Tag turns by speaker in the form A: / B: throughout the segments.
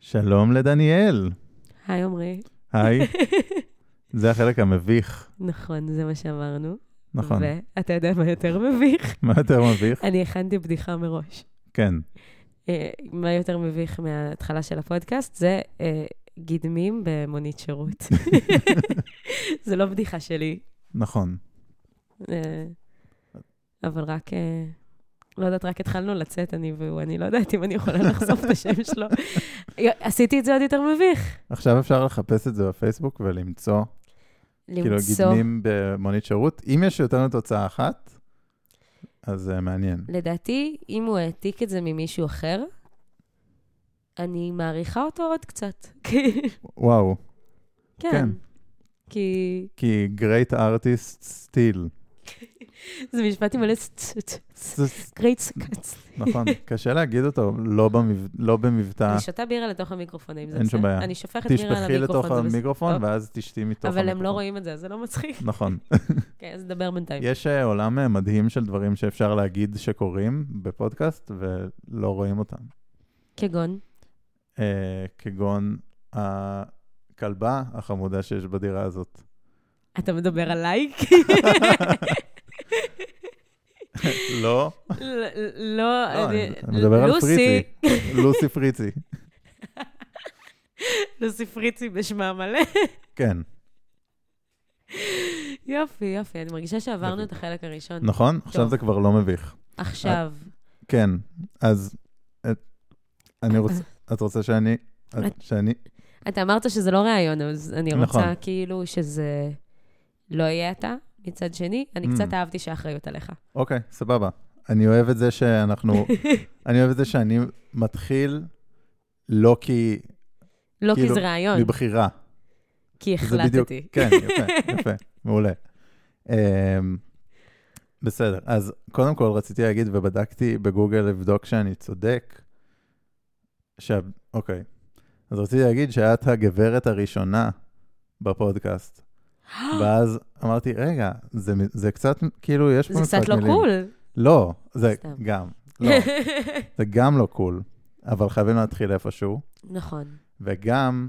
A: שלום לדניאל.
B: היי עמרי.
A: היי, זה החלק המביך,
B: נכון, זה מה שאמרנו.
A: נכון.
B: ואתה יודע מה יותר מביך?
A: מה יותר מביך?
B: אני הכנתי בדיחה מראש.
A: כן.
B: אה, מה יותר מביך מההתחלה של הפודקאסט זה אה, גדמים במונית שירות. זה לא בדיחה שלי,
A: נכון.
B: אה, אבל רק... אה, לא יודעת, רק התחלנו לצאת, אני והוא, אני לא יודעת אם אני יכולה לחשוף את השם שלו. עשיתי את זה עוד יותר מביך.
A: עכשיו אפשר לחפש את זה בפייסבוק ולמצוא, כאילו,
B: למצוא.
A: גדמים במונית שירות. אם יש יותר מתוצאה אחת, אז זה מעניין.
B: לדעתי, אם הוא העתיק את זה ממישהו אחר, אני מעריכה אותו עוד קצת.
A: וואו, כן.
B: כן. כי
A: כי great artist still.
B: זה משפט עם מלא
A: ס-
B: גרייט סקאץ.
A: נכון, קשה להגיד אותו, לא במב- לא במבטא.
B: אני שותה בירה לתוך המיקרופון, האם זה
A: אין שום
B: בסדר?
A: בעיה.
B: אני שופכת בירה
A: תשפכי
B: על
A: לתוך
B: המיקרופון, זה
A: המיקרופון,
B: בסדר.
A: ואז תשתי מתוך
B: בסדר.
A: המיקרופון.
B: אבל הם לא רואים את זה, אז זה לא מצחיק.
A: נכון.
B: כן, אז נדבר בינתיים.
A: יש אה, עולם אה, מדהים של דברים שאפשר להגיד שקורים בפודקאסט ולא רואים אותם.
B: כגון?
A: אה, כגון הכלבה החמודה שיש בדירה הזאת.
B: אתה מדבר עליי?
A: לא,
B: ל- לא,
A: לא, אני
B: אני-
A: אני מדבר על פריצי.
B: לוסי,
A: לוסי פריצי,
B: לוסי פריצי בשמה מלא.
A: כן.
B: יופי, יופי, אני מרגישה שעברנו
A: יופי.
B: את החלק הראשון.
A: נכון? עכשיו זה כבר לא מביך.
B: עכשיו,
A: כן, אז אה, אני רוצה, את רוצה שאני, את-
B: את-
A: שאני,
B: אתה אמרת שזה לא ראיון, אז אני רוצה
A: נכון.
B: כאילו שזה לא יהיה אתה. מצד שני, אני
A: Mm.
B: קצת אהבתי שהאחריות עליך.
A: אוקיי, סבבה. אני אוהב את זה שאנחנו, אני אוהב את זה שאני מתחיל לא כי,
B: לא כי
A: כאילו,
B: זה ראיון,
A: מבחירה.
B: כי
A: זה בדיוק-
B: החלטתי.
A: כן, יפה, יפה, מעולה. Um, בסדר, אז קודם כל רציתי להגיד, ובדקתי בגוגל לבדוק שאני צודק, שה... אוקיי. אז רציתי להגיד שאת הגברת הראשונה בפודקאסט,
B: אה.
A: ואז אמרתי, רגע, זה, מ- זה קצת, כאילו, יש פה
B: זה קצת לא
A: מילים."
B: קול.
A: לא, זה
B: סתם.
A: גם, לא, זה גם לא קול, אבל חייבים להתחיל איפשהו,
B: נכון,
A: וגם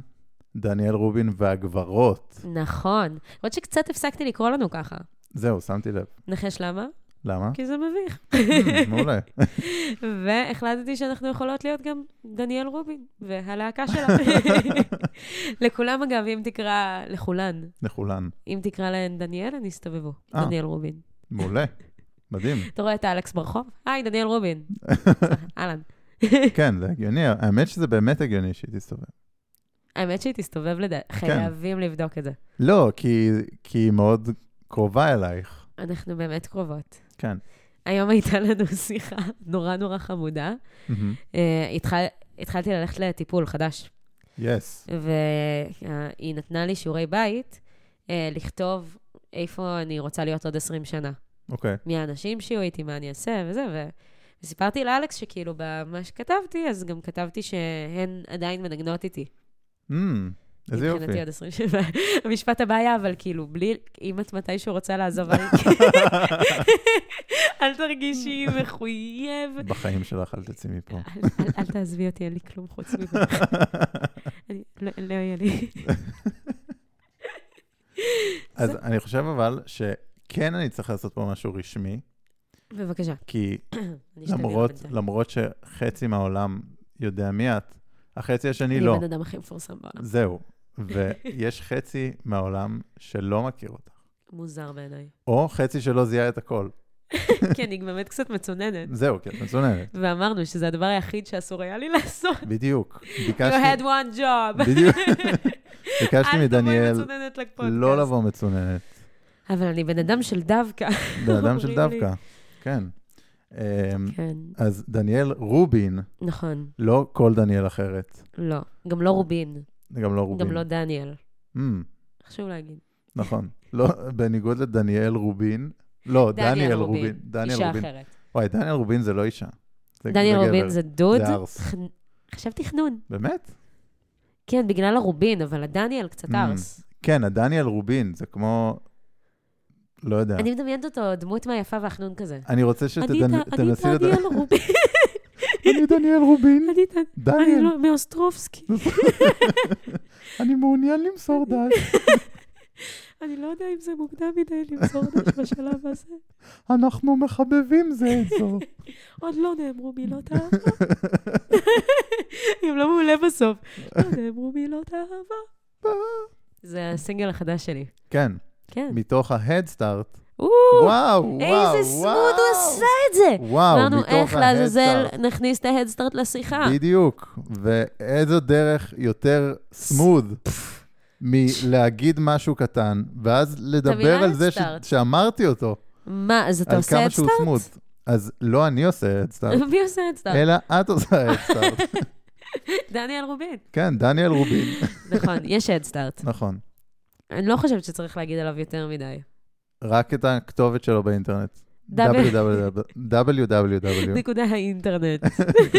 A: דניאל רובין והגברות,
B: נכון. למרות שקצת הפסקתי לקרוא לנו ככה.
A: זהו, שמתי לב.
B: נחש למה?
A: למה?
B: כי זה מביך.
A: Hmm, מעולה.
B: והחלטתי שאנחנו יכולות להיות גם דניאל רובין והלהקה שלה. לכולם, אגב, אם תקרא, לכולן,
A: לכולן.
B: אם תקרא להן דניאל, הן יסתובבו.
A: אה.
B: דניאל רובין.
A: מעולה. מדהים.
B: אתה רואה את אלכס ברחוב? היי, דניאל רובין. אהלן.
A: כן, זה הגיוני. האמת שזה באמת הגיוני שהיא תסתובב.
B: האמת שהיא תסתובב
A: כן.
B: לדעת, חייבים לבדוק את זה.
A: לא, כי, כי היא מאוד קרובה אלייך.
B: אנחנו באמת קרובות.
A: כן.
B: היום הייתה לנו שיחה נורא נורא חמודה.
A: מהמם.
B: אה, התחל- התחלתי ללכת לטיפול חדש,
A: יס.
B: והיא נתנה לי שיעורי בית אה, לכתוב איפה אני רוצה להיות עוד 20 שנה.
A: אוקיי.
B: מי האנשים שיהיו איתי, מה אני אעשה וזה, ו... וסיפרתי לאלכס שכאילו במה שכתבתי, אז גם כתבתי שהן עדיין מנגנות איתי.
A: Hmm, איזה יופי.
B: מבחינתי עד 20 שנה. המשפט הבא היה, אבל כאילו, בלי, אם את מתישהו רוצה לעזוב, אל- אל תרגישי מחויבת.
A: בחיים שלך אל תצאי מפה.
B: אל- אל- אל תעזבי אותי, אין לי כלום חוץ מזה. אני- לא לא יהיה לי.
A: אז אני חושב אבל שכן אני צריך לעשות פה משהו רשמי,
B: בבקשה,
A: כי
B: אני אשתה בירה
A: למרות,
B: בינתיים.
A: למרות שחצי מהעולם יודע מי את, החצי השני
B: אני
A: לא.
B: הבן אדם הכי מפורסם בעולם.
A: זהו. ויש חצי מהעולם שלא מכיר אותך.
B: מוזר בעיניי.
A: או חצי שלא זיהה את הכל.
B: כי אני באמת קצת מצוננת.
A: זהו, כן, מצוננת.
B: ואמרנו שזה הדבר היחיד שאסור היה לי לעשות.
A: בדיוק.
B: You had
A: ביקשתי,
B: one job.
A: בדיוק. ביקשתי
B: אל תבואי
A: מדניאל
B: מצוננת לפודקאסט.
A: לא לבוא מצוננת.
B: אבל אני בן אדם של דווקא.
A: בן אדם של
B: אומרים
A: דווקא. כן. אמ,
B: כן,
A: אז דניאל רובין,
B: נכון.
A: לא כל דניאל אחרת.
B: לא. גם לא רובין.
A: גם לא רובין.
B: גם לא דניאל.
A: אמ,
B: חשוב להגיד.
A: נכון. לא, בניגוד לדניאל רובין, לא,
B: דניאל
A: דניאל
B: רובין.
A: רובין. דניאל
B: אישה
A: רובין.
B: אחרת.
A: וואי, דניאל רובין זה לא אישה. זה-
B: דניאל
A: גבר.
B: רובין זה דוד.
A: זה ארס.
B: חנ- חשבתי חנון.
A: באמת?
B: כן, בגלל הרובין, אבל הדניאל קצת
A: Mm.
B: ארס.
A: כן, הדניאל רובין, זה כמו... לא יודע.
B: אני מדמיינת אותו דמות מהיפה והחנון כזה.
A: אני רוצה
B: אני ד- אני
A: שתנסי לדבר.
B: דניאל רובין.
A: אני דניאל רובין.
B: אני דן- אני
A: דניאל,
B: לא, מאוסטרובסקי.
A: אני מעוניין למסור דש.
B: אני לא יודע אם זה מוקדם מדי למסור דש בשלב הזה.
A: אנחנו מחבבים זה את זו.
B: עוד לא נאמרו מילות אהבה. אם לא מעולה בסוף. לא נאמרו מילות אהבה. זה הסינגל החדש שלי.
A: כן,
B: כן.
A: מתוך ה-Head Start.
B: או,
A: וואו, וואו, וואו.
B: איזה סמוד הוא עשה את זה!
A: וואו,
B: אמרנו,
A: מתוך ה-Head
B: איך לעזאזל אה.
A: Start.
B: נכניס את ההדסטארט לשיחה.
A: בדיוק. ואיזו דרך יותר סמוד מלהגיד משהו קטן, ואז לדבר
B: המילה
A: על זה ש-
B: Headstart.
A: שאמרתי אותו,
B: מה, אז אתה
A: על
B: עושה
A: כמה שהוא
B: הדסטארט?
A: סמוד. אז לא אני עושה הדסטארט,
B: מי עושה הדסטארט?
A: אלא את עושה הדסטארט.
B: דניאל רובין.
A: כן, דניאל רובין,
B: נכון, יש הדסטארט.
A: נכון.
B: אני לא חושבת שצריך להגיד עליו יותר מדי.
A: רק את הכתובת שלו באינטרנט.
B: דאבל-
A: www.
B: נקודה האינטרנט.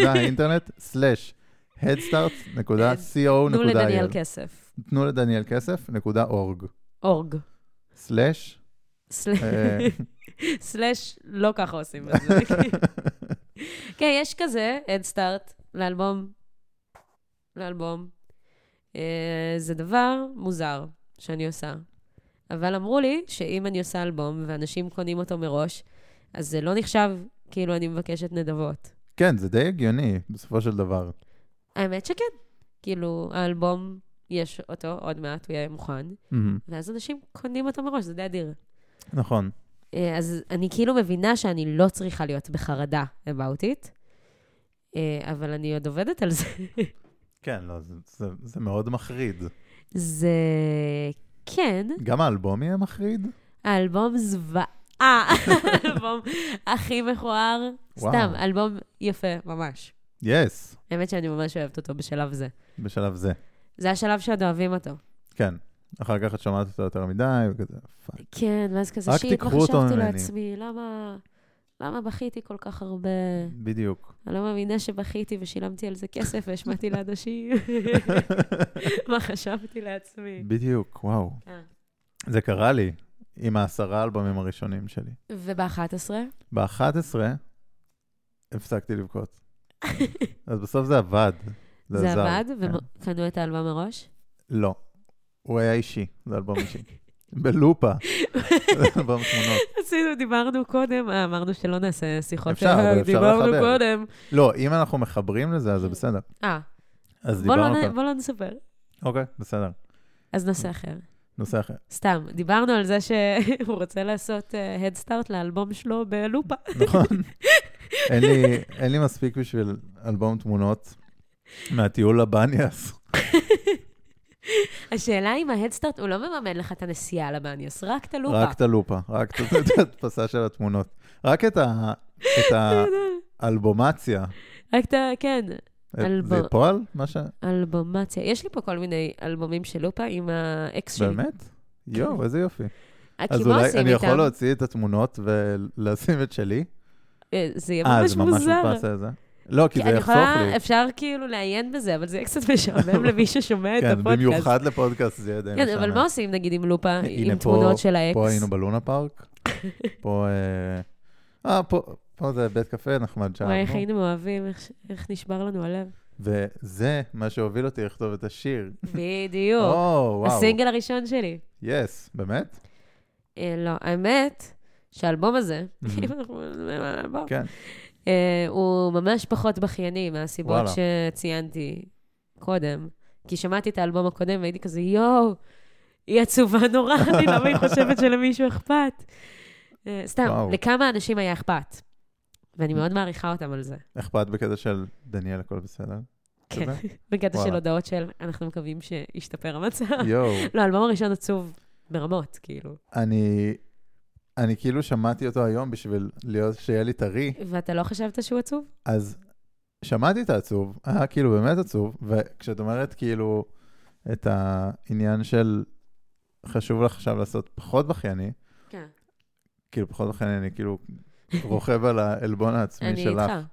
A: האינטרנט, סלאש, headstart.co.il.
B: כן. תנו לדניאל כסף.
A: תנו לדניאל כסף, נקודה אורג.
B: אורג.
A: סלאש. אה,
B: סלאש, לא ככה עושים את זה. כן, יש כזה, Head Start, לאלבום. לאלבום. אה, זה דבר מוזר שאני עושה. אבל אמרו לי שאם אני עושה אלבום ואנשים קונים אותו מראש, אז זה לא נחשב כאילו אני מבקשת נדבות.
A: כן, זה די הגיוני, בסופו של דבר.
B: האמת שכן. כאילו, האלבום, יש אותו, עוד מעט הוא יהיה מוכן,
A: מהמם,
B: ואז אנשים קונים אותו מראש, זה די אדיר.
A: נכון.
B: אה, אז אני כאילו מבינה שאני לא צריכה להיות בחרדה about it, אה, אבל אני עוד עובדת על זה.
A: כן, לא, זה- זה- זה מאוד מחריד.
B: זה... כן,
A: גם האלבום יהיה מחריד?
B: האלבום זוועה, האלבום הכי מכוער.
A: וואו.
B: סתם, אלבום יפה, ממש.
A: יס,
B: האמת שאני ממש אוהבת אותו בשלב זה.
A: בשלב זה.
B: זה השלב שעוד אוהבים אותו.
A: כן. אחר כך את שומעת אותו יותר מדי, וכזה, פאק.
B: כן, ואז כזה
A: רק
B: שיט, לא
A: תיקחו אותו
B: חשבתי
A: ממני."
B: לעצמי, למה... למה בכיתי כל כך הרבה?
A: בדיוק.
B: אני לא מאמינה שבכיתי ושילמתי על זה כסף והשמעתי לאנשים. מה חשבתי לעצמי?
A: בדיוק, וואו.
B: אוקיי. כן.
A: זה קרה לי עם העשרה האלבומים הראשונים שלי.
B: וב-11?
A: ב-11 הפסקתי לבכות. אז בסוף זה עבד.
B: זה
A: עזר,
B: עבד,
A: כן.
B: וקנו את האלבום מראש?
A: לא. הוא היה אישי, זה אלבום אישי. בלופה. זה אלבום תמונות.
B: עשינו, דיברנו קודם, אה, אמרנו שלא נעשה שיחות.
A: אפשר, אבל
B: אה,
A: אפשר
B: דיברנו
A: לחבר.
B: קודם.
A: לא, אם אנחנו מחברים לזה, אז זה בסדר.
B: אה,
A: אז
B: בוא לא
A: דיברנו
B: נ-
A: כאן.
B: בוא לא נספר.
A: אוקיי, בסדר.
B: אז נושא אחר.
A: נושא אחר.
B: סתם, דיברנו על זה שהוא רוצה לעשות הדסטארט לאלבום שלו בלופה.
A: נכון. אין לי- אין לי מספיק בשביל אלבום תמונות מהטיול לבניאס.
B: השאלה אם ההדסטארט, הוא לא מממן לך את הנסיעה לבניאס, רק את הלופה.
A: רק את הלופה, רק את את ההדפסה של התמונות. רק את ה- את האלבומציה.
B: רק את ה... כן,
A: זה
B: אלבום.
A: פועל? מה ש...
B: אלבומציה. יש לי פה כל מיני אלבומים של לופה עם האקס שלי.
A: באמת? יואו, איזה יופי.
B: אה,
A: אז
B: כי מה
A: אולי
B: עושים
A: אני יכול
B: איתם?
A: להוציא את התמונות ולשים את שלי?
B: אה, זה יהיה
A: אה,
B: ממש
A: זה ממש
B: מוזר.
A: מודפס על זה. לא, כי
B: כי
A: זה
B: אני
A: יחסוך
B: יכולה,
A: לי.
B: אפשר כאילו לעיין בזה, אבל זה יהיה קצת משעמם למי ששומע את
A: כן,
B: הפודקאסט.
A: במיוחד לפודקאסט זה יהיה די משעמם.
B: כן, אבל מה עושים נגיד עם לופה,
A: הנה,
B: עם
A: פה-
B: תמונות של האקס?
A: פה היינו בלונה פארק. פה... אה, אה, פה... פה זה בית קפה נחמד שם.
B: וואי, איך
A: נו.
B: היינו אוהבים, איך- איך נשבר לנו הלב.
A: וזה מה שהוביל אותי לכתוב את השיר.
B: בדיוק.
A: או, וואו.
B: הסינגל הראשון שלי.
A: יס, באמת?
B: אה, לא, האמת, שהאלבום הזה,
A: Mhm.
B: אם אנחנו מדברים על האלבום,
A: כן.
B: אה, הוא ממש פחות בכייני מהסיבות
A: וואלה.
B: שציינתי קודם. כי שמעתי את האלבום הקודם והייתי כזה, יואו, היא עצובה נורא, אני למה היא חושבת שלמישהו אכפת? אה, סתם,
A: וואו.
B: לכמה אנשים היה אכפת? ואני מאוד מעריכה אותם על זה.
A: אכפת בקטע של דניאל, הכל בסדר?
B: כן,
A: כזה?
B: בקטע של
A: וואלה.
B: הודעות של, אנחנו מקווים שישתפר המצב.
A: יואו.
B: לא, האלבום הראשון עצוב ברמות, כאילו.
A: אני... אני כאילו שמעתי אותו היום בשביל להיות, שיהיה לי טרי.
B: ואתה לא חשבת שהוא עצוב?
A: אז שמעתי את העצוב, היה כאילו באמת עצוב, וכשאת אומרת כאילו את העניין של חשוב לך עכשיו לעשות פחות בכייני,
B: כן.
A: כאילו פחות בכייני, אני כאילו רוכב על העלבון העצמי
B: אני
A: שלך.
B: איתך.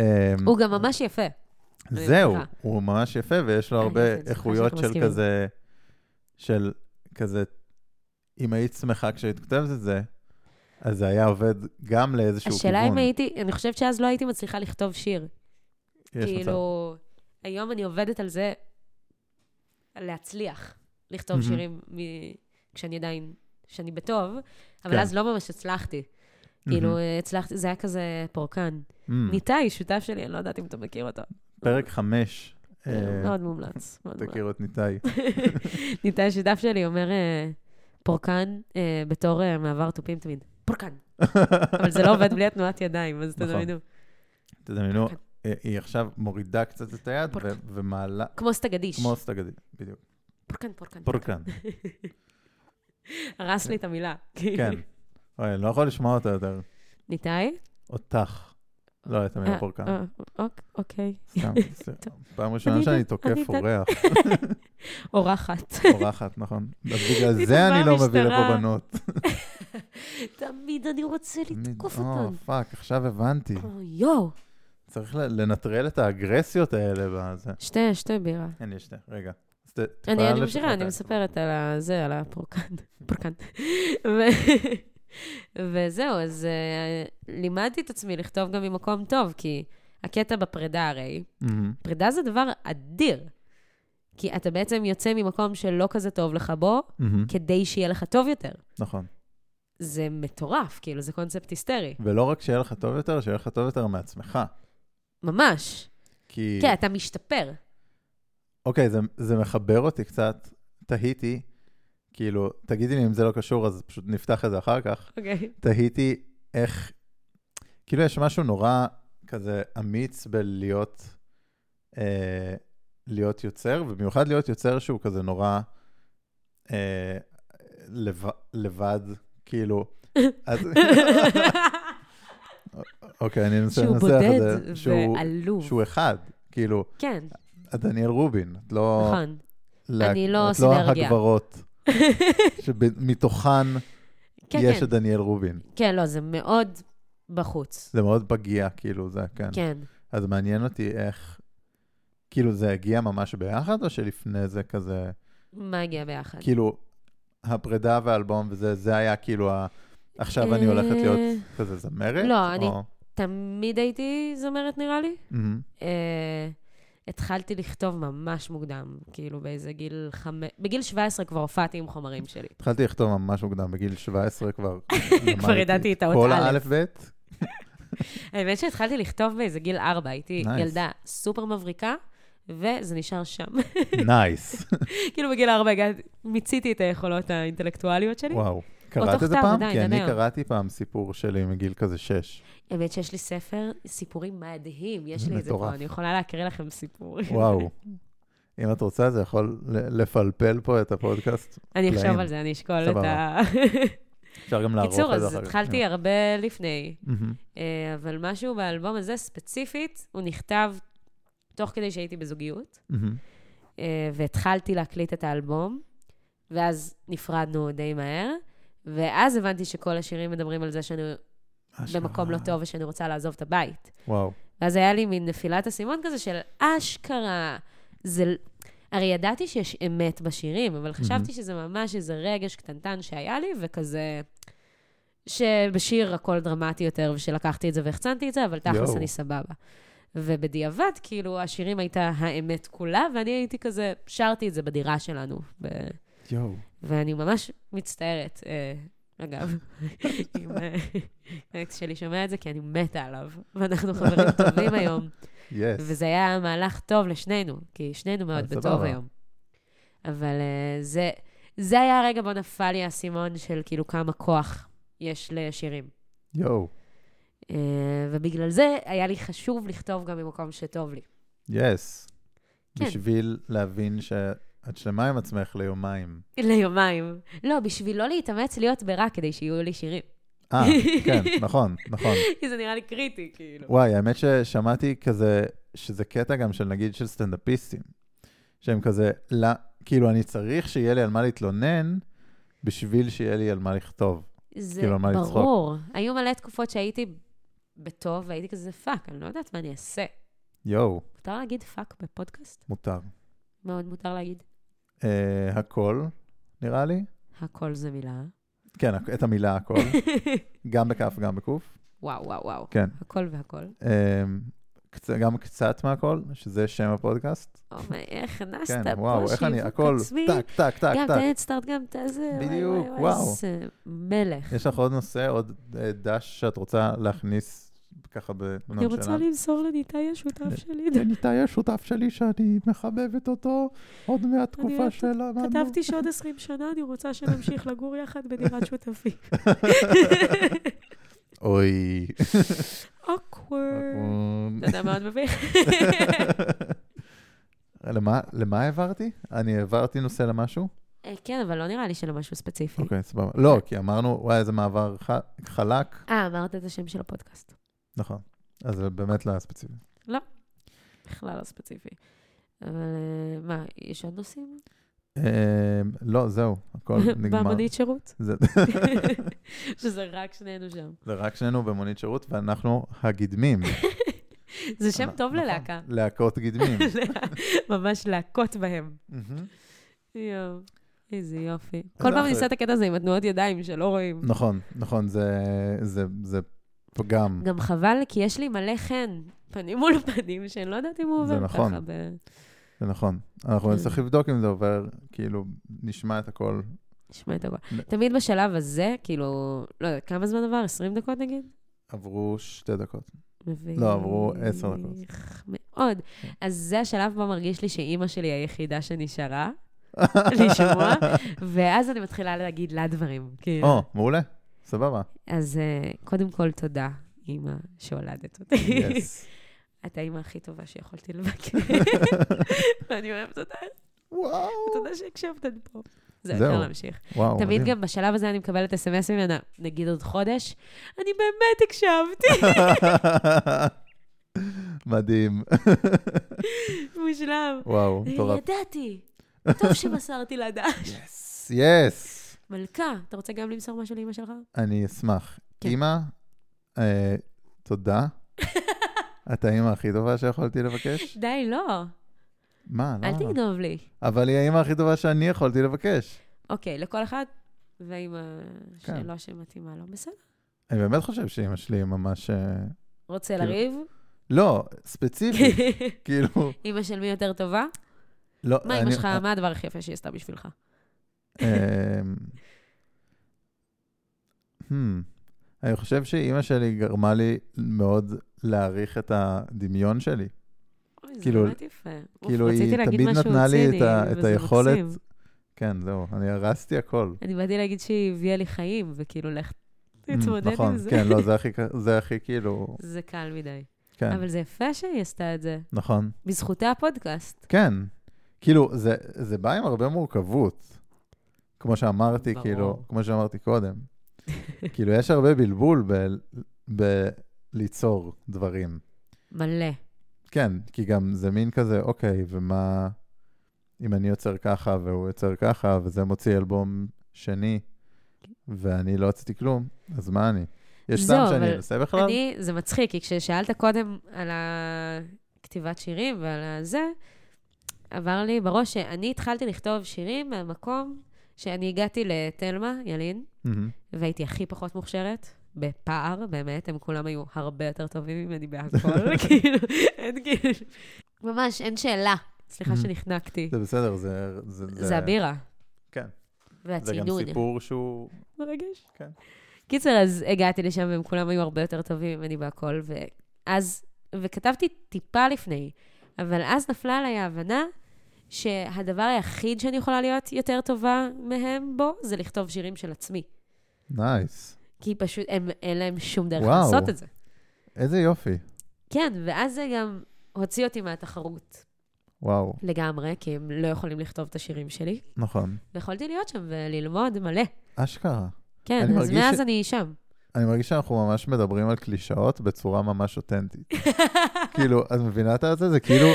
A: אמ,
B: הוא גם ממש יפה. אני
A: זהו,
B: איתך.
A: הוא ממש יפה, ויש לו
B: אני
A: הרבה
B: אוהבת, אני שמחה
A: איכויות
B: שאנחנו
A: של
B: מסכימים.
A: כזה, של כזה, אם היית שמחה כשהיית כותבת את זה, אז זה היה עובד גם לאיזשהו כיוון.
B: השאלה אם הייתי, אני חושבת שאז לא הייתי מצליחה לכתוב שיר.
A: יש מצב.
B: כאילו, היום אני עובדת על זה, על להצליח לכתוב
A: מהמם.
B: שירים מ- כשאני עדיין, כשאני בטוב, אבל
A: כן.
B: אז לא ממש הצלחתי. כאילו, הצלחתי, זה היה כזה פורקן.
A: מהמם.
B: ניתאי, שותף שלי, אני לא יודעת אם אתה מכיר אותו.
A: Mm, פרק חמש, אה,
B: מאוד מומלץ. מאוד מומלץ.
A: תכיר את ניתאי.
B: ניתאי, שותף שלי, אומר אה, פורקן אה, בתור אה, מעבר תופים תמיד. פורקן. אבל זה לא עובד בלי התנועת ידיים, אז
A: נכון.
B: תדמיינו.
A: תדמיינו,
B: כן.
A: אה, היא עכשיו מורידה קצת את היד
B: פורקן.
A: ו- ומעלה,
B: כמו סטגדיש.
A: כמו סטגדי, בדיוק.
B: פורקן, פורקן.
A: פורקן,
B: הרס לי את המילה.
A: כן. אוי, אני לא יכול לשמוע אותה יותר.
B: ניתאי?
A: אותך. לא, את המילה
B: אה,
A: פורקן.
B: אה, אוק- אוקיי.
A: סתם, זה- פעם ראשונה
B: אני
A: שאני
B: יודעת,
A: תוקף
B: אני יודעת.
A: אורח,
B: אורחת.
A: אורחת, נכון. אז בגלל
B: פתאום
A: זה אני
B: באה
A: לא מביא לפה
B: המשטרה.
A: בנות.
B: תמיד אני נכון. רוצה לתקוף
A: אני-
B: אותן.
A: או, אה, פאק, עכשיו הבנתי.
B: או, יואו.
A: צריך ל- לנטרל את האגרסיות האלה בזה.
B: שתי, שתי בירה.
A: אין לי שתי, רגע. אז ת- תפעל
B: אני אני
A: לשחרר
B: ממשיכה,
A: את
B: אני
A: ה-
B: מספרת על ה- זה, על הפורקן. פורקן. ו- וזהו, אז אה, לימדתי את עצמי לכתוב גם ממקום טוב, כי הקטע בפרידה הרי,
A: מהמם.
B: פרידה זה דבר אדיר. כי אתה בעצם יוצא ממקום שלא כזה טוב לך בו,
A: מהמם.
B: כדי שיהיה לך טוב יותר.
A: נכון.
B: זה מטורף, כאילו, זה קונספט היסטרי.
A: ולא רק שיהיה לך טוב יותר, שיהיה לך טוב יותר מעצמך.
B: ממש.
A: כי...
B: כן, אתה משתפר.
A: אוקיי, זה, זה מחבר אותי קצת, תהיתי, כאילו, תגידי לי אם זה לא קשור, אז פשוט נפתח את זה אחר כך.
B: אוקיי.
A: תהיתי איך, כאילו, יש משהו נורא כזה אמיץ בלהיות אה, להיות יוצר, ובמיוחד להיות יוצר שהוא כזה נורא אה, לב, לבד, כאילו. אז, אוקיי, אני אנסה
B: שהוא
A: לנסח את
B: בודד
A: זה.
B: ועלוב.
A: שהוא אחד, כאילו,
B: כן,
A: את דניאל רובין, את לא...
B: נכון.
A: לה-
B: אני לא
A: את לא
B: סינרגיה.
A: הגברות, שמתוכן
B: כן,
A: יש
B: כן.
A: את דניאל רובין.
B: כן, לא, זה מאוד בחוץ.
A: זה מאוד פגיע, כאילו, זה, כן.
B: כן.
A: אז מעניין אותי איך, כאילו, זה הגיע ממש ביחד, או שלפני זה כזה,
B: מה הגיע ביחד?
A: כאילו, הפרידה והאלבום וזה, זה היה כאילו ה... עכשיו אני הולכת
B: אה,
A: להיות כזה זמרת?
B: לא, אני-
A: או-
B: תמיד הייתי זמרת, נראה לי.
A: מהמם,
B: אה, התחלתי לכתוב ממש מוקדם, כאילו באיזה גיל חמש... בגיל 17 כבר הופעתי עם חומרים שלי.
A: התחלתי לכתוב ממש מוקדם, בגיל 17 כבר.
B: כבר
A: למדתי
B: ידעתי את האות
A: כל
B: א'.
A: האלף-בית?
B: האמת שהתחלתי לכתוב באיזה גיל ארבע, הייתי
A: Nice.
B: ילדה סופר מבריקה, וזה נשאר שם.
A: נייס.
B: כאילו בגיל ארבע הגעתי- מיציתי את היכולות האינטלקטואליות שלי.
A: וואו. קראת את זה
B: תוכתב,
A: פעם?
B: עדיין,
A: כי אני
B: עדיין.
A: קראתי פעם סיפור שלי מגיל כזה שש.
B: האמת שיש לי ספר סיפורים מדהים, יש
A: זה
B: לי את זה
A: מטורף.
B: פה, אני יכולה להקריא לכם סיפור.
A: וואו. אם את רוצה, זה יכול ל- לפלפל פה את הפודקאסט.
B: אני אחשוב
A: פלאים.
B: על זה, אני אשקול את
A: סבבה.
B: ה...
A: אפשר גם לערוך את זה
B: קיצור,
A: אחר כך. כן.
B: אז התחלתי הרבה לפני,
A: מהמם.
B: אה, אבל משהו באלבום הזה ספציפית, הוא נכתב תוך כדי שהייתי בזוגיות,
A: מהמם.
B: אה, והתחלתי להקליט את האלבום, ואז נפרדנו די מהר, ואז הבנתי שכל השירים מדברים על זה שאני
A: אשכרה.
B: במקום לא טוב ושאני רוצה לעזוב את הבית.
A: וואו.
B: ואז היה לי מין נפילת אסימון כזה של אשכרה. זה... ל- הרי ידעתי שיש אמת בשירים, אבל חשבתי שזה ממש איזה רגש קטנטן שהיה לי, וכזה... שבשיר הכל דרמטי יותר, ושלקחתי את זה והחצנתי את זה, אבל תכלס
A: יואו.
B: אני סבבה. ובדיעבד, כאילו, השירים הייתה האמת כולה, ואני הייתי כזה, שרתי את זה בדירה שלנו. ו...
A: יואו.
B: ואני ממש מצטערת, אה, אגב, אם אה, האקס שלי שומע את זה, כי אני מתה עליו, ואנחנו חברים טובים היום.
A: יס.
B: וזה היה מהלך טוב לשנינו, כי שנינו מאוד
A: אז
B: בטוב
A: סבבה.
B: היום. אבל אה, זה, זה היה הרגע בו נפל לי האסימון של כאילו כמה כוח יש לשירים.
A: יואו.
B: אה, ובגלל זה היה לי חשוב לכתוב גם ממקום שטוב לי.
A: יס.
B: כן.
A: בשביל להבין שאת שלמה עם עצמך ליומיים.
B: ליומיים. לא, בשביל לא להתאמץ להיות ברע כדי שיהיו לי שירים.
A: אה, כן, נכון, נכון.
B: כי זה נראה לי קריטי, כאילו.
A: וואי, האמת ששמעתי כזה, שזה קטע גם של נגיד של סטנדאפיסטים, שהם כזה, לא, כאילו, אני צריך שיהיה לי על מה להתלונן, בשביל שיהיה לי על מה לכתוב.
B: זה
A: כאילו, על מה לצחוק.
B: ברור. היו מלא תקופות שהייתי בטוב, והייתי כזה פאק, אני לא יודעת מה אני אעשה.
A: יואו,
B: מותר להגיד פאק בפודקאסט?
A: מותר.
B: מאוד מותר להגיד.
A: אה, הכל, נראה לי.
B: הכל זה מילה.
A: כן, את המילה הכל, גם בכף, גם בקוף.
B: וואו, וואו, וואו.
A: כן.
B: הכל והכל.
A: אה, קצ- גם קצת מהכל, שזה שם הפודקאסט.
B: אומי, איך הכנסת
A: כן,
B: פה
A: וואו, איך אני,
B: שיווק
A: הכל,
B: עצמי.
A: טק, טק, טק,
B: גם
A: טק.
B: את סטארט, גם את הזה. וואי,
A: בדיוק,
B: וואי, וואי,
A: וואו.
B: איזה מלך.
A: יש לך עוד נושא, עוד אה, דש שאת רוצה להכניס ככה כן,
B: אני
A: בנון
B: רוצה
A: שלנו?
B: למסור לניתאי השותף שלי.
A: ניתאי השותף שלי שאני מחבבת אותו עוד מהתקופה
B: אני
A: של... המדנו.
B: כתבתי שעוד 20 שנה אני רוצה שנמשיך לגור יחד בדירת שותפים.
A: אוי. אוקיי.
B: אוקוורד. אה, אתה יודע מה עוד מביך?
A: למה- למה העברתי? אני העברתי נושא למשהו?
B: אה, כן, אבל לא נראה לי שלמשהו ספציפי.
A: אוקיי, סבבה.
B: כן.
A: לא, כי אמרנו, וואי, איזה מעבר ח- חלק.
B: אה, אמרת את השם של הפודקאסט.
A: נכון. אז זה באמת לא היה ספציפי.
B: בכלל לא ספציפי. אבל אה, מה, יש עוד נושאים?
A: אה, לא, זהו, הכל נגמר.
B: במונית שירות?
A: זה-
B: שזה רק שנינו שם.
A: זה רק שנינו במונית שירות, ואנחנו הגדמים.
B: זה שם טוב
A: נכון,
B: ללהקה.
A: להקות גדמים.
B: ממש להכות בהם.
A: מהמם.
B: יואו, איזה יופי. כל
A: אחלה.
B: פעם אני עושה את הקטע הזה עם התנועות ידיים שלא רואים.
A: נכון, נכון, זה, זה, זה פגם.
B: גם חבל, כי יש לי מלא חן, פנים מול פנים, שאני לא יודעת אם הוא
A: זה
B: עובר
A: נכון.
B: ככה. ב...
A: זה נכון. אנחנו
B: כן.
A: נצטרך לבדוק אם זה עובר, כאילו, נשמע את הכל.
B: נשמע את הכל.
A: לא.
B: תמיד בשלב הזה, כאילו, לא יודע, כמה זמן עבר? 20 דקות נגיד?
A: עברו שתי דקות.
B: מביך.
A: לא, עברו עשר דקות. כן.
B: מאוד. אז זה השלב בו מרגיש לי שאימא שלי היחידה שנשארה, לשמוע, ואז אני מתחילה להגיד לה דברים. כאילו.
A: או, מעולה, סבבה.
B: אז אה, קודם כל, תודה, אימא, שהולדת אותי.
A: יס.
B: אתה האימא הכי טובה שיכולתי לבקר, ואני אוהבת אותך,
A: וואו.
B: תודה שהקשבתם פה. זהו,
A: זהו.
B: אפשר להמשיך.
A: וואו,
B: תמיד
A: מדהים.
B: גם בשלב הזה אני מקבלת אס.אם.אס ממנה, נגיד עוד חודש, אני באמת הקשבתי,
A: מדהים.
B: מושלם.
A: וואו,
B: אני
A: מטורף.
B: ידעתי, טוב שמסרתי לה דש.
A: יס, יס.
B: מלכה, אתה רוצה גם למסור משהו לאימא שלך?
A: אני אשמח.
B: כן.
A: אימא, אה, תודה. את האימא הכי טובה שיכולתי לבקש?
B: די, לא,
A: מה,
B: אל
A: למה?
B: תגנוב לי.
A: אבל היא האימא הכי טובה שאני יכולתי לבקש.
B: אוקיי, לכל אחד, ועם
A: כן.
B: השאלה שמתאימה לו, בסדר.
A: אני באמת חושב שאימא שלי היא ממש... אה,
B: רוצה
A: כאילו-
B: לריב?
A: לא, ספציפית, כאילו...
B: אימא של מי יותר טובה?
A: לא,
B: מה
A: אני-
B: אימא שלך, מה הדבר הכי יפה שהיא עשתה בשבילך?
A: אמ, hmm. אני חושב שאימא שלי גרמה לי מאוד להעריך את הדמיון שלי.
B: אוי, זה
A: כאילו-
B: באמת יפה. אוף,
A: כאילו,
B: רציתי
A: היא
B: להגיד
A: תמיד
B: משהו
A: נתנה לי את
B: ציני,
A: ה-
B: אבל
A: את
B: זה
A: היכולת-
B: מקסים.
A: כן, זהו, אני הרסתי הכל.
B: אני באתי להגיד שהיא הביאה לי חיים, וכאילו, לך
A: Mm,
B: תתמודד
A: נכון,
B: עם זה.
A: כן, לא, זה הכי, ק- זה הכי כאילו,
B: זה קל מדי.
A: כן,
B: אבל זה יפה שהיא עשתה את זה,
A: נכון,
B: בזכותי הפודקאסט.
A: כן. כאילו, זה, זה בא עם הרבה מורכבות, כמו שאמרתי,
B: ברור.
A: כאילו, כמו שאמרתי קודם. כאילו, יש הרבה בלבול בליצור דברים.
B: מלא.
A: כן, כי גם זה מין כזה, אוקיי, ומה אם אני יוצר ככה והוא יוצר ככה, וזה מוציא אלבום שני, ואני לא הוצאתי כלום, אז מה אני? יש
B: זהו,
A: טעם שאני
B: אבל
A: אנסה בכלל?
B: אני, זה מצחיק, כי כששאלת קודם על הכתיבת שירים ועל הזה, עבר לי בראש שאני התחלתי לכתוב שירים מהמקום שאני הגעתי לתלמה, ילין,
A: מהמם.
B: והייתי הכי פחות מוכשרת, בפער, באמת, הם כולם היו הרבה יותר טובים ממני בהכל, כאילו, אין כאילו... ממש, אין שאלה. סליחה
A: Mhm.
B: שנחנקתי.
A: זה בסדר, זה... זה,
B: זה הבירה.
A: כן. זה גם
B: והצינון.
A: סיפור שהוא...
B: מרגש.
A: כן.
B: קיצר, אז הגעתי לשם והם כולם היו הרבה יותר טובים ממני בהכל, ואז, וכתבתי טיפה לפני, אבל אז נפלה עליי ההבנה שהדבר היחיד שאני יכולה להיות יותר טובה מהם בו, זה לכתוב שירים של עצמי.
A: נייס.
B: כי פשוט הם, אין להם שום דרך
A: וואו.
B: לעשות את זה.
A: איזה יופי.
B: כן, ואז זה גם הוציא אותי מהתחרות
A: וואו,
B: לגמרי, כי הם לא יכולים לכתוב את השירים שלי,
A: נכון.
B: ויכולתי להיות שם וללמוד מלא.
A: אשכרה.
B: כן,
A: אני
B: אז
A: מרגיש
B: מאז
A: ש-
B: אני שם.
A: אני מרגיש שאנחנו ממש מדברים על קלישאות בצורה ממש אותנטית. כאילו, את מבינה את זה? זה כאילו,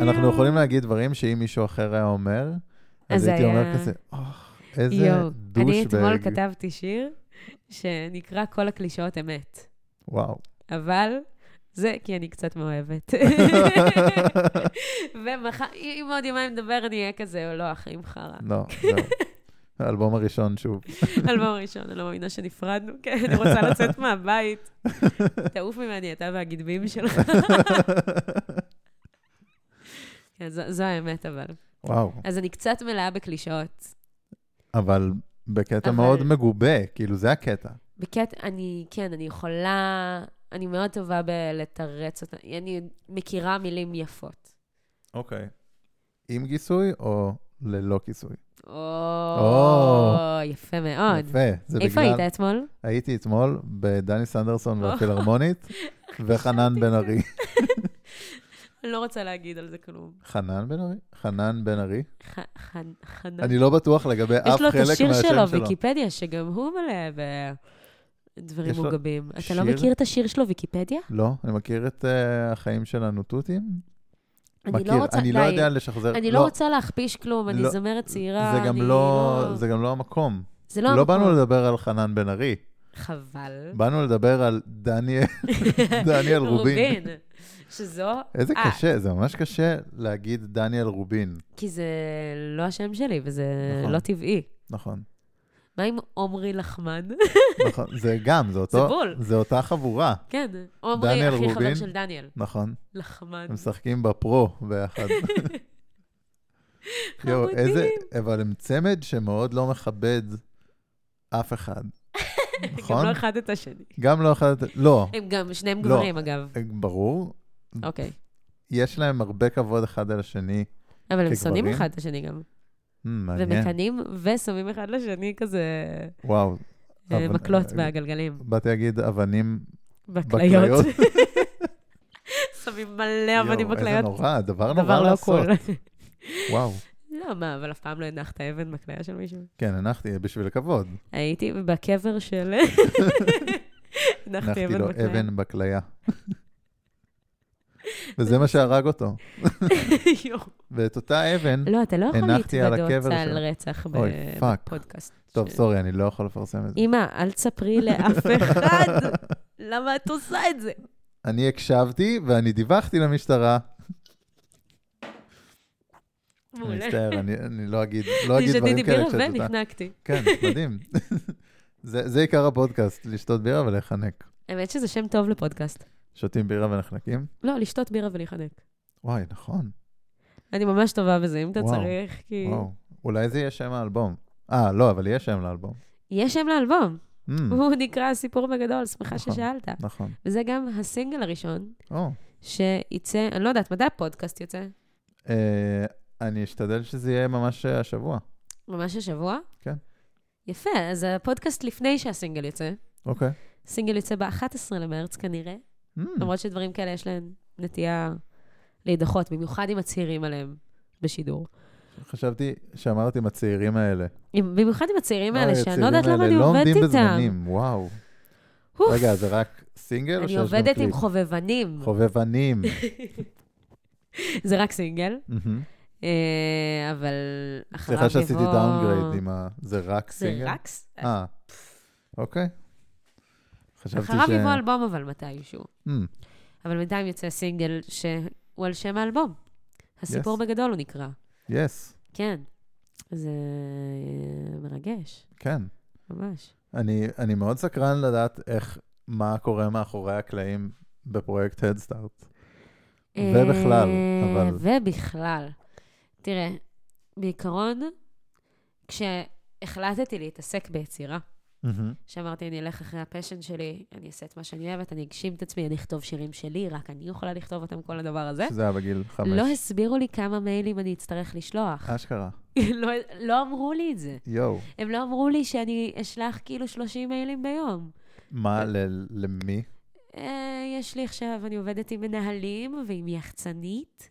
A: אנחנו
B: יואו.
A: יכולים להגיד דברים שאם מישהו אחר היה אומר,
B: אז
A: אז הייתי אומר
B: היה-
A: כזה, אוח, איזה
B: יואו, אני אתמול
A: דושבג.
B: כתבתי שיר שנקרא כל הקלישאות אמת,
A: וואו.
B: אבל זה כי אני קצת מאוהבת. ומחר, אם עוד יומיים נדבר, אני אהיה כזה, לא, אחים חרא.
A: לא, זהו. האלבום הראשון שוב.
B: אלבום ראשון, אני לא מאמינה שנפרדנו. כן, אני רוצה לצאת מהבית. תעוף ממני, אתה והגדבים שלך. כן, זו זו האמת, אבל.
A: וואו.
B: אז אני קצת מלאה בקלישאות.
A: אבל בקטע
B: אבל-
A: מאוד מגובה, כאילו זה הקטע.
B: בקטע, אני, כן, אני יכולה, אני מאוד טובה בלתרץ אותה. אני מכירה מילים יפות.
A: אוקיי. עם כיסוי או ללא כיסוי?
B: או, יפה מאוד.
A: יפה. זה
B: איפה
A: בגלל-
B: היית אתמול?
A: הייתי אתמול בדני סנדרסון
B: או.
A: והפילהרמונית, וחנן בן ארי.
B: אני לא רוצה להגיד על זה כלום.
A: חנן בן ארי? חנן בן ארי?
B: ח- חנ- חנן.
A: אני לא בטוח לגבי אף
B: יש לו
A: חלק
B: את השיר
A: מהשם
B: שלו,
A: שלו.
B: ויקיפדיה, שגם הוא מלא בדברים
A: יש לו
B: מוגבים. אתה לא
A: שיר?
B: מכיר את השיר שלו, ויקיפדיה?
A: לא, אני מכיר את אה, החיים של הנוטוטים.
B: אני
A: מכיר,
B: לא רוצה,
A: אני
B: די.
A: לא יודע לשחזר.
B: אני לא רוצה להכפיש כלום, אני
A: לא.
B: זמרת צעירה,
A: זה גם
B: אני
A: לא, זה גם לא המקום.
B: זה
A: לא
B: המקום. כן.
A: באנו לדבר על חנן בן ארי,
B: חבל.
A: באנו לדבר על דניאל, דניאל רובין.
B: רובין. שזו,
A: איזה
B: אה.
A: קשה, זה ממש קשה להגיד דניאל רובין.
B: כי זה לא השם שלי, וזה
A: נכון.
B: לא טבעי.
A: נכון,
B: מה עם עומרי לחמן?
A: נכון. זה גם, זה
B: זה
A: אותו,
B: בול.
A: זה אותה חבורה,
B: כן, עומרי,
A: דניאל
B: הכי חבר
A: רובין?
B: של דניאל.
A: נכון?
B: לחמן.
A: הם משחקים בפרו ביחד. יואו,
B: חמודים.
A: איזה, אבל הם צמד שמאוד לא מכבד אף אחד,
B: גם
A: נכון?
B: לא אחד את השני.
A: גם לא אחד, לא,
B: הם גם, שניהם
A: לא.
B: גברים, אגב.
A: ברור,
B: אוקיי.
A: יש להם הרבה כבוד אחד על השני.
B: אבל הם שונאים
A: כגברים?
B: אחד את השני גם.
A: Hmm, מעניין.
B: ומקנאים ושמים אחד לשני כזה
A: וואו,
B: אה,
A: אבל-
B: מקלות
A: אה,
B: בגלגלים.
A: באתי להגיד אבנים בכליות.
B: בקליות. שמים מלא אבנים
A: יואו, איזה
B: בקליות.
A: נורא, דבר
B: דבר
A: נורא
B: לא
A: לעשות.
B: קול.
A: וואו.
B: לא, מה, אבל אף פעם לא הנחת אבן בכליה של מישהו?
A: כן, הנחתי בשביל הכבוד.
B: הייתי בקבר של... הנחתי
A: הנחתי
B: אבן
A: לו
B: בכליה.
A: אבן בכליה. וזה מה שהרג אותו.
B: יואו.
A: ואת אותה אבן,
B: לא, אתה לא יכול
A: הנחתי על
B: להתוודות
A: הקבר
B: על
A: שלו.
B: רצח ב-
A: אוי, פאק.
B: בפודקאסט.
A: טוב, סורי, אני לא יכול לפרסם את זה.
B: אמא, אל תספרי לאף אחד למה את עושה את זה.
A: אני הקשבתי ואני דיווחתי למשטרה. אני
B: מעולה.
A: מצטער, אני אני לא אגיד לא אגיד
B: תשתי
A: דברים כאלה
B: דיבר
A: כשאת יודעת.
B: ונחנקתי.
A: כן, מדהים. זה זה עיקר הפודקאסט, לשתות בירה ולהיחנק.
B: האמת שזה שם טוב לפודקאסט.
A: שותים בירה ונחנקים?
B: לא, לשתות בירה ולהיחנק.
A: וואי, נכון.
B: אני ממש טובה בזה, אם אתה
A: וואו,
B: צריך, כי...
A: וואו. אולי זה יהיה שם האלבום. אה, לא, אבל יהיה שם לאלבום.
B: יש שם לאלבום,
A: Mm,
B: הוא נקרא הסיפור בגדול, שמחה
A: נכון.
B: ששאלת.
A: נכון.
B: וזה גם הסינגל הראשון
A: או,
B: שיצא, אני לא יודעת, מתי הפודקאסט יוצא?
A: אה, אני אשתדל שזה יהיה ממש אה, השבוע.
B: ממש השבוע?
A: כן.
B: יפה, אז הפודקאסט לפני שהסינגל יוצא.
A: אוקיי.
B: הסינגל יוצא ב-11 למרץ כנראה,
A: Mm,
B: למרות שדברים כאלה יש להם נטייה להידחות, במיוחד אם מצהירים עליהם בשידור.
A: חשבתי שאמרת עם הצעירים האלה.
B: אם- במיוחד עם הצעירים האלה,
A: אוי,
B: שאני
A: הצעירים
B: לא יודעת למה
A: האלה
B: אני
A: לא
B: עובדת
A: עומדים
B: איתם.
A: בזמנים, וואו.
B: אוף,
A: רגע, זה רק סינגל או שיש
B: אני
A: גם קליפ?
B: עובדת עם חובבנים.
A: חובבנים.
B: זה רק סינגל,
A: מהמם.
B: אה, אבל אחריו יבוא...
A: סליחה שעשיתי דאונגרייד עם ה... זה רק
B: זה
A: סינגל?
B: רק... ס-
A: אה, אוקיי. חשבתי ש...
B: אחריו יבוא אלבום, אבל מתישהו.
A: Mm,
B: אבל בינתיים יוצא סינגל שהוא על שם האלבום. הסיפור
A: Yes.
B: בגדול הוא נקרא.
A: יס,
B: כן. זה אה, מרגש,
A: כן.
B: ממש.
A: אני, אני מאוד סקרן לדעת איך, מה קורה מאחורי הקלעים בפרויקט הדסטארט. ובכלל,
B: אה,
A: אבל-
B: ובכלל. תראה, בעיקרון, כשהחלטתי להתעסק ביצירה,
A: Mm-hmm,
B: שאמרתי, אני אלך אחרי הפשן שלי, אני אעשה את מה שאני אוהבת, אני אגשים את עצמי, אני אכתוב שירים שלי, רק אני יכולה לכתוב אותם, כל הדבר הזה.
A: שזה היה בגיל חמש.
B: לא הסבירו לי כמה מיילים אני אצטרך לשלוח.
A: אשכרה.
B: לא, לא אמרו לי את זה.
A: יואו.
B: הם לא אמרו לי שאני אשלח כאילו 30 מיילים ביום.
A: מה, ל- למי?
B: אה, יש לי עכשיו, אני עובדת עם מנהלים ועם יחצנית,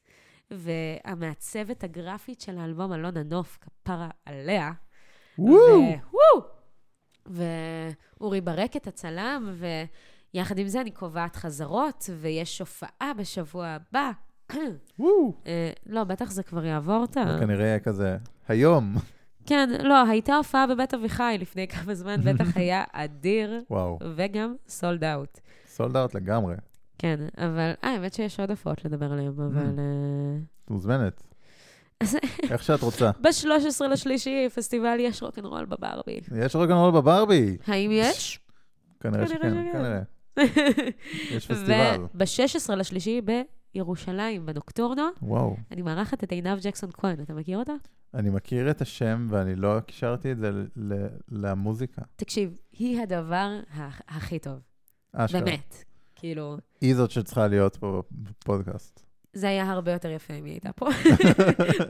B: והמעצבת הגרפית של האלבום אלונה נוף, כפרה עליה.
A: וואו!
B: ו- וואו! ואורי ברקת הצלם, ויחד עם זה אני קובעת חזרות, ויש הופעה בשבוע הבא.
A: וואו!
B: אה, לא, בטח זה כבר יעבור את ה...
A: כנראה יהיה כזה, היום.
B: כן, לא, הייתה הופעה בבית אביחי לפני כמה זמן, בטח היה אדיר,
A: וואו,
B: וגם סולד אאוט.
A: סולד אאוט לגמרי. Mm.
B: כן, אבל... אה, האמת שיש עוד הופעות לדבר עליהן, אבל... אה,
A: את מוזמנת. איך שאת רוצה.
B: ב-13 לשלישי, פסטיבל יש רוקנרול בברבי.
A: יש רוקנרול בברבי.
B: האם יש?
A: כנראה
B: כנראה
A: שכן,
B: שכן.
A: כנראה. יש פסטיבל.
B: וב-16 לשלישי בירושלים, בנוקטורנו,
A: וואו.
B: אני מארחת את עינב ג'קסון כהן, אתה מכיר אותה?
A: אני מכיר את השם ואני לא קישרתי את זה ל- ל- למוזיקה.
B: תקשיב, היא הדבר ה- הכי טוב,
A: אשכרה.
B: באמת. כאילו,
A: אה, היא זאת שצריכה להיות פה בפודקאסט.
B: זה היה הרבה יותר יפה אם היא הייתה פה,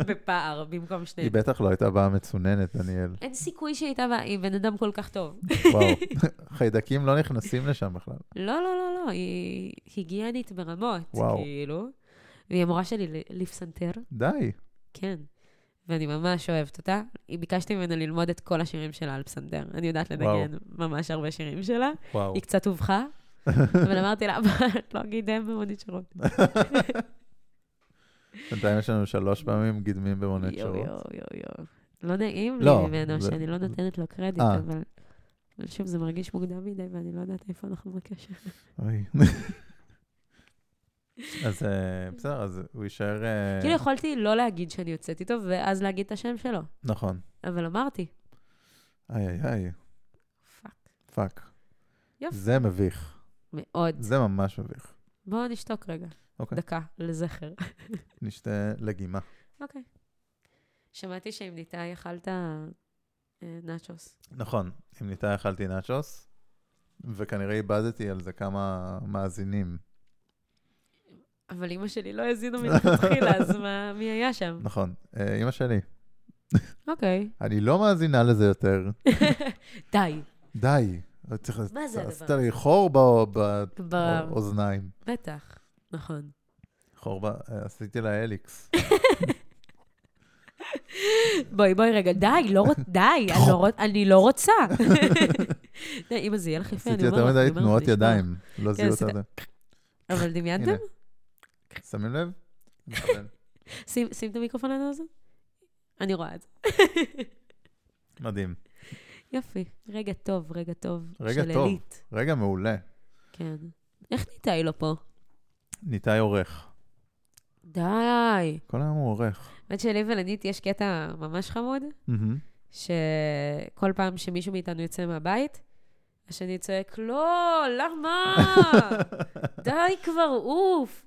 B: בפער, במקום שניהם.
A: היא בטח לא הייתה באה מצוננת, דניאל.
B: אין סיכוי שהיא הייתה באה, היא בן אדם כל כך טוב.
A: וואו. חיידקים לא נכנסים לשם בכלל.
B: לא, לא, לא, לא, היא היגיינית ברמות,
A: וואו.
B: כאילו. והיא המורה שלי ל- לפסנתר,
A: די.
B: כן. ואני ממש אוהבת אותה. היא ביקשתי ממנה ללמוד את כל השירים שלה על פסנתר. אני יודעת לנגן ממש הרבה שירים שלה.
A: וואו.
B: היא קצת הובכה, אבל אמרתי לה, אבל את לא גידם במונית שירות.
A: בינתיים יש לנו שלוש פעמים גידמים במונת
B: יואו,
A: שירות.
B: יואו, יואו. לא נעים לי
A: לא,
B: ממנו
A: זה-
B: שאני לא נותנת לו קרדיט,
A: אה.
B: אבל... אבל שוב, זה מרגיש מוקדם מדי, ואני לא יודעת איפה אנחנו בקשר.
A: כן. אוי. אז אה, בסדר, אז הוא יישאר... אה,
B: כאילו, יכולתי לא להגיד שאני יוצאת איתו, ואז להגיד את השם שלו.
A: נכון.
B: אבל אמרתי,
A: איי איי איי,
B: פאק.
A: פאק.
B: יופי.
A: זה מביך.
B: מאוד.
A: זה ממש מביך.
B: בואו נשתוק רגע.
A: אוקיי.
B: דקה, לזכר.
A: נשתה לגימה.
B: אוקיי. שמעתי שעם ניתאי אכלת אה, נאצ'וס.
A: נכון, עם ניתאי אכלתי נאצ'וס, וכנראה איבדתי על זה כמה מאזינים.
B: אבל אימא שלי לא האזינה מלכתחילה, אז מה, מי היה שם?
A: נכון, אה, אימא שלי.
B: אוקיי.
A: אני לא מאזינה לזה יותר.
B: די.
A: די. לא צריך-
B: מה זה
A: עשית
B: הדבר?
A: לי חור בא- בא-
B: ב-
A: באוזניים.
B: בטח. נכון.
A: חור ב... אה, עשיתי לה אליקס.
B: בואי, בואי רגע, די, לא רוצ... די, אני לא רוצ- אני לא רוצה. די, אימא, זה יהיה לך יפה, אני
A: עשיתי יותר
B: אומרת. אני
A: מדי
B: אומרת,
A: תנועות
B: זה נשמע. כן,
A: ידיים. לא זיהו את
B: עשית-
A: זה.
B: אבל
A: הנה.
B: דמיינתם?
A: שמים לב? מכוון.
B: שים- שים את המיקרופון על הזה. אני רואה את זה.
A: מדהים.
B: יופי. רגע טוב, רגע טוב.
A: רגע
B: של
A: טוב.
B: עילית.
A: רגע מעולה.
B: כן. איך ניתאי לא פה?
A: ניתאי עורך.
B: די.
A: כל היום הוא עורך.
B: האמת שלי ולנית יש קטע ממש חמוד,
A: מהמם.
B: שכל פעם שמישהו מאיתנו יוצא מהבית, השני צועק, לא, למה? די כבר, אוף.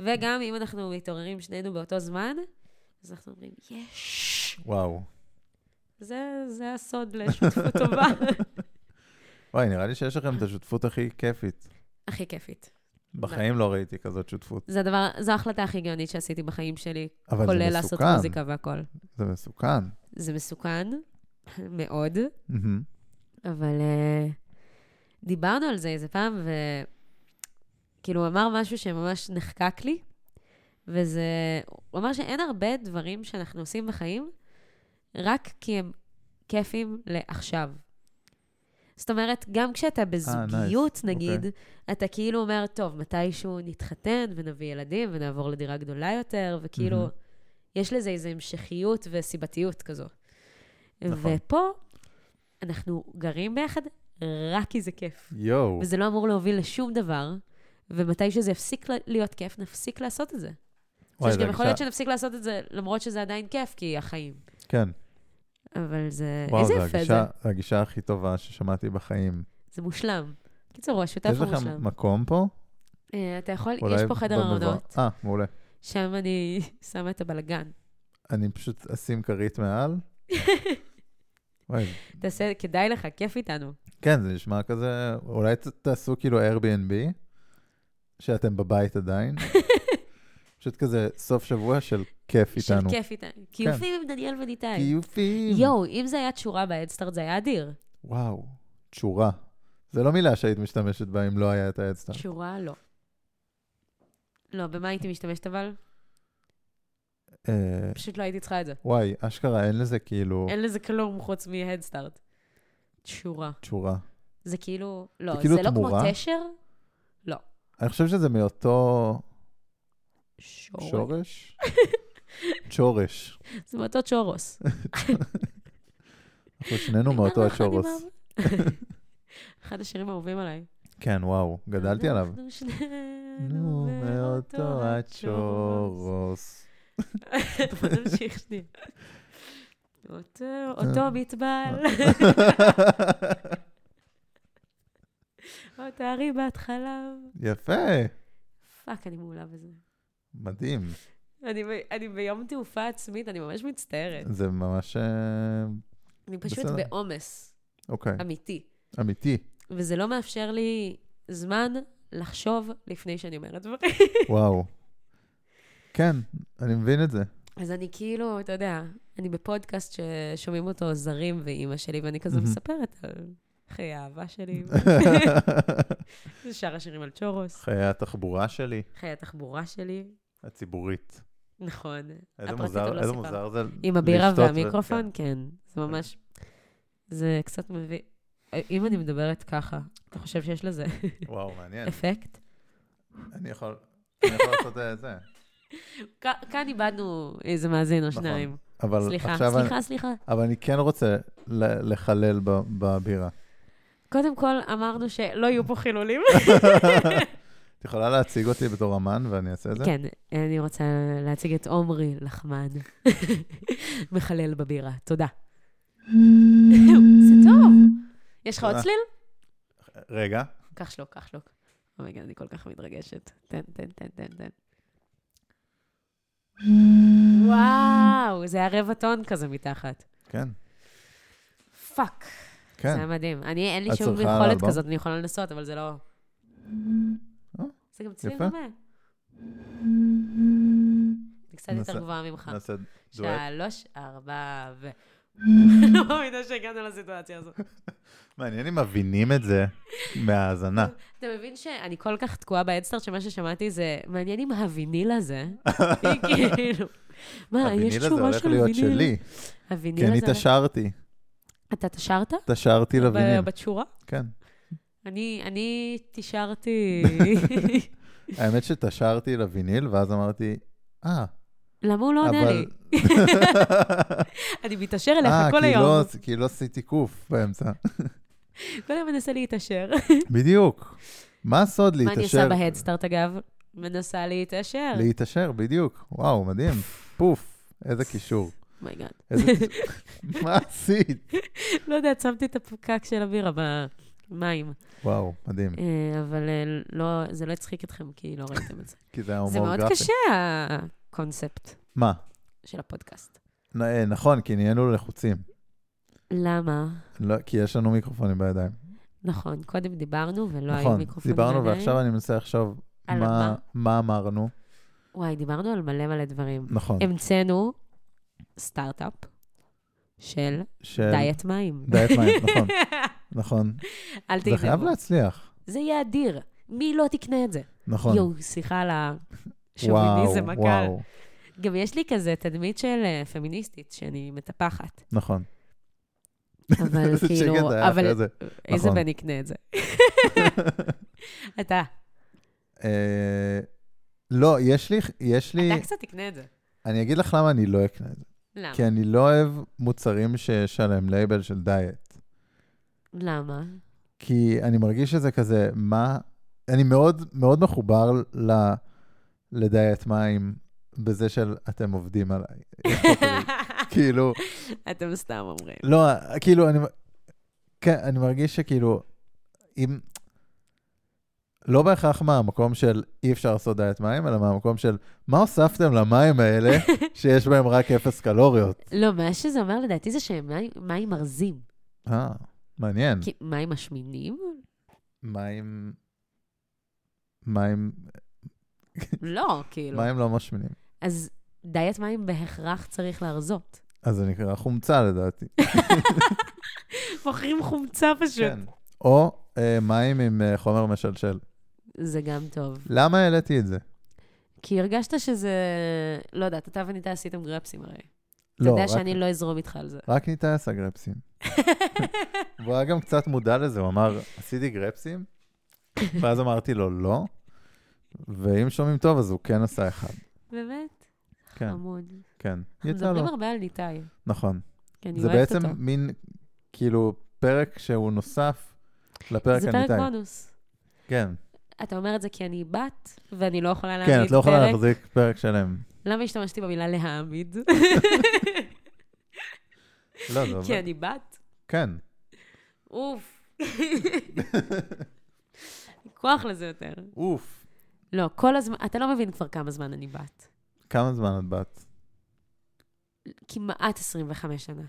B: וגם אם אנחנו מתעוררים שנינו באותו זמן, אז אנחנו אומרים, יש.
A: וואו.
B: זה, זה הסוד לשותפות טובה.
A: וואי, נראה לי שיש לכם את השותפות הכי כיפית.
B: הכי כיפית.
A: בחיים לא ראיתי כזאת שותפות.
B: זה הדבר, זו ההחלטה הכי גאונית שעשיתי בחיים שלי,
A: אבל זה
B: כולל לעשות
A: מסוכן.
B: מוזיקה והכל.
A: זה מסוכן.
B: זה מסוכן מאוד,
A: מהמם.
B: אבל uh, דיברנו על זה איזה פעם, וכאילו הוא אמר משהו שממש נחקק לי, וזה, הוא אמר שאין הרבה דברים שאנחנו עושים בחיים, רק כי הם כיפים לעכשיו. זאת אומרת, גם כשאתה בזוגיות,
A: אה, nice. אוקיי.
B: נגיד, okay. אתה כאילו אומר, טוב, מתישהו נתחתן ונביא ילדים ונעבור לדירה גדולה יותר, וכאילו,
A: מהמם.
B: mm-hmm. יש לזה איזו המשכיות וסיבתיות כזו.
A: נכון.
B: נכון. ופה, אנחנו גרים ביחד רק כי זה כיף.
A: יואו.
B: וזה לא אמור להוביל לשום דבר, ומתי שזה יפסיק ל- להיות כיף, נפסיק לעשות את זה.
A: וואי,
B: יש
A: זה
B: גם יכול להיות
A: הרגשה-
B: שנפסיק לעשות את זה, למרות שזה עדיין כיף, כי החיים.
A: כן.
B: אבל זה...
A: וואו,
B: איזה
A: זו
B: יפה זה.
A: הגישה- הגישה הכי טובה ששמעתי בחיים.
B: זה מושלם. קיצור, הוא השותף
A: יש
B: המושלם.
A: לכם מקום פה?
B: אה, אתה יכול, יש
A: אולי
B: פה חדר
A: במבוא-
B: ארונות,
A: אה, מעולה.
B: שם אני שמה את הבלגן.
A: אני פשוט אשים כרית מעל. וואי,
B: תעשה, כדאי לך, כיף איתנו.
A: כן, זה נשמע כזה, אולי ת- תעשו כאילו Airbnb, שאתם בבית עדיין. פשוט כזה סוף שבוע של כיף
B: של
A: איתנו. כן.
B: כיף איתנו. כיופים עם דניאל וניתאי.
A: כיופים.
B: יואו, אם זה היה תשורה באדסטארט, זה היה אדיר.
A: וואו, תשורה. זה לא מילה שהיית משתמשת בה אם לא היה את האדסטארט.
B: תשורה, לא. לא, במה הייתי משתמשת אבל?
A: אה,
B: פשוט לא הייתי צריכה את זה.
A: וואי, אשכרה, אין לזה כאילו
B: אין לזה כלום חוץ מהדסטארט. תשורה.
A: תשורה.
B: זה כאילו, לא,
A: זה
B: זה,
A: כאילו
B: לא כמו
A: תמורה?
B: תשר,
A: אני חושב שזה מאותו
B: שורש.
A: שורש? שורש.
B: זה מאותו צ'ורוס.
A: אנחנו שנינו מאותו
B: אנחנו
A: הצ'ורוס.
B: אחד עם האב- אחד השירים האהובים עליי.
A: כן, וואו, גדלתי עליו.
B: אנחנו שנינו
A: נו, מאותו הצ'ורוס.
B: בוא נמשיך שנייה. אותו,
A: אה.
B: אותו מתבל,
A: אה.
B: או תארי בהתחלה.
A: יפה,
B: פאק, אני מעולה בזה.
A: מדהים.
B: אני, ב- אני ביום תעופה עצמית, אני ממש מצטערת.
A: זה ממש... אה,
B: אני פשוט
A: בסדר.
B: בעומס
A: אוקיי,
B: אמיתי,
A: אמיתי.
B: וזה לא מאפשר לי זמן לחשוב לפני שאני אומרת דברים.
A: וואו. כן, אני מבין את זה.
B: אז אני כאילו, אתה יודע, אני בפודקאסט ששומעים אותו זרים ואימא שלי, ואני כזה
A: מהמם.
B: מספרת על חיי האהבה שלי, ושאר השירים על צ'ורוס,
A: חיי התחבורה שלי,
B: חיי התחבורה שלי,
A: הציבורית.
B: נכון.
A: איזה
B: הפרטית עוד
A: מוזר,
B: לא
A: איזה
B: סיפרתי.
A: מוזר זה
B: עם הבירה
A: לשתות ו-
B: והמיקרופון, כן. זה ממש... זה קצת מביא... אם אני מדברת ככה, אתה חושב שיש לזה
A: כן. וואו, מעניין.
B: אפקט?
A: אני יכול אני יכול לעשות את זה.
B: כ- כאן איבדנו איזה מאזין או
A: נכון.
B: שניים.
A: אבל
B: סליחה,
A: עכשיו אני-
B: סליחה, סליחה.
A: אבל אני כן רוצה ל- לחלל ב- בבירה.
B: קודם כל, אמרנו שלא יהיו פה חילולים.
A: את יכולה להציג אותי בתור אמן ואני אעשה את זה?
B: כן, אני רוצה להציג את עומרי לחמן, מחלל בבירה. תודה. זה טוב. יש לך עוד
A: תודה.
B: צליל?
A: רגע.
B: קח שלוק, קח שלוק. אומייגד, אני כל כך מתרגשת. תן, תן, תן, תן, תן. וואו, זה היה רבע טון כזה מתחת.
A: כן,
B: פאק, זה
A: כן.
B: היה מדהים. אני, אין לי
A: את
B: שום
A: צריכה
B: יכולת
A: אלבום?
B: כזאת, אני יכולה לנסות, אבל זה לא...
A: אה,
B: זה גם צליל
A: יפה.
B: דומה. אני קצת יותר
A: נעשה-
B: גבוהה ממך.
A: נעשה דואט.
B: שלוש, ארבע, ו... לא מאמינה שהגענו לסיטואציה הזאת.
A: מעניין אם מבינים את זה מההאזנה.
B: אתה מבין שאני כל כך תקועה באדסטארט, שמה ששמעתי זה, מעניין אם הוויניל הזה, היא כאילו, מה, יש
A: הוויניל הזה
B: תשובה
A: הולך
B: של
A: להיות
B: ויניל?
A: שלי, כי
B: הוויניל
A: אני
B: הזה...
A: תשרתי.
B: אתה תשרת?
A: תשרתי לוויניל,
B: ב- בתשורה?
A: כן.
B: אני, אני תשארתי...
A: האמת שתשרתי לוויניל, ואז אמרתי, אה,
B: למה הוא לא עונה לי?
A: אבל...
B: אני מתעשר
A: אה,
B: אליך כל
A: כי
B: היום.
A: לא- כי לא עשיתי קוף באמצע.
B: כל היום מנסה להתעשר.
A: בדיוק. מה הסוד
B: מה אני
A: להתעשר?
B: עושה בהדסטארט, אגב? מנסה להתעשר.
A: להתעשר, בדיוק. וואו, מדהים. פוף, איזה קישור.
B: מייגאד.
A: איזה... מה עשית?
B: לא יודעת, שמתי את הפקק של הבירה במים.
A: וואו, מדהים.
B: אה, אבל אה, לא, זה לא הצחיק אתכם, כי לא ראיתם את זה.
A: כי זה היה
B: זה
A: הומור
B: מאוד
A: גרפי.
B: קשה, הקונספט
A: מה?
B: של הפודקאסט.
A: נ- אה, נכון, כי נהיינו לחוצים.
B: למה?
A: לא- כי יש לנו מיקרופונים בידיים.
B: נכון, קודם דיברנו ולא לא היו
A: נכון,
B: מיקרופונים.
A: דיברנו
B: בידיים.
A: ועכשיו אני מנסה לחשוב
B: על
A: מה-
B: מה?
A: מה אמרנו.
B: וואי, דיברנו על מלא מלא דברים.
A: נכון.
B: המצאנו סטארט-אפ של
A: של-
B: דיאט מים.
A: כן. דיאט מים, נכון, נכון.
B: אל
A: זה חייב
B: תגזרו.
A: להצליח.
B: זה יהיה אדיר. מי לא תקנה את זה?
A: נכון.
B: יואו, סליחה על
A: וואו,
B: השוביניזם הקל.
A: וואו.
B: גם יש לי כזה תדמית של אה, פמיניסטית, שאני מטפחת.
A: נכון.
B: אבל
A: איזה
B: כאילו,
A: שקט היה
B: אבל
A: אחרי זה.
B: איזה
A: נכון.
B: בן יקנה את זה? אתה,
A: אה, לא, יש לי, יש לי,
B: אתה קצת תקנה את זה.
A: אני אגיד לך למה אני לא אקנה את זה.
B: למה?
A: כי אני לא אוהב מוצרים שיש עליהם לייבל של דיאט.
B: למה?
A: כי אני מרגיש שזה כזה, מה... אני מאוד מאוד מחובר ל, לדיאט מים בזה של אתם עובדים עליי. יש פה כזה, כאילו,
B: אתם סתם אומרים.
A: לא, כאילו, אני... כן, אני מרגיש שכאילו, אם... לא בהכרח מהמקום של אי אפשר לעשות דיאט מים, אלא מהמקום של מה הוספתם למים האלה שיש בהם רק אפס קלוריות.
B: לא, מה שזה אומר לדעתי זה שהם מים- מים מרזים.
A: אה, מעניין.
B: כי מים משמינים?
A: מים... מים...
B: לא, כאילו.
A: מים לא משמינים.
B: אז דיאט מים בהכרח צריך להרזות.
A: אז זה נקרא חומצה לדעתי.
B: מוכרים חומצה פשוט.
A: כן. או אה, מים עם אה, חומר משלשל.
B: זה גם טוב.
A: למה העליתי את זה?
B: כי הרגשת שזה... לא יודעת, אתה וניתה עשיתם גרפסים הרי. אתה
A: לא,
B: יודע
A: רק-
B: שאני לא אזרום איתך על זה.
A: רק ניתאי עשה גרפסים. והוא היה גם קצת מודע לזה, הוא אמר, עשיתי גרפסים? ואז אמרתי לו, לא. ואם שומעים טוב, אז הוא כן עשה אחד.
B: באמת?
A: כן,
B: חמוד.
A: כן.
B: אוקיי. אנחנו
A: יצא
B: מדברים
A: לו.
B: הרבה על ניתאי,
A: נכון.
B: כי אני
A: זה
B: אוהבת
A: בעצם
B: אותו.
A: מין, כאילו, פרק שהוא נוסף לפרק
B: זה פרק
A: הניתאי.
B: בונוס.
A: כן.
B: אתה אומר את זה כי אני בת, ואני לא יכולה
A: כן,
B: להגיד
A: את לא יכולה
B: פרק.
A: להחזיק פרק שלם.
B: למה השתמשתי במילה להעמיד?
A: לא, זה
B: כי
A: עובד.
B: אני בת?
A: כן.
B: אוף. כוח לזה יותר.
A: אוף.
B: לא, כל הזמן, אתה לא מבין כבר כמה זמן אני בת.
A: כמה זמן את בת?
B: כמעט 25 שנה.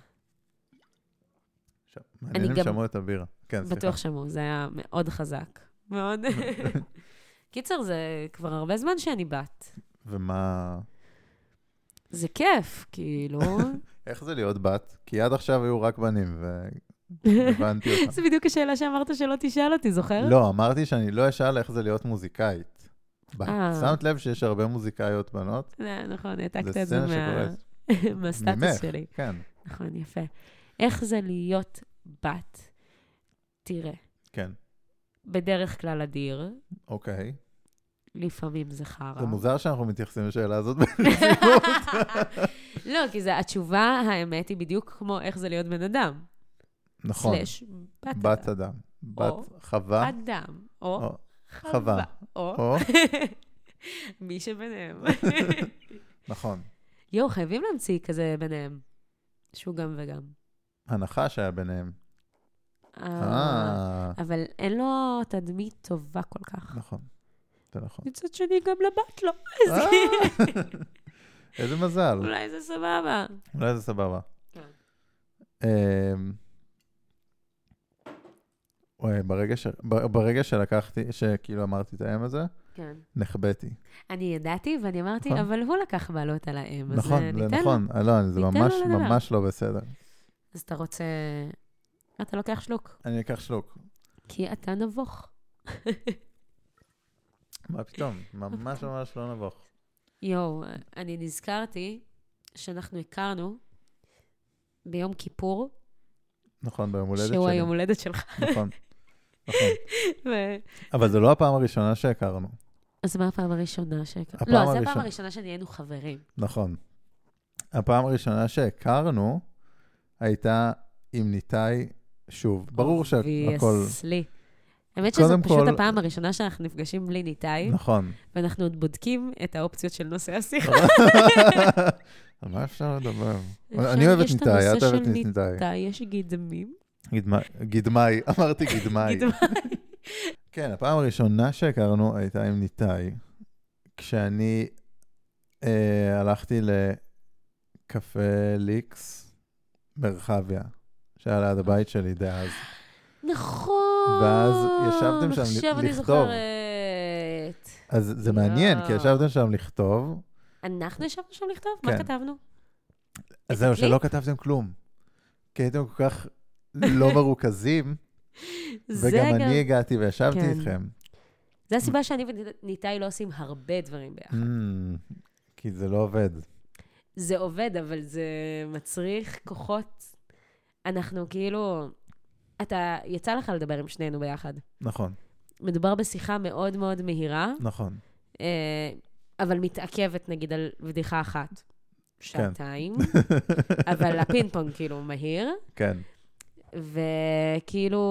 A: ש- מעניין
B: גם-
A: אם שמעו את הבירה. כן, סליחה.
B: בטוח שמעו, זה היה מאוד חזק. מאוד. קיצר, זה כבר הרבה זמן שאני בת.
A: ומה...
B: זה כיף, כאילו.
A: איך זה להיות בת? כי עד עכשיו היו רק בנים, והבנתי אותך.
B: זו בדיוק השאלה שאמרת שלא תשאל אותי, זוכר?
A: לא, אמרתי שאני לא אשאל איך זה להיות מוזיקאית. בת.
B: אה.
A: שמת לב שיש הרבה מוזיקאיות בנות?
B: לא. נכון,
A: זה
B: העתקת את זה
A: סצנה
B: מה-
A: שקורית. ממך.
B: מהסטטוס שלי.
A: כן,
B: נכון, יפה. איך זה להיות בת? תראה,
A: כן.
B: בדרך כלל אדיר,
A: אוקיי.
B: לפעמים זה חרא.
A: זה מוזר שאנחנו מתייחסים לשאלה הזאת ברצינות.
B: לא, כי זה, התשובה, האמת, היא בדיוק כמו איך זה להיות בן אדם.
A: נכון.
B: סלש, בת אדם.
A: בת אדם.
B: או.
A: בת חווה.
B: אדם, או
A: או. חווה.
B: חווה, או
A: או.
B: מי שביניהם.
A: נכון.
B: יואו, חייבים להמציא כזה ביניהם. שהוא גם וגם.
A: הנחש היה ביניהם.
B: אה,
A: אה,
B: אבל אין לו תדמית טובה כל כך.
A: נכון. זה נכון.
B: מצד שני, גם לבת לא. אז
A: אה,
B: כאילו,
A: איזה מזל.
B: אולי זה סבבה.
A: אולי זה סבבה.
B: כן.
A: אמ, וואי, ברגע ש- ב- ברגע שלקחתי, שכאילו אמרתי את האם הזה,
B: כן.
A: נחבאתי.
B: אני ידעתי, ואני אמרתי,
A: נכון.
B: אבל הוא לקח בעלות על האם. אז,
A: נכון, זה
B: אה, ניתן לו.
A: נכון. אה, לא, זה
B: ניתן
A: ממש
B: לו לדבר.
A: ממש לא בסדר.
B: אז אתה רוצה... אתה לוקח שלוק,
A: אני אקח שלוק.
B: כי אתה נבוך.
A: מה פתאום?
B: אוקיי.
A: ממש ממש לא נבוך.
B: יואו, אה, אני נזכרתי שאנחנו הכרנו ביום כיפור,
A: נכון, ביום הולדת שלי.
B: שהוא היום הולדת שלך.
A: נכון. נכון.
B: ו-
A: אבל זו לא הפעם הראשונה שהכרנו.
B: אז מה הפעם הראשונה שהכרנו?
A: הפעם
B: לא, זו הפעם
A: הראשונה.
B: הראשונה שנהיינו חברים.
A: נכון. הפעם הראשונה שהכרנו הייתה עם ניתאי, שוב, ברור שהכל...
B: ויסלי. האמת שזו
A: קודם
B: פשוט
A: כל-
B: הפעם הראשונה שאנחנו נפגשים בלי ניתאי,
A: נכון.
B: ואנחנו עוד בודקים את האופציות של נושא השיחה.
A: על מה אפשר לדבר?
B: עכשיו
A: אני אוהב את
B: יש את
A: ניתאי, את
B: הנושא
A: אוהבת
B: של
A: את ניתאי.
B: ניתאי, יש גידמים.
A: גדמי- גדמי, אמרתי גדמי.
B: גידמים.
A: כן, הפעם הראשונה שהכרנו הייתה עם ניתאי, כשאני אה, הלכתי לקפה ליקס מרחביה, שהיה ליד הבית שלי דאז.
B: נכון.
A: ואז ישבתם שם
B: עכשיו אני
A: לכתוב.
B: זוכרת.
A: אז זה מעניין, כי
B: יואו.
A: ישבתם שם לכתוב,
B: אנחנו ישבנו שם לכתוב? מה
A: כן.
B: כתבנו?
A: אז זהו,
B: הקליפ?
A: שלא כתבתם כלום. כי הייתם כל כך לא מרוכזים,
B: זה
A: וגם
B: גם-
A: אני הגעתי וישבתי
B: כן.
A: איתכם.
B: זה הסיבה שאני וניתאי לא עושים הרבה דברים ביחד.
A: אמ, כי זה לא עובד.
B: זה עובד, אבל זה מצריך כוחות. אנחנו כאילו... אתה, יצא לך לדבר עם שנינו ביחד.
A: נכון,
B: מדובר בשיחה מאוד מאוד מהירה,
A: נכון.
B: אה, אבל מתעכבת נגיד על בדיחה אחת. שעתיים, אבל הפינג פונג כאילו מהיר.
A: כן,
B: וכאילו,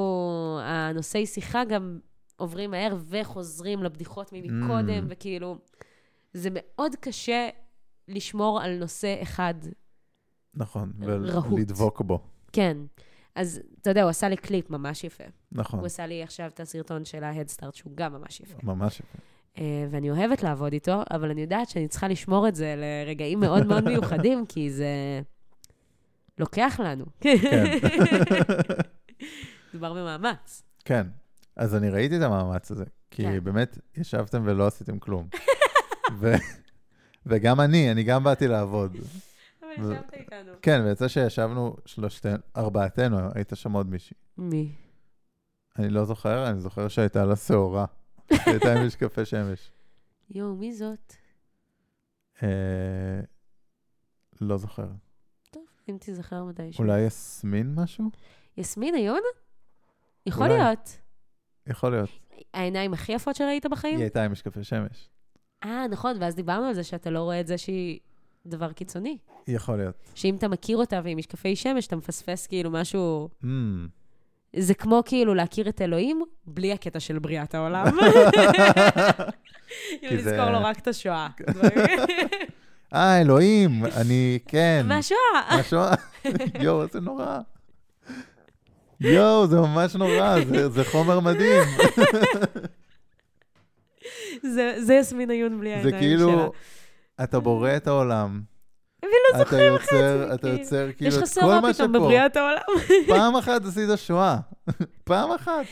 B: הנושאי שיחה גם עוברים מהר וחוזרים לבדיחות
A: Mm.
B: ממקודם, וכאילו, זה מאוד קשה לשמור על נושא אחד.
A: נכון.
B: רהוט.
A: ולדבוק בו.
B: כן. אז אתה יודע, הוא עשה לי קליפ ממש יפה.
A: נכון,
B: הוא עשה לי עכשיו את הסרטון של ההדסטארט, שהוא גם ממש יפה.
A: ממש יפה.
B: אה, ואני אוהבת לעבוד איתו, אבל אני יודעת שאני צריכה לשמור את זה לרגעים מאוד מאוד מיוחדים, כי זה לוקח לנו.
A: כן.
B: מדובר במאמץ.
A: כן. אז אני ראיתי את המאמץ הזה, כי
B: כן.
A: באמת ישבתם ולא עשיתם כלום. ו- וגם אני, אני גם באתי לעבוד.
B: אבל
A: ו-
B: ישבת איתנו.
A: כן, ויצא שישבנו שלושתנו, ארבעתנו, הייתה שם עוד מישהי.
B: מי?
A: אני לא זוכר, אני זוכר שהייתה לה שעורה. הייתה עם משקפי שמש.
B: יואו, מי זאת?
A: אה, לא זוכר.
B: טוב, אם תיזכר מתישהו.
A: אולי יסמין משהו?
B: יסמין עיון? יכול
A: אולי.
B: להיות.
A: יכול להיות.
B: כן. העיניים הכי יפות שראית בחיים?
A: היא הייתה עם משקפי שמש.
B: אה, נכון, ואז דיברנו על זה שאתה לא רואה את זה שהיא דבר קיצוני.
A: יכול להיות.
B: שאם אתה מכיר אותה והיא משקפי שמש, אתה מפספס כאילו משהו...
A: אמ.
B: זה כמו כאילו להכיר את אלוהים בלי הקטע של בריאת העולם. כאילו
A: כי זה- כן.
B: לזכור לו רק את השואה.
A: אה, אלוהים, אני, כן.
B: מהשואה.
A: מהשואה. יואו, איזה נורא. יואו, זה ממש נורא, זה- זה חומר מדהים.
B: זה- כן, זה יסמין עיון בלי
A: זה
B: העיניים שלה.
A: כאילו, אתה בורא את העולם.
B: ולא
A: אתה
B: זוכרים לך את
A: יוצר-
B: זה,
A: אתה
B: כאילו.
A: יוצר כאילו
B: יש
A: את
B: לך
A: כל
B: סורה
A: מה
B: פתאום
A: שפה.
B: בבריאת העולם.
A: פעם אחת עשית שואה. פעם אחת.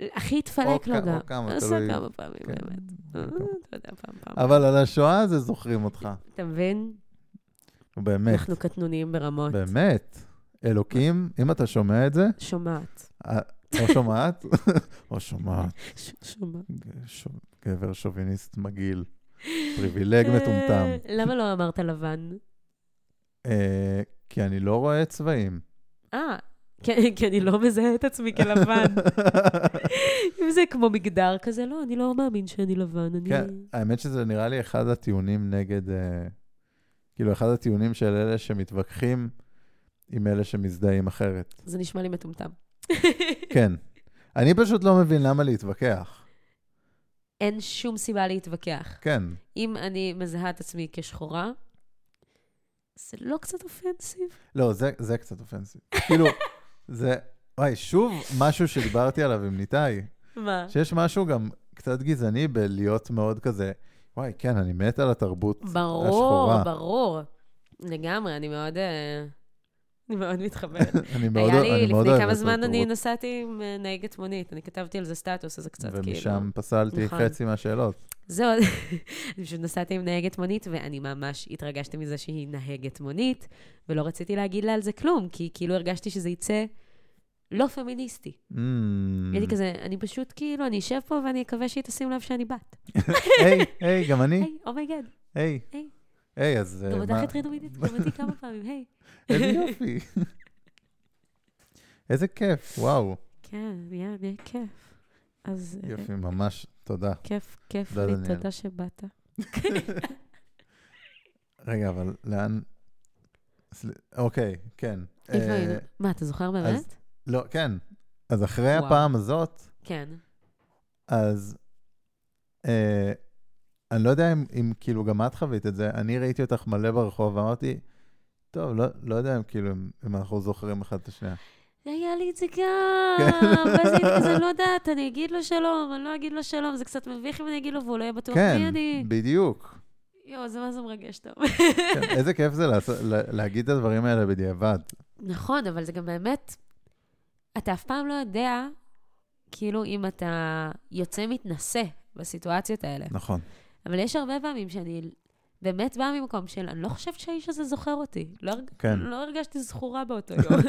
B: הכי התפלק לו
A: כ-
B: גם.
A: או כמה,
B: לא עשה
A: תלוי.
B: כמה פעמים,
A: כן.
B: באמת. אה, אתה יודע, פעם, פעם.
A: אבל על השואה הזה זוכרים אותך.
B: אתה מבין?
A: באמת,
B: אנחנו קטנוניים ברמות.
A: באמת. אלוקים, אם אתה שומע את זה,
B: שומעת.
A: אה, או שומעת, או שומעת.
B: ש- שומעת.
A: ש- גבר שוביניסט מגעיל, פריבילג מטומטם.
B: אה, למה לא אמרת לבן?
A: אה, כי אני לא רואה צבעים.
B: אה, כי כי אני לא מזהה את עצמי כלבן. אם זה כמו מגדר כזה, לא, אני לא מאמין שאני לבן, אני...
A: כן, האמת שזה נראה לי אחד הטיעונים נגד, אה, כאילו, אחד הטיעונים של אלה שמתווכחים עם אלה שמזדהים אחרת.
B: זה נשמע לי מטומטם.
A: כן. אני פשוט לא מבין למה להתווכח.
B: אין שום סיבה להתווכח.
A: כן,
B: אם אני מזהה את עצמי כשחורה, זה לא קצת אופנסיב?
A: לא, זה, זה קצת אופנסיב. כאילו, זה, וואי, שוב משהו שדיברתי עליו עם ניתאי.
B: מה?
A: שיש משהו גם קצת גזעני בלהיות מאוד כזה, וואי, כן, אני מת על התרבות
B: ברור,
A: השחורה.
B: ברור. לגמרי, אני מאוד... אה, אני מאוד מתחברת.
A: אני מאוד
B: היה
A: אוהב- אני
B: לי
A: מאוד
B: לפני
A: אוהב
B: כמה
A: את
B: זמן אני
A: התרבות.
B: נסעתי עם אה, נהגת מונית, אני כתבתי על זה סטטוס, אז זה קצת כאילו...
A: ומשם פסלתי
B: נכון.
A: חצי מהשאלות.
B: זהו, אני פשוט נסעתי עם נהגת מונית, ואני ממש התרגשתי מזה שהיא נהגת מונית, ולא רציתי להגיד לה על זה כלום, כי כאילו הרגשתי שזה יצא לא פמיניסטי.
A: Mm.
B: הייתי כזה, אני פשוט כאילו, אני אשב פה ואני אקווה שהיא תשים לב שאני בת.
A: היי, היי, גם אני?
B: היי, אומייגד,
A: היי.
B: היי.
A: היי, אז... אה,
B: גם אותך
A: מה-
B: הטרידו מינית, גם אותי כמה פעמים, היי.
A: איזה יופי. איזה כיף, וואו.
B: כן, נהיה נהיה כיף. אז אה,
A: יופי, לא, ממש, תודה.
B: כיף, כיף
A: תודה,
B: לי,
A: דניאל.
B: תודה שבאת.
A: רגע, אבל לאן... סל- אוקיי, כן.
B: איפה
A: אה,
B: היינו? מה, אתה זוכר באמת?
A: לא, כן. אז אחרי
B: וואו.
A: הפעם הזאת,
B: כן.
A: אז אה, אני לא יודע אם, אם כאילו גם את חווית את זה, אני ראיתי אותך מלא ברחוב ואמרתי, טוב, לא, לא יודע אם כאילו אם, אם אנחנו זוכרים אחד את השנייה.
B: היה לי את זה גם, ואז הייתי כזה, אני לא יודעת, אני אגיד לו שלום, אני לא אגיד לו שלום, זה קצת מביך אם אני אגיד לו, והוא לא יהיה בטוח
A: כן,
B: מי אני.
A: בדיוק.
B: יואו, זה מה זה מרגש טוב.
A: כן, איזה כיף זה לעשות, לה, להגיד את הדברים האלה בדיעבד.
B: נכון, אבל זה גם באמת, אתה אף פעם לא יודע, כאילו, אם אתה יוצא מתנשא בסיטואציות האלה.
A: נכון.
B: אבל יש הרבה פעמים שאני באמת באה ממקום של, אני לא חושבת שהאיש הזה זוכר אותי. לא, הרג-
A: כן.
B: לא הרגשתי זכורה באותו יום.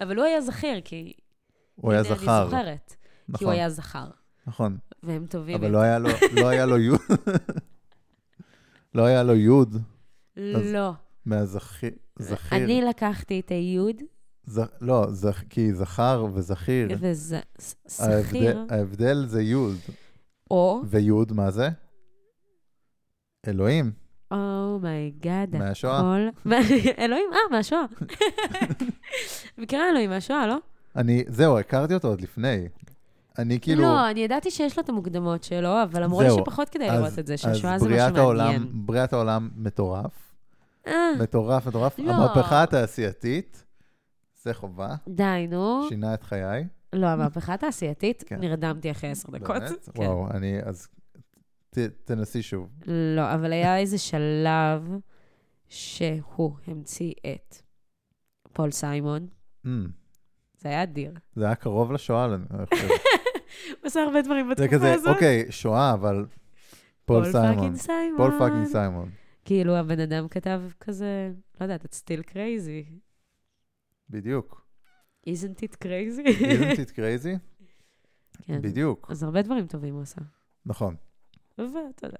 B: אבל הוא היה זכיר, כי...
A: הוא היה
B: הנה,
A: זכר.
B: אני זוכרת, כי הוא
A: נכון,
B: היה זכר.
A: נכון.
B: והם טובים.
A: אבל
B: הם-
A: לא היה לו, לא היה לו יוד. לא היה לו יוד אז-
B: לא.
A: מהזכיר. זכיר.
B: אני לקחתי את היוד,
A: ז, לא, זכ, כי זכר וזכיר.
B: ושכיר,
A: ההבדל, ההבדל זה יוד.
B: או,
A: ויוד, מה זה? אלוהים,
B: אומייגאד,
A: מהשואה.
B: הכל... אלוהים, אה, מהשואה. מכירה אלוהים מהשואה, לא?
A: אני, זהו, הכרתי אותו עוד לפני. אני כאילו...
B: לא, אני ידעתי שיש לו את המוקדמות שלו, אבל אמרו לי
A: זהו.
B: שפחות כדאי
A: אז-
B: לראות את זה,
A: אז
B: שהשואה זה
A: בריאת
B: משהו
A: העולם-
B: מעניין.
A: בריאת העולם מטורף.
B: אה,
A: מטורף, מטורף.
B: לא.
A: המהפכה התעשייתית, זה חובה,
B: די, נו.
A: שינה את חיי.
B: לא, המהפכה התעשייתית,
A: כן.
B: נרדמתי אחרי עשר דקות.
A: באמת?
B: כן.
A: וואו, אני, אז ת- תנסי שוב.
B: לא, אבל היה איזה שלב שהוא המציא את פול סיימון.
A: Mm,
B: זה היה אדיר.
A: זה היה קרוב לשואה, אני חושב.
B: הוא עשה הרבה דברים
A: זה
B: בתקופה
A: כזה,
B: הזאת.
A: אוקיי, שואה, אבל פול סיימון.
B: פאקינג סיימון.
A: פול פאקינג סיימון,
B: כאילו, הבן אדם כתב כזה, לא יודעת, it's still crazy.
A: בדיוק.
B: isn't it crazy?
A: isn't it crazy?
B: כן.
A: בדיוק,
B: אז הרבה דברים טובים הוא עשה.
A: נכון.
B: ואתה יודע.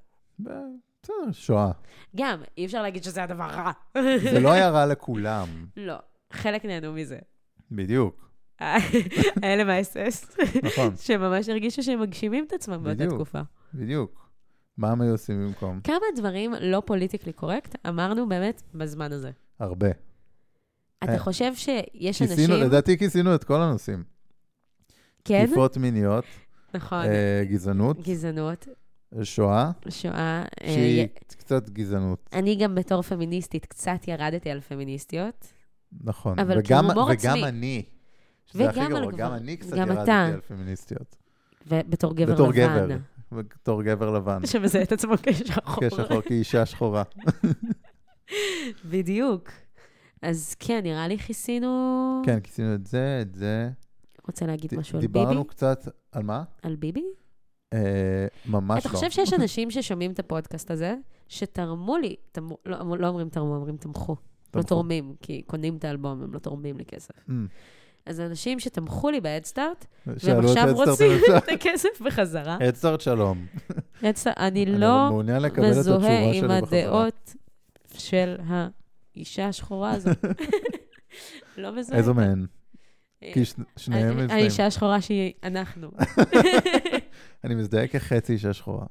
A: בסדר, שואה.
B: גם, אי אפשר להגיד שזה הדבר רע.
A: זה לא היה רע לכולם,
B: לא, חלק נהנו מזה.
A: בדיוק,
B: האלה מהאס.אס,
A: נכון,
B: שממש הרגישו שהם מגשימים את עצמם באותה
A: בדיוק.
B: תקופה.
A: בדיוק. מה הם היו עושים במקום?
B: כמה דברים לא פוליטיקלי קורקט אמרנו באמת בזמן הזה.
A: הרבה.
B: אתה
A: אה,
B: חושב שיש
A: כיסינו,
B: אנשים...
A: לדעתי כיסינו את כל הנושאים.
B: כן,
A: תקיפות מיניות,
B: נכון.
A: אה, גזענות,
B: גזענות,
A: שואה,
B: שואה. אה,
A: שהיא
B: י-
A: קצת גזענות,
B: אני גם בתור פמיניסטית קצת ירדתי על פמיניסטיות.
A: נכון.
B: אבל
A: וגם-
B: כהומור
A: וגם
B: עצמי.
A: אני, שזה הכי
B: וגם על
A: גרוע, גם
B: גבר-
A: אני קצת
B: גם
A: ירדתי
B: אתה.
A: על פמיניסטיות.
B: ובתור גבר
A: בתור
B: לבן.
A: גבר, בתור גבר לבן.
B: שמזהה את עצמו כשחור.
A: כשחור, כאישה שחורה.
B: בדיוק. אז כן, נראה לי כיסינו...
A: כן, כיסינו את זה, את זה.
B: רוצה להגיד
A: ד-
B: משהו על ביבי?
A: דיברנו קצת, על מה?
B: על ביבי?
A: אה, ממש
B: אתה
A: לא.
B: חושב שיש אנשים ששומעים את הפודקאסט הזה, שתרמו לי, תמו- לא אמ- לא אומרים תרמו, אומרים תמכו. לא
A: תמכו.
B: תורמים, כי קונים את האלבום, הם לא תורמים לי כסף.
A: אמ,
B: אז אנשים שתמכו לי בהדסטארט, והם
A: שאלו את
B: עכשיו
A: אדסטארט
B: רוצים
A: בבקשה.
B: את הכסף בחזרה.
A: אדסטארט שלום.
B: הדסטארט- אני
A: אה, אני
B: לא
A: מעוניין לקבל את התשובה
B: מזוהה
A: שלי
B: עם
A: בחזרה.
B: הדעות של האישה השחורה הזאת. לא מזוהה.
A: איזו מהן?
B: אה,
A: כי ש- שניהם
B: האיש-
A: מזדהים.
B: האישה השחורה שהיא אנחנו.
A: אני מזדהה כחצי אישה שחורה.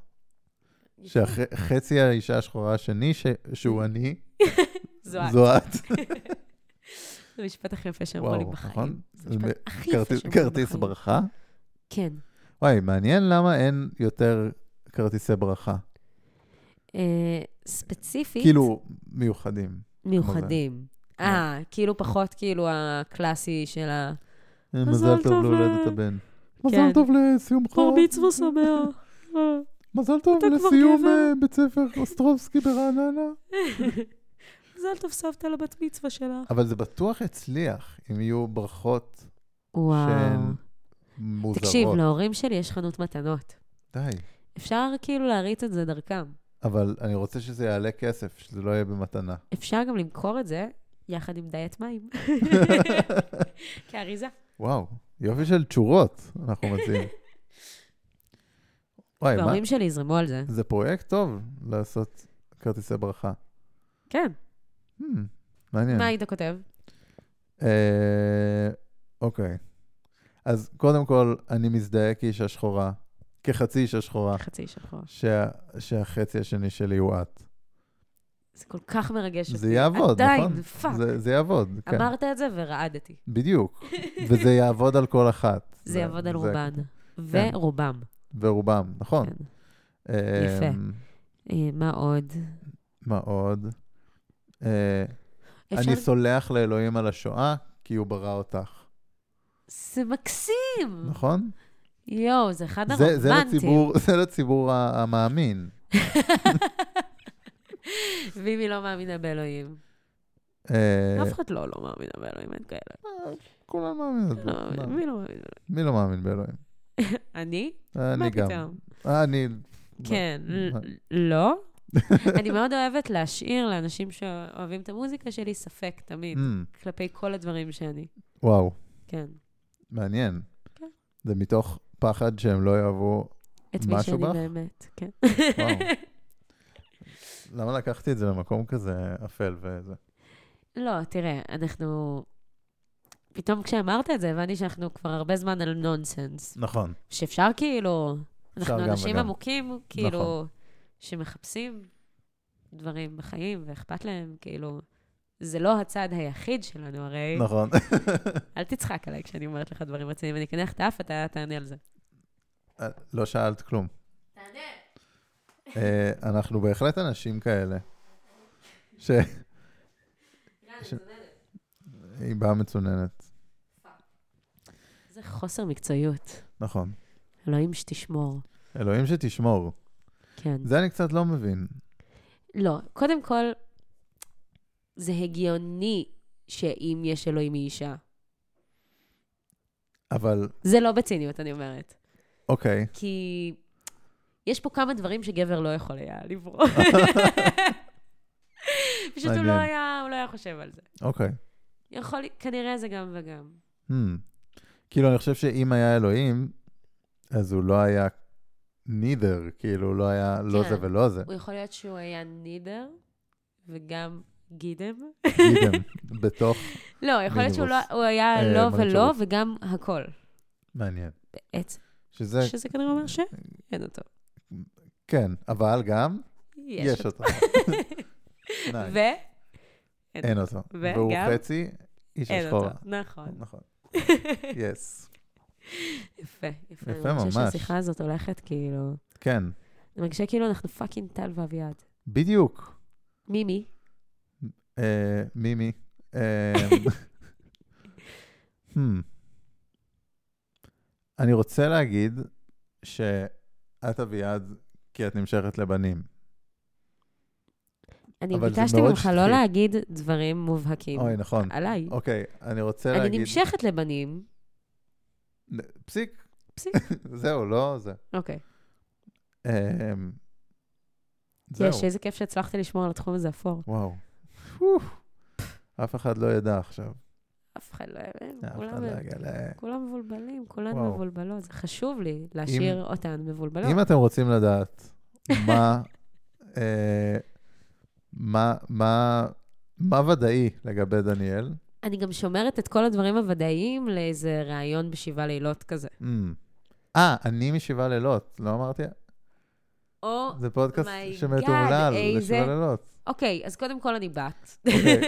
A: שחצי האישה השחורה השני, ש- שהוא אני,
B: זו את.
A: זו את.
B: זה המשפט הכי יפה שאמרו לי
A: וואו,
B: בחיים.
A: נכון?
B: זה המשפט
A: זה
B: הכי יפה
A: כרטיס-
B: שאמרו לי
A: כרטיס
B: בחיים.
A: ברכה?
B: כן.
A: וואי, מעניין למה אין יותר כרטיסי ברכה.
B: אה, ספציפית,
A: כאילו, מיוחדים.
B: מיוחדים. אה, כאילו פחות כאילו הקלאסי של ה...
A: אה,
B: מזל
A: מזל טוב
B: טוב
A: להולדת
B: ל-
A: הבן.
B: כן.
A: מזל טוב לסיומך.
B: בר מצווה שמח. אה,
A: מזל טוב
B: אתה כבר
A: לסיום
B: גבר.
A: אה, בית ספר אוסטרובסקי ברעננה.
B: מזל טוב סבתא לבת מצווה שלך.
A: אבל זה בטוח יצליח, אם יהיו ברכות שהן
B: וואו.
A: מוזרות.
B: תקשיב, לא. להורים שלי יש חנות מתנות.
A: די.
B: אפשר כאילו להריץ את זה דרכם.
A: אבל אני רוצה שזה יעלה כסף, שזה לא יהיה במתנה.
B: אפשר גם למכור את זה יחד עם דיית מים. כאריזה.
A: וואו, יופי של תשורות אנחנו מציעים. וואי, מה?
B: וההורים שלי יזרמו על זה.
A: זה פרויקט טוב לעשות כרטיסי ברכה.
B: כן.
A: Hmm, מעניין.
B: מה היית כותב?
A: אה, אוקיי. אז קודם כל, אני מזדהה כאישה שחורה, כחצי אישה שחורה,
B: חצי שחור.
A: שה, שהחצי השני שלי הוא את.
B: זה כל כך מרגש אותי.
A: זה יעבוד,
B: עדיין,
A: נכון?
B: פאק.
A: זה, זה יעבוד, כן.
B: אמרת את זה ורעדתי.
A: בדיוק. וזה יעבוד על כל אחת.
B: זה יעבוד על
A: זה- כן.
B: רובן. ורובם.
A: ורובם, נכון.
B: כן.
A: יפה.
B: אה, מה עוד?
A: מה עוד? אה,
B: אפשר...
A: אני סולח לאלוהים על השואה, כי הוא ברא אותך,
B: זה מקסים!
A: נכון?
B: יואו, זה אחד
A: זה- זה
B: הרומנטים.
A: לציבור- זה לציבור ה- המאמין.
B: ואם היא לא מאמינה באלוהים?
A: אה,
B: אף אחד לא לא מאמינה באלוהים, אין כאלה.
A: כולם מאמינים.
B: לא, מי לא מאמין?
A: מי לא מאמין באלוהים?
B: אני? מה
A: אני גם.
B: פתאום?
A: אה, אני...
B: כן, ל-
A: מה?
B: לא. אני מאוד אוהבת להשאיר לאנשים שאוהבים את המוזיקה שלי ספק תמיד,
A: אמ,
B: כלפי כל הדברים שאני.
A: וואו,
B: כן.
A: מעניין.
B: כן.
A: זה מתוך פחד שהם לא יאהבו...
B: את מי
A: משהו
B: שאני
A: בך?
B: באמת, כן.
A: וואו. למה לקחתי את זה למקום כזה אפל וזה?
B: לא, תראה, אנחנו... פתאום כשאמרת את זה, הבנתי שאנחנו כבר הרבה זמן על נונסנס.
A: נכון.
B: שאפשר כאילו... אנחנו
A: גם
B: אנשים
A: וגם.
B: עמוקים, כאילו,
A: נכון.
B: שמחפשים דברים בחיים ואכפת להם, כאילו... זה לא הצד היחיד שלנו הרי.
A: נכון.
B: אל תצחק עליי כשאני אומרת לך דברים רציניים, אני אקנח את האף, אתה תענה על זה.
A: אה, לא שאלת כלום. תענה. אנחנו בהחלט אנשים כאלה. ש... ש- היא באה מצוננת,
B: זה חוסר מקצועיות.
A: נכון.
B: אלוהים שתשמור.
A: אלוהים שתשמור.
B: כן.
A: זה אני קצת לא מבין.
B: לא, קודם כל, זה הגיוני שאם יש אלוהים היא אישה.
A: אבל,
B: זה לא בציניות, אני אומרת.
A: אוקיי.
B: כי יש פה כמה דברים שגבר לא יכול היה לברוא. פשוט הוא לא
A: מעניין.
B: היה, הוא לא היה חושב על זה.
A: אוקיי.
B: יכול, כנראה זה גם וגם.
A: Hmm. כאילו, אני חושב שאם היה אלוהים, אז הוא לא היה neither, כאילו, הוא לא היה לא
B: כן.
A: זה ולא זה.
B: הוא יכול להיות שהוא היה נידר, וגם גידם.
A: גידם, בתוך...
B: לא, יכול להיות שהוא לא,
A: מיניבוס.
B: הוא היה
A: אה,
B: לא
A: מונית
B: ולא,
A: שירות.
B: וגם הכל.
A: מעניין.
B: בעצם,
A: שזה,
B: שזה כנראה אומר שאין אותו.
A: כן, אבל גם,
B: יש
A: יש
B: אותו.
A: אותו. אה, נייס.
B: ו...
A: אין אותו.
B: וגם-
A: והוא חצי איש
B: אין אותו.
A: השחורה.
B: נכון.
A: נכון. יס.
B: יפה, יפה.
A: יפה
B: אני חושבת
A: ממש.
B: שהשיחה הזאת הולכת כאילו...
A: כן.
B: אני מרגישה כאילו אנחנו פאקינג טל ואביעד.
A: בדיוק.
B: מימי,
A: אה, מימי. אה, hmm. אני רוצה להגיד שאת אביעד כי את נמשכת לבנים.
B: אני
A: אבל זה
B: ביקשתי
A: מאוד
B: ממך לא
A: שטחי.
B: להגיד דברים מובהקים.
A: אוי, נכון.
B: עליי.
A: אוקיי, אני רוצה
B: אני
A: להגיד...
B: נמשכת לבנים.
A: פסיק.
B: פסיק.
A: זהו, לא זה.
B: אוקיי.
A: אה, זהו.
B: יש, איזה כיף שהצלחתי לשמור על התחום הזה אפור.
A: וואו. פוף. אף אחד לא ידע עכשיו.
B: אף אחד לא...
A: אף אחד
B: כולם-
A: לא יגלה.
B: כולם מבולבלים, כולן
A: וואו.
B: מבולבלות. זה חשוב לי להשאיר אותן מבולבלות.
A: אם אתם רוצים לדעת מה, אה, מה, מה, מה ודאי לגבי דניאל,
B: אני גם שומרת את כל הדברים הוודאיים לאיזה ראיון בשבעה לילות כזה.
A: אמ, אה, אני משבעה לילות, לא אמרתי?
B: או,
A: זה פודקאסט
B: Oh my
A: שמתומלל
B: God, איזה-
A: לשבעה לילות.
B: אוקיי, אז קודם כל אני בת.
A: אוקיי.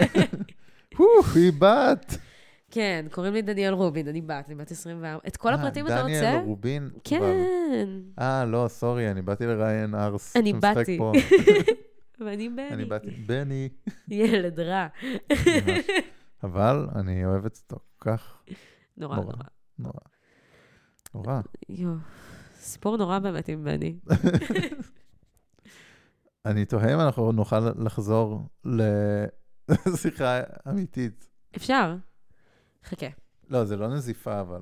A: הוף, היא בת.
B: כן, קוראים לי דניאל רובין, אני בת, אני בת 24. את כל
A: אה,
B: הפרטים אתה רוצה?
A: דניאל רובין. כבר.
B: כן,
A: אה, לא, סורי, אני באתי לראיין ארס.
B: אני
A: שמשחק
B: באתי.
A: פה.
B: ואני
A: אני
B: בני.
A: באתי. בני.
B: ילד רע.
A: ממש. אבל אני אוהבת אותו כך
B: נורא
A: נורא.
B: נורא.
A: נורא. נורא.
B: יואו, סיפור נורא באמת עם בני.
A: אני תוהה אם אנחנו נוכל לחזור לשיחה אמיתית.
B: אפשר. חכה.
A: לא, זה לא נזיפה, אבל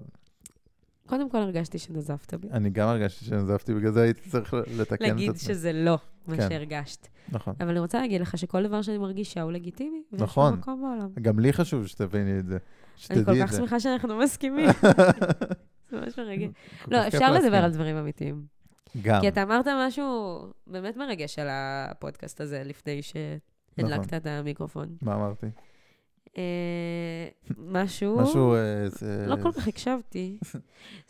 B: קודם כל הרגשתי שנזפת בי.
A: אני גם הרגשתי שנזפתי, בגלל זה הייתי צריך לתקן את עצמי.
B: להגיד שזה לא מה
A: כן.
B: שהרגשת.
A: נכון.
B: אבל אני רוצה להגיד לך שכל דבר שאני מרגישה הוא לגיטימי. ויש לו
A: נכון.
B: מקום בעולם.
A: גם לי חשוב שתביני את זה, שתדעי
B: אני
A: את זה.
B: כל כך שמחה שאנחנו מסכימים. זה ממש מרגש.
A: כל כך
B: לא,
A: כיף
B: אפשר לדבר
A: להסכים.
B: על דברים אמיתיים.
A: גם,
B: כי אתה אמרת משהו באמת מרגש על הפודקאסט הזה לפני שהדלקת
A: נכון.
B: את המיקרופון.
A: מה אמרתי?
B: אה, משהו...
A: משהו... אה, זה-
B: לא כל כך הקשבתי.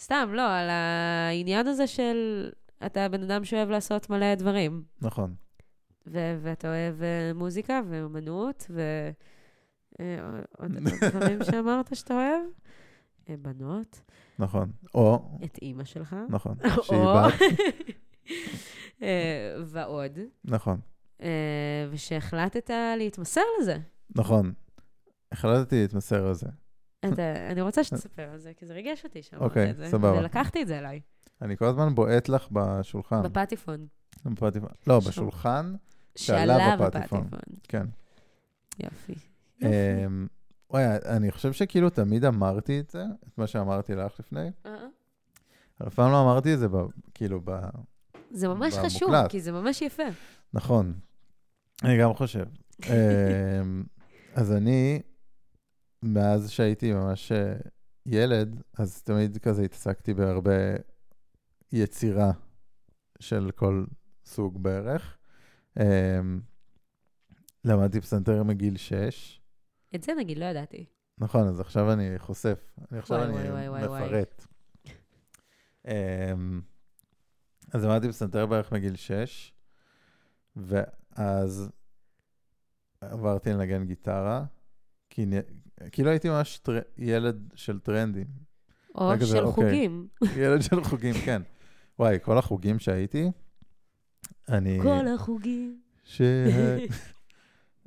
B: סתם, לא, על העניין הזה של אתה בן אדם שאוהב לעשות מלא דברים,
A: נכון.
B: ו- ואתה אוהב אה, מוזיקה ואומנות, ו... אה, עוד עוד דברים שאמרת שאתה אוהב? אה, בנות,
A: נכון. או,
B: את אימא שלך.
A: נכון.
B: או-
A: שהיא בת,
B: אה, ועוד.
A: נכון.
B: אה, ושהחלטת להתמסר לזה.
A: נכון. החלטתי להתמסר לזה.
B: אתה- אה, אני רוצה שתספר על זה, כי זה ריגש אותי שאמרת
A: אוקיי,
B: את זה.
A: סבבה.
B: ולקחתי את זה אליי,
A: אני כל הזמן בועט לך בשולחן.
B: בפטיפון.
A: בפטיפון. לא,
B: שם.
A: בשולחן, שעלה
B: שעלה
A: בפטיפון.
B: בפטיפון.
A: כן.
B: יופי. יופי.
A: אמ, וואי, אני חושב שכאילו תמיד אמרתי את זה, את מה שאמרתי לך לפני.
B: אה.
A: אבל אף פעם לא אמרתי את זה, ב- כאילו, ב...
B: זה ממש חשוב,
A: במוקלט.
B: כי זה ממש יפה.
A: נכון. אני גם חושב. אמ, אז אני, מאז שהייתי ממש אה, ילד, אז תמיד כזה התעסקתי בהרבה יצירה של כל סוג בערך. אמ, למדתי פסנתר מגיל שש.
B: את זה נגיד לא ידעתי.
A: נכון, אז עכשיו אני חושף. אני עכשיו
B: וואי,
A: אני
B: וואי, וואי, וואי, וואי.
A: מפרט. אמ, אז למדתי פסנתר בערך מגיל 6, ואז עברתי לנגן גיטרה, כי נ- כאילו הייתי ממש טר... ילד של טרנדים.
B: או
A: רק זה,
B: של
A: אוקיי.
B: חוגים.
A: ילד של חוגים, כן. וואי, כל החוגים שהייתי, אני...
B: כל החוגים.
A: ש... אה,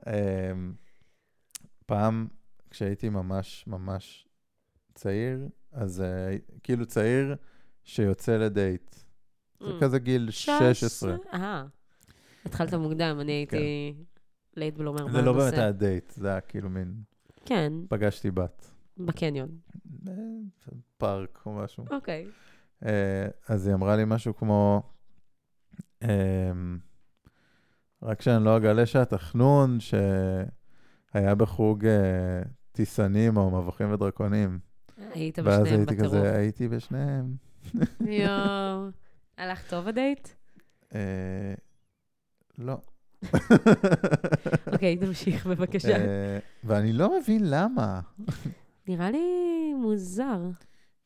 A: אמ, פעם, כשהייתי ממש ממש צעיר, אז אה, כאילו צעיר שיוצא לדייט. זה
B: Mm.
A: כזה גיל 16.
B: אה, התחלת מוקדם, אני הייתי לייט בלומר.
A: כן. זה לא באמת היה דייט, זה היה כאילו מין,
B: כן,
A: פגשתי בת.
B: בקניון.
A: אה, פארק או משהו.
B: אוקיי.
A: אה, אז היא אמרה לי משהו כמו, אמ, רק שאני לא אגלה שהתחנון שהיה בחוג אה, טיסנים או מבוכים ודרקונים.
B: היית
A: ואז
B: בשניהם
A: הייתי
B: בטירוף.
A: כזה, הייתי בשניהם.
B: יואו. הלך טוב הדייט?
A: אה, לא.
B: אוקיי, תמשיך בבקשה.
A: אה, ואני לא מבין למה.
B: נראה לי מוזר.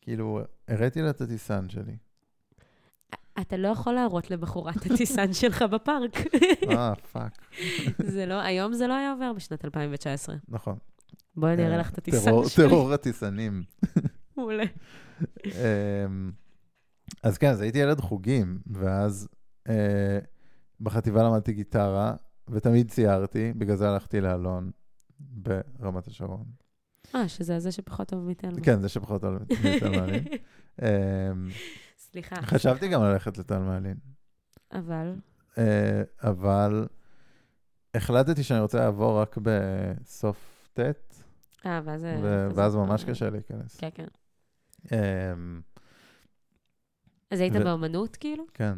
A: כאילו, הראתי לה את הטיסן שלי.
B: אתה לא יכול להראות לבחורה את הטיסן שלך בפארק.
A: אה, פאק.
B: זה לא, היום זה לא היה עובר בשנת 2019.
A: נכון.
B: בואי אני אראה
A: אה,
B: לך את הטיסן
A: טרור-
B: שלי.
A: טרור הטיסנים.
B: מעולה.
A: אמ, אז כן, אז הייתי ילד חוגים, ואז אה, בחטיבה למדתי גיטרה, ותמיד ציירתי, בגלל זה הלכתי לאלון ברמת השרון.
B: אה, שזה הזה שפחות טוב מתלמה.
A: כן, אה. זה שפחות על מתל מעלין. אמ,
B: סליחה.
A: חשבתי גם ללכת לתל מעלין,
B: אבל,
A: אה, אבל החלטתי שאני רוצה לעבור רק בסוף ט',
B: אה, ואז... זה-
A: ו- ואז ממש קשה להיכנס.
B: כן, כן.
A: אמ,
B: אז היית
A: ו-
B: באמנות, כאילו?
A: כן.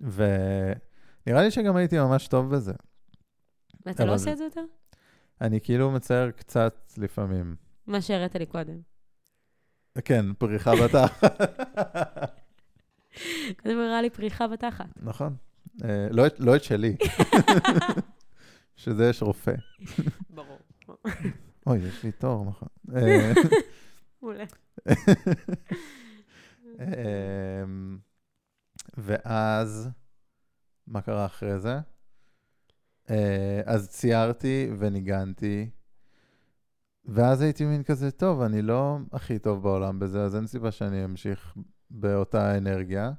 A: ונראה לי שגם הייתי ממש טוב בזה.
B: ואתה
A: אבל-
B: לא עושה את זה יותר?
A: אני כאילו מצייר קצת לפעמים.
B: מה שהראית לי קודם.
A: כן, פריחה בתחת.
B: קודם הראה לי פריחה בתחת.
A: נכון. אה, לא את- לא את שלי, שזה יש רופא.
B: ברור.
A: אוי, יש לי תור מחר. אה,
B: מעולה.
A: אמ, ואז, מה קרה אחרי זה? אה, אז ציירתי וניגנתי, ואז הייתי מין כזה, טוב, אני לא הכי טוב בעולם בזה, אז אין סיבה שאני אמשיך באותה אנרגיה.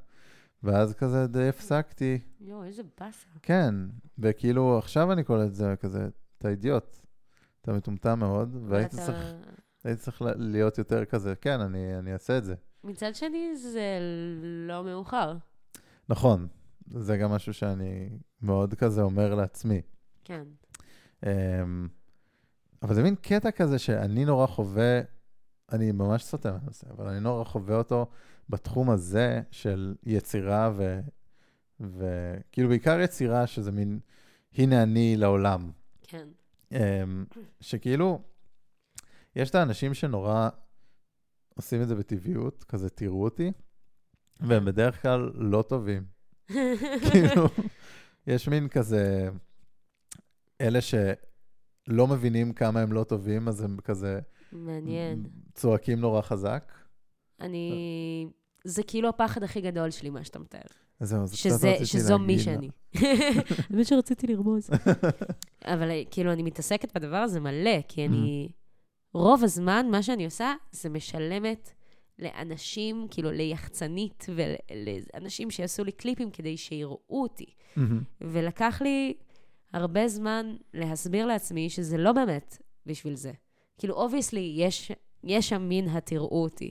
A: ואז כזה די הפסקתי,
B: יואו, איזה באסה.
A: כן, וכאילו עכשיו אני קולט את זה כזה, אתה אידיוט, אתה מטומטם מאוד, והייתי
B: ואתה-
A: צריך, הייתי צריך ל- להיות יותר כזה, כן, אני, אני אעשה את זה.
B: מצד שני, זה לא מאוחר.
A: נכון, זה גם משהו שאני מאוד כזה אומר לעצמי.
B: כן.
A: אמ, אבל זה מין קטע כזה שאני נורא חווה, אני ממש סוטה מהנושא, אבל אני נורא חווה אותו בתחום הזה של יצירה ו... וכאילו בעיקר יצירה שזה מין, הנה אני לעולם.
B: כן.
A: אמ, שכאילו, יש את האנשים שנורא עושים את זה בטבעיות, כזה תראו אותי, והם בדרך כלל לא טובים. כאילו, יש מין כזה, אלה שלא מבינים כמה הם לא טובים, אז הם כזה
B: מעניין.
A: צועקים נורא חזק.
B: אני... זה כאילו הפחד הכי גדול שלי, מה שאתה מתאר.
A: אז זהו, זה קצת
B: שזה,
A: רציתי
B: שזו מי
A: להגיד.
B: שאני. האמת שרציתי לרמוז. אבל אה, כאילו, אני מתעסקת בדבר הזה מלא,
A: Mm-hmm.
B: כי אני... רוב הזמן, מה שאני עושה, זה משלמת לאנשים, כאילו, ליחצנית ולאנשים שיעשו לי קליפים כדי שיראו אותי.
A: מהמם.
B: ולקח לי הרבה זמן להסביר לעצמי שזה לא באמת בשביל זה. כאילו, אובייסלי, יש, יש שם מין התראו אותי.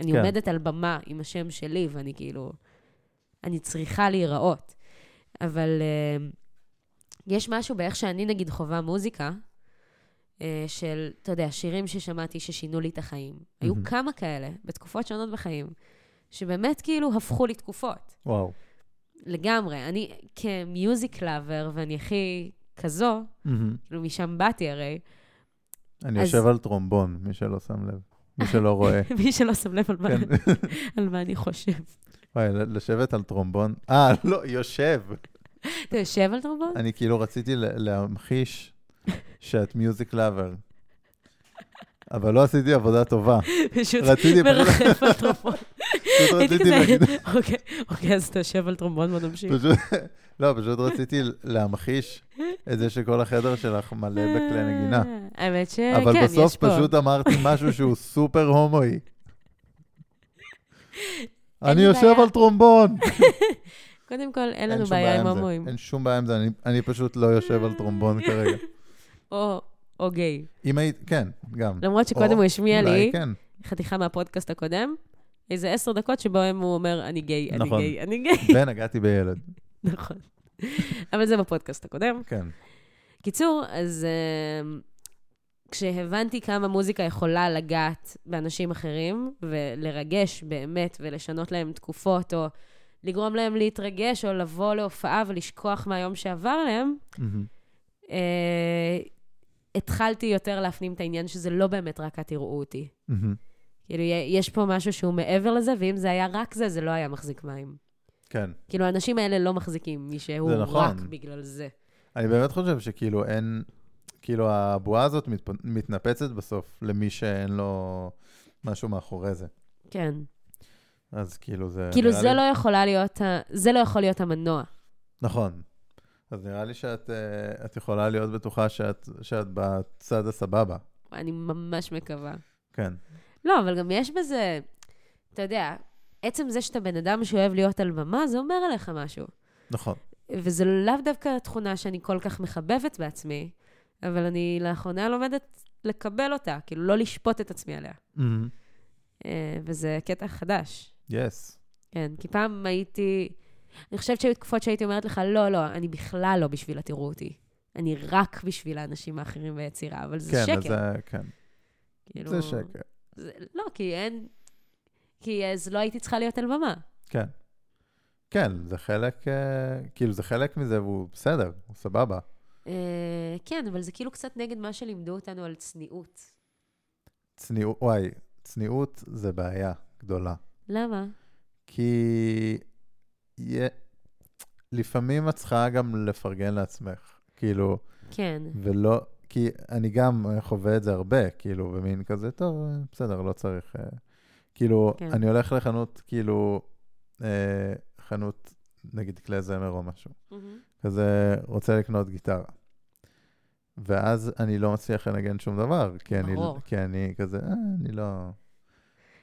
B: אני
A: כן.
B: כן. עומדת על במה עם השם שלי, ואני כאילו... אני צריכה להיראות. אבל uh, יש משהו באיך שאני, נגיד, חווה מוזיקה, uh, של, אתה יודע, שירים ששמעתי ששינו לי את החיים. היו
A: מהמם.
B: כמה כאלה, בתקופות שונות בחיים, שבאמת כאילו הפכו לי תקופות.
A: וואו.
B: לגמרי. אני כמיוזיק לאבר, ואני הכי כזו,
A: מהמם.
B: כאילו משם באתי הרי,
A: אני
B: אז-
A: יושב על טרומבון, מי שלא שם לב, מי שלא רואה.
B: מי שלא שם לב על מה,
A: כן.
B: על מה אני חושב.
A: וואי, לשבת על טרומבון. אה, לא, יושב.
B: אתה יושב על טרומבון?
A: אני כאילו רציתי לה- להמחיש שאת מיוזיק לאבר. אבל לא עשיתי עבודה טובה.
B: פשוט
A: רציתי, פשוט
B: מרחף על טרומבון.
A: פשוט
B: הייתי
A: רציתי
B: כזה,
A: להגיד...
B: אוקיי, אוקיי, אז אתה יושב על טרומבון, בוא נמשיך.
A: פשוט- לא, פשוט רציתי להמחיש את זה שכל החדר שלך מלא בכלי נגינה.
B: אה, האמת שכן, כן, יש פה.
A: אבל בסוף פשוט אמרתי משהו שהוא סופר הומואי.
B: אין
A: אני
B: לי
A: יושב
B: בעיה.
A: על טרומבון.
B: קודם כל, אין
A: אין
B: לנו
A: שום
B: בעיה עם
A: זה.
B: הומואים.
A: אין שום בעיה עם זה, אני- אני פשוט לא יושב על טרומבון כרגע.
B: או או גיי.
A: אם היית, כן, גם.
B: למרות שקודם
A: או,
B: הוא השמיע
A: אולי
B: לא לי
A: כן.
B: חתיכה מהפודקאסט הקודם, איזה עשר דקות שבהם הוא אומר, אני גיי, אני
A: נכון.
B: גיי, אני גיי.
A: ונגעתי בילד,
B: נכון. אבל זה בפודקאסט הקודם.
A: כן.
B: קיצור, אז אמ, כשהבנתי כמה מוזיקה יכולה לגעת באנשים אחרים, ולרגש באמת, ולשנות להם תקופות, או לגרום להם להתרגש, או לבוא להופעה ולשכוח מהיום שעבר עליהם,
A: מהמם.
B: אה, התחלתי יותר להפנים את העניין שזה לא באמת רק התראו אותי.
A: מהמם.
B: כאילו, יה- יש פה משהו שהוא מעבר לזה, ואם זה היה רק זה, זה לא היה מחזיק מים.
A: כן.
B: כאילו, האנשים האלה לא מחזיקים מי שהוא
A: זה נכון.
B: רק בגלל זה.
A: אני באמת חושב שכאילו אין, כאילו הבועה הזאת מתפ- מתנפצת בסוף למי שאין לו משהו מאחורי זה.
B: כן.
A: אז כאילו זה...
B: כאילו,
A: נראה
B: זה
A: לי-
B: לא יכולה להיות, ה- זה לא יכול להיות המנוע. לא-
A: נכון. אז נראה לי שאת אה, את יכולה להיות בטוחה שאת שאת בצד הסבבה.
B: אני ממש מקווה.
A: כן.
B: לא, אבל גם יש בזה, אתה יודע, עצם זה שאתה בן אדם שאוהב להיות על במה, זה אומר עליך משהו.
A: נכון.
B: וזו לאו דווקא תכונה שאני כל כך מחבבת בעצמי, אבל אני לאחרונה לומדת לקבל אותה, כאילו לא לשפוט את עצמי עליה. אה, וזה קטע חדש.
A: יס.
B: כן, כי פעם הייתי... אני חושבת שהיו תקופות שהייתי אומרת לך, לא, לא, אני בכלל לא בשביל התראו אותי. אני רק בשביל האנשים האחרים ביצירה, אבל זה
A: כן,
B: שקר.
A: אז זה, כן.
B: כאילו,
A: זה שקר.
B: זה, לא, כי אין... כי אז לא הייתי צריכה להיות על במה.
A: כן. כן, זה חלק, אה, כאילו זה חלק מזה והוא בסדר, הוא סבבה.
B: אה, כן, אבל זה כאילו קצת נגד מה שלימדו אותנו על צניעות.
A: צניעות, וואי, צניעות זה בעיה גדולה.
B: למה?
A: כי יה... לפעמים את צריכה גם לפרגן לעצמך, כאילו,
B: כן.
A: ולא, כי אני גם חווה את זה הרבה, כאילו, במין כזה, טוב, בסדר, לא צריך... אה." כאילו,
B: כן.
A: כן. אני הולך לחנות, כאילו, אה, חנות, נגיד כלי זמר או משהו, כזה רוצה לקנות גיטרה. ואז אני לא מצליח לנגן שום דבר, כי אני,
B: ברור.
A: כי אני כזה, אה, אני לא...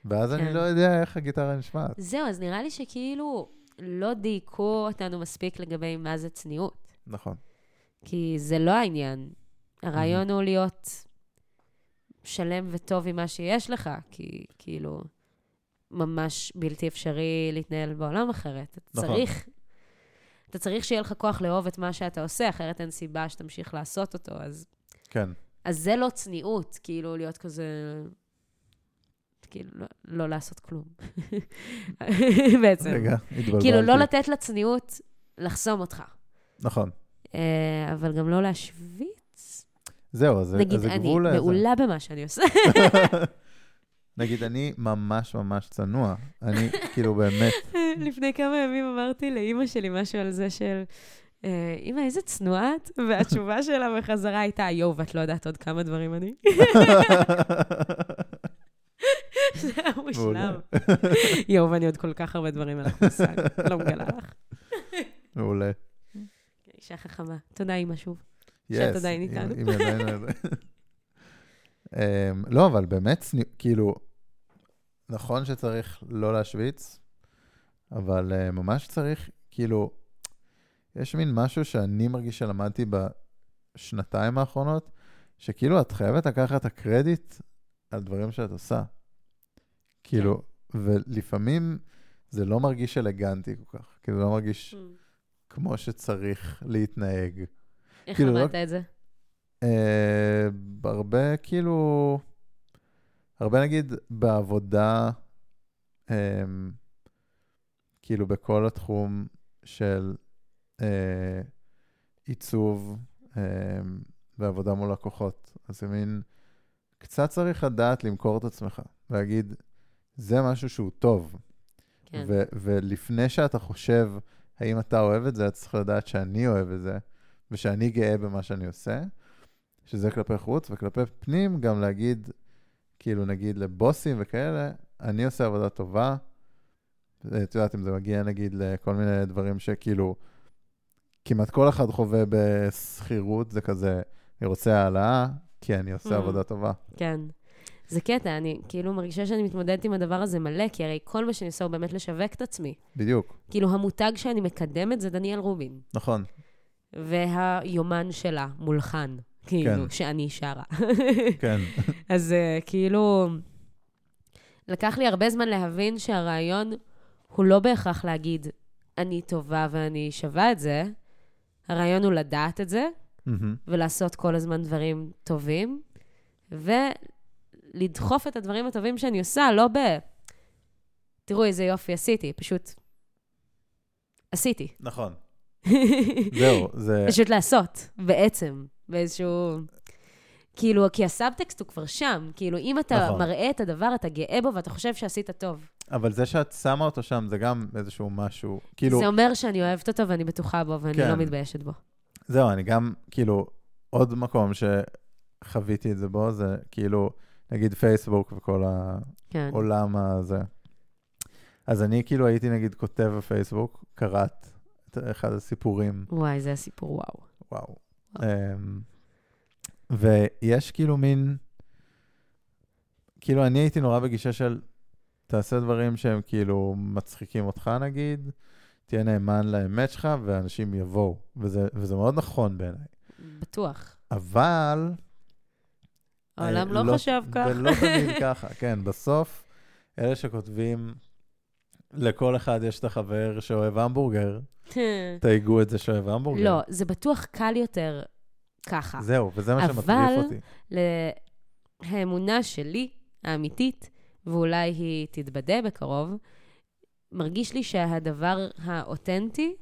A: ואז
B: כן.
A: אני לא יודע איך הגיטרה נשמעת.
B: זהו, אז נראה לי שכאילו לא דייקו אותנו מספיק לגבי מה זה צניעות.
A: נכון.
B: כי זה לא העניין. הרעיון הוא להיות שלם וטוב עם מה שיש לך, כי כאילו ממש בלתי אפשרי להתנהל בעולם אחרת. אתה
A: נכון.
B: צריך... אתה צריך שיהיה לך כוח לאהוב את מה שאתה עושה, אחרת אין סיבה שתמשיך לעשות אותו. אז
A: כן,
B: אז זה לא צניעות, כאילו, להיות כזה... כאילו, לא, לא לעשות כלום. בעצם.
A: רגע, התבלבלתי.
B: כאילו, לא לתת לצניעות לחסום אותך,
A: נכון.
B: אה, אבל גם לא להשוויץ.
A: זהו, אז זה
B: נגיד,
A: אז זה
B: אני
A: גבול... לזה.
B: מעולה במה שאני עושה.
A: נגיד, אני ממש ממש צנוע. אני, כאילו, באמת,
B: לפני כמה ימים אמרתי לאימא שלי משהו על זה של... אה, אימא, איזה צנועה את? והתשובה שלה בחזרה הייתה, יואו, ואת לא יודעת עוד כמה דברים אני. זה היה
A: מעולה.
B: מושלם. יואו, ואני עוד כל כך הרבה דברים, אין לך מושג. לא מגלה לך. כן,
A: מעולה.
B: אישה חכמה. תודה, אימא, שוב.
A: יס,
B: עדיין
A: אם-
B: איתנו.
A: אם עדיין על זה. אמ, לא, אבל באמת, צני- כאילו, נכון שצריך לא להשוויץ, אבל אה, ממש צריך, כאילו, יש מין משהו שאני מרגיש שלמדתי בשנתיים האחרונות, שכאילו את חייבת לקחת את הקרדיט על דברים שאת עושה. כאילו,
B: כן.
A: ולפעמים זה לא מרגיש אלגנטי כל כך, כאילו, לא מרגיש
B: Mm.
A: כמו שצריך להתנהג.
B: איך
A: כאילו, לא-
B: למדת את זה?
A: אה, הרבה כאילו, הרבה נגיד בעבודה, אה, כאילו בכל התחום של אה, עיצוב אה, ועבודה מול לקוחות. אז זה מין, קצת צריך לדעת למכור את עצמך, להגיד, זה משהו שהוא טוב.
B: כן.
A: ו- ולפני שאתה חושב האם אתה אוהב את זה, אתה צריך לדעת שאני אוהב את זה, ושאני גאה במה שאני עושה, שזה כלפי חוץ, וכלפי פנים גם להגיד, כאילו נגיד לבוסים וכאלה, אני עושה עבודה טובה. אה, את יודעת, אם זה מגיע נגיד לכל מיני דברים שכאילו, כמעט כל אחד חווה בשכירות, זה כזה, אני רוצה העלאה, כי אני עושה
B: Mm.
A: עבודה טובה.
B: כן. זה קטע, אני כאילו מרגישה שאני מתמודדת עם הדבר הזה מלא, כי הרי כל מה שאני עושה הוא באמת לשווק את עצמי.
A: בדיוק,
B: כאילו, המותג שאני מקדמת זה דניאל רובין,
A: נכון.
B: והיומן שלה, מולחן, כאילו,
A: כן.
B: שאני שרה.
A: כן,
B: אז אה, כאילו, לקח לי הרבה זמן להבין שהרעיון הוא לא בהכרח להגיד, אני טובה ואני שווה את זה, הרעיון הוא לדעת את זה,
A: מהמם,
B: ולעשות כל הזמן דברים טובים, ולדחוף את הדברים הטובים שאני עושה, לא ב... תראו איזה יופי עשיתי, פשוט עשיתי.
A: נכון. זהו, זה...
B: פשוט לעשות, בעצם, באיזשהו... כאילו, כי הסאבטקסט הוא כבר שם. כאילו, אם אתה
A: נכון.
B: מראה את הדבר, אתה גאה בו ואתה חושב שעשית טוב.
A: אבל זה שאת שמה אותו שם, זה גם איזשהו משהו. כאילו,
B: זה אומר שאני אוהבת אותו ואני בטוחה בו ואני
A: כן.
B: לא מתביישת בו.
A: זהו, אני גם, כאילו, עוד מקום שחוויתי את זה בו, זה כאילו, נגיד פייסבוק וכל
B: כן.
A: העולם הזה. אז אני כאילו הייתי נגיד כותב בפייסבוק, קראת את אחד הסיפורים,
B: וואי, זה הסיפור, וואו.
A: וואו. אמ, ויש כאילו מין, כאילו אני הייתי נורא בגישה של, תעשה דברים שהם כאילו מצחיקים אותך נגיד, תהיה נאמן לאמת שלך ואנשים יבואו, וזה, וזה מאוד נכון בעיניי.
B: בטוח.
A: אבל...
B: העולם
A: אה,
B: לא חשב כך.
A: ולא תמיד ככה, כן, בסוף, אלה שכותבים, לכל אחד יש את החבר שאוהב המבורגר, תייגו את זה שאוהב המבורגר.
B: לא, זה בטוח קל יותר ככה.
A: זהו, וזה מה שמטריף
B: אבל-
A: אותי.
B: ל- האמונה שלי, האמיתית, ואולי היא תתבדה בקרוב, מרגיש לי שהדבר האותנטי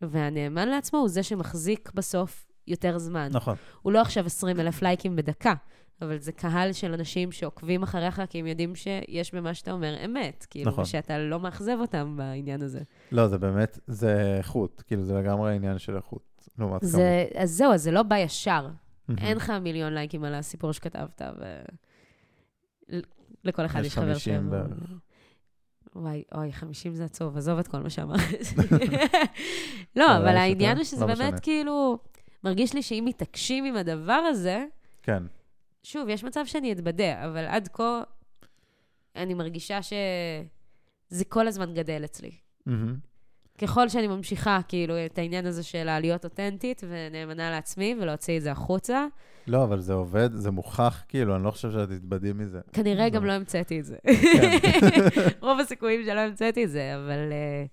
B: והנאמן לעצמו הוא זה שמחזיק בסוף יותר זמן.
A: נכון,
B: הוא לא עכשיו 20 אלף לייקים בדקה, אבל זה קהל של אנשים שעוקבים אחריך כי הם יודעים שיש במה שאתה אומר אמת. כאילו,
A: נכון.
B: נכון. שאתה לא מאכזב אותם בעניין הזה.
A: לא, זה באמת, זה איכות, כאילו זה לגמרי עניין של איכות, לעומת כמות.
B: זה, אז זהו, אז זה לא בא ישר.
A: מהמם.
B: אין לך מיליון לייקים על הסיפור שכתבת, ו... ל- לכל אחד
A: יש
B: יש חבר
A: 50
B: שם.
A: בערך.
B: וואי, אוי, 50 זה עצוב, עזוב את כל מה שאמרתי. לא,
A: אבל
B: אבל העניין הוא שזה
A: לא
B: באמת
A: משנה.
B: כאילו, מרגיש לי שאם מתעקשים עם הדבר הזה,
A: כן,
B: שוב, יש מצב שאני אתבדה, אבל עד כה אני מרגישה שזה כל הזמן גדל אצלי.
A: מהמם.
B: ככל שאני ממשיכה, כאילו, את העניין הזה של להיות אותנטית ונאמנה לעצמי ולהוציא את זה החוצה,
A: לא, אבל זה עובד, זה מוכח, כאילו, אני לא חושב שאת תתבדי מזה.
B: כנראה גם
A: לא.
B: לא המצאתי את זה.
A: כן.
B: רוב הסיכויים שלא המצאתי את זה, אבל אה,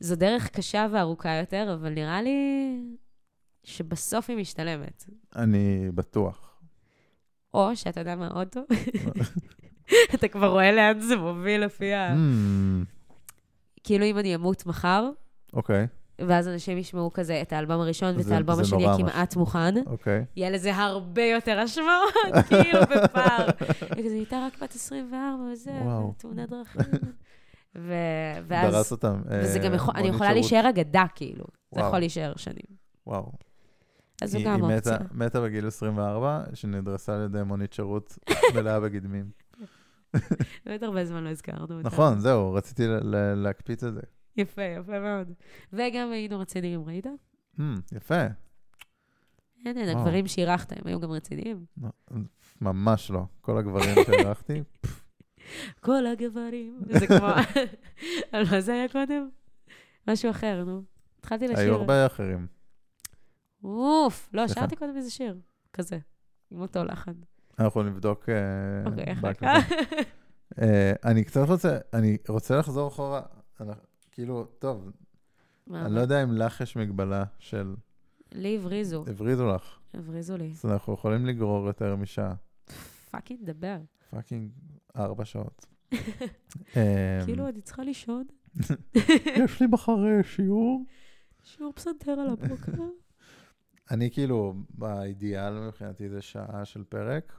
B: זו דרך קשה וארוכה יותר, אבל נראה לי שבסוף היא משתלמת.
A: אני בטוח.
B: או שאתה יודע מה, אוטו? אתה כבר רואה לאן זה מוביל לפי ה...
A: Hmm,
B: כאילו אם אני אמות מחר,
A: אוקיי,
B: ואז אנשים ישמעו כזה את האלבום הראשון ואת
A: זה-
B: האלבום
A: זה
B: השני
A: נורא
B: כמעט מוכן,
A: אוקיי.
B: יהיה לזה הרבה יותר השמעות, כאילו בפער. וכזה, הייתה רק בת 24 וזה,
A: וואו.
B: תאונת דרכים. ו-
A: דרס
B: ואז,
A: אותם.
B: וזה
A: אה,
B: גם יכול, אני
A: מונית
B: יכולה
A: שירות.
B: להישאר אגדה, כאילו. זה
A: וואו.
B: יכול להישאר שנים.
A: וואו.
B: אז זו
A: היא-
B: גם
A: היא
B: אופציה.
A: מתה- מתה בגיל 24, שנדרסה על ידי מונית שירות מלאה בגדמים.
B: באמת הרבה זמן לא הזכרנו אותה.
A: נכון, זהו, רציתי ל- ל- להקפיץ את זה.
B: יפה, יפה מאוד. וגם היינו רציניים, ראית?
A: Hmm, יפה.
B: אין, אין,
A: וואו.
B: הגברים שאירחת, הם היו גם רציניים.
A: לא, ממש לא. כל הגברים שהערכתי,
B: כל הגברים. זה כמו... על מה זה היה קודם? משהו אחר, נו. התחלתי לשיר.
A: היו הרבה אחרים.
B: אוף, לא,
A: סליחה.
B: שרתי קודם איזה שיר. כזה. עם אותו לחן.
A: אנחנו נבדוק אה,
B: אוקיי, אחר
A: בהקלטה.
B: כך.
A: אה, אני קצת רוצה, אני רוצה לחזור אחורה. אני- כאילו, טוב,
B: מה,
A: אני
B: אוקיי.
A: לא יודע אם לך יש מגבלה של
B: לי הבריזו,
A: הבריזו לך,
B: הבריזו לי.
A: אז אנחנו יכולים לגרור יותר משעה.
B: פאקינג דבר.
A: פאקינג ארבע שעות. אה,
B: כאילו, אני צריכה לישון.
A: יש לי מחר אה, שיעור.
B: שיעור פסנתר על הבוקר.
A: אני כאילו, באידיאל מבחינתי זה שעה של פרק,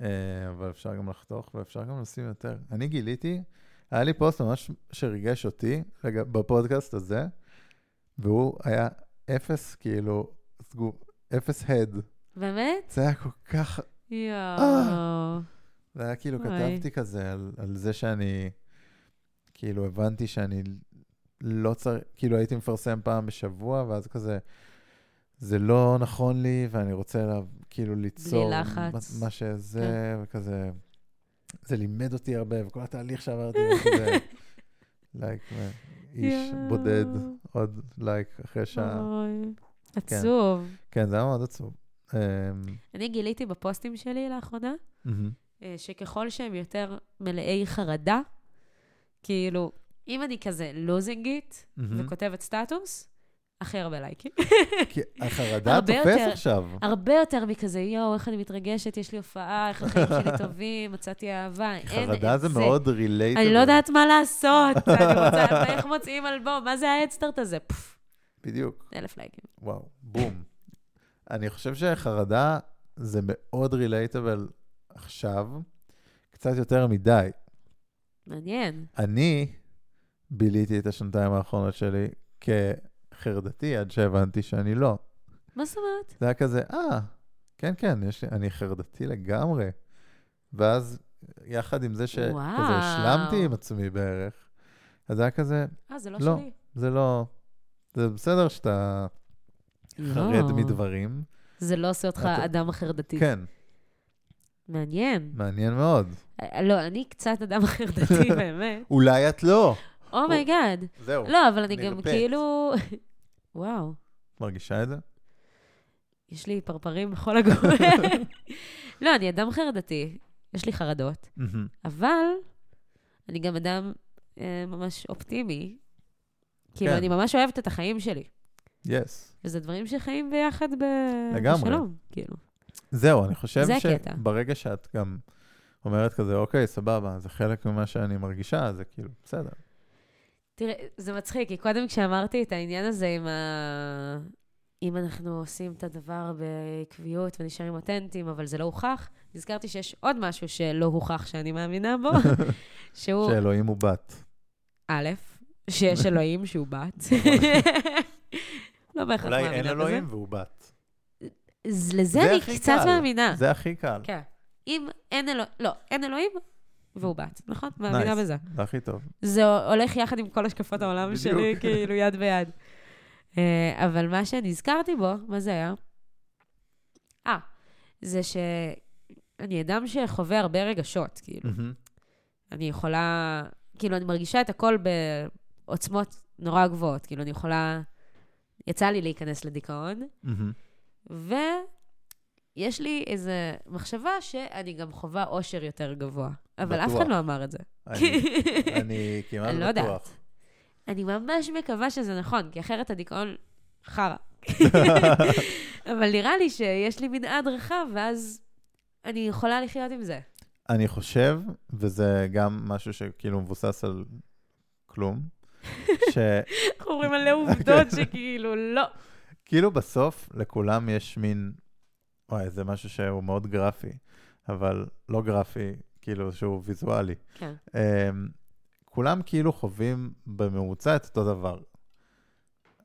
A: אה, אבל אפשר גם לחתוך ואפשר גם לשים יותר. אני גיליתי, היה לי פוסט ממש שריגש אותי לג- בפודקאסט הזה, והוא היה אפס, כאילו, סגו- אפס הד.
B: באמת?
A: זה היה כל כך, אה,
B: יואו.
A: זה היה כאילו,
B: אוי.
A: כתבתי כזה על, על זה שאני, כאילו, הבנתי שאני לא צריך, כאילו, הייתי מפרסם פעם בשבוע, ואז כזה, זה לא נכון לי, ואני רוצה, לה, כאילו, ליצור...
B: לחץ. כן.
A: מה, מה שזה, וכזה... זה לימד אותי הרבה, וכל התהליך שעברתי, וכזה... לייק, איש
B: יואו.
A: בודד, עוד לייק אחרי שעה.
B: אוי. עצוב.
A: כן, זה היה מאוד עצוב. אמ,
B: אני גיליתי בפוסטים שלי לאחרונה,
A: מהמם.
B: אה, שככל שהם יותר מלאי חרדה, כאילו, אם אני כזה לוזינגית
A: מהמם.
B: וכותבת סטטוס, הכי הרבה לייקים.
A: כי החרדה
B: הרבה
A: תופס
B: יותר-
A: עכשיו.
B: הרבה יותר מכזה, יואו, איך אני מתרגשת, יש לי הופעה, איך החיים שלי טובים, מצאתי אהבה, אין את זה.
A: חרדה זה מאוד רילייטד.
B: אני לא יודעת מה לעשות, אני רוצה, איך מוצאים אלבום, מה זה ההדסטארט הזה? פפפ,
A: בדיוק,
B: אלף לייקים.
A: וואו, בום. אני חושב שחרדה זה מאוד רילייטבל עכשיו, קצת יותר מדי.
B: מעניין.
A: אני ביליתי את השנתיים האחרונות שלי כחרדתי עד שהבנתי שאני לא.
B: מה זאת אומרת?
A: זה היה כזה, אה, כן, כן, יש לי, אני חרדתי לגמרי. ואז, יחד עם זה שכזה
B: וואו.
A: השלמתי עם עצמי בערך, אז זה היה כזה,
B: אה, זה לא
A: לא.
B: שלי.
A: זה לא... זה בסדר שאתה חרד
B: לא.
A: מדברים.
B: זה לא עושה אותך
A: אתה-
B: אדם חרדתי.
A: כן.
B: מעניין.
A: מעניין מאוד.
B: אה, לא, אני קצת אדם אחר דתי, באמת.
A: אולי את לא.
B: אומייגאד.
A: זהו.
B: לא, אבל אני גם
A: נרפאת.
B: כאילו... וואו,
A: מרגישה את זה?
B: יש לי פרפרים בכל הגוף. לא, אני אדם חרדתי, יש לי חרדות,
A: מהמם.
B: אבל אני גם אדם אה, ממש אופטימי. כאילו,
A: כן.
B: אני ממש אוהבת את החיים שלי,
A: יס.
B: וזה דברים שחיים ביחד ב...
A: לגמרי.
B: בשלום, כאילו.
A: זהו, אני חושב
B: זה הקטע.
A: שברגע שאת גם אומרת כזה, אוקיי, סבבה, זה חלק ממה שאני מרגישה, זה כאילו, בסדר.
B: תראה, זה מצחיק, כי קודם כשאמרתי את העניין הזה עם ה... אם אנחנו עושים את הדבר בעקביות ונשארים אותנטיים, אבל זה לא הוכח, נזכרתי שיש עוד משהו שלא הוכח שאני מאמינה בו, שהוא
A: שאלוהים הוא בת.
B: א', שיש אלוהים שהוא בת. לא בהכרח מאמינה
A: אולי
B: בזה.
A: אין אלוהים והוא בת.
B: אז לזה
A: זה
B: אני
A: הכי
B: קצת
A: קל.
B: מאמינה.
A: זה הכי קל.
B: כן. אם אין אלוהים, לא, אין אלוהים והוא בת, נכון? מאמינה
A: Nice.
B: בזה.
A: זה הכי טוב.
B: זה הולך יחד עם כל השקפות העולם
A: בדיוק.
B: שלי, כאילו, יד ביד. אה, אבל מה שנזכרתי בו, מה זה היה? אה, זה שאני אדם שחווה הרבה רגשות, כאילו.
A: מהמם.
B: אני יכולה, כאילו, אני מרגישה את הכל בעוצמות נורא גבוהות. כאילו, אני יכולה... יצא לי להיכנס לדיכאון,
A: מהמם.
B: ויש לי איזו מחשבה שאני גם חווה אושר יותר גבוה. אבל אף
A: בטוח.
B: אחד לא אמר את זה.
A: אני- אני כמעט
B: אני לא
A: בטוח.
B: יודעת. אני ממש מקווה שזה נכון, כי אחרת הדיכאון חרא. אבל נראה לי שיש לי מנעד רחב, ואז אני יכולה לחיות עם זה.
A: אני חושב, וזה גם משהו שכאילו מבוסס על כלום, שכאילו
B: אנחנו אומרים מלא עובדות שכאילו, לא.
A: כאילו בסוף לכולם יש מין, וואי, זה משהו שהוא מאוד גרפי, אבל לא גרפי, כאילו שהוא ויזואלי.
B: כן.
A: אמ, כולם כאילו חווים בממוצע את אותו דבר.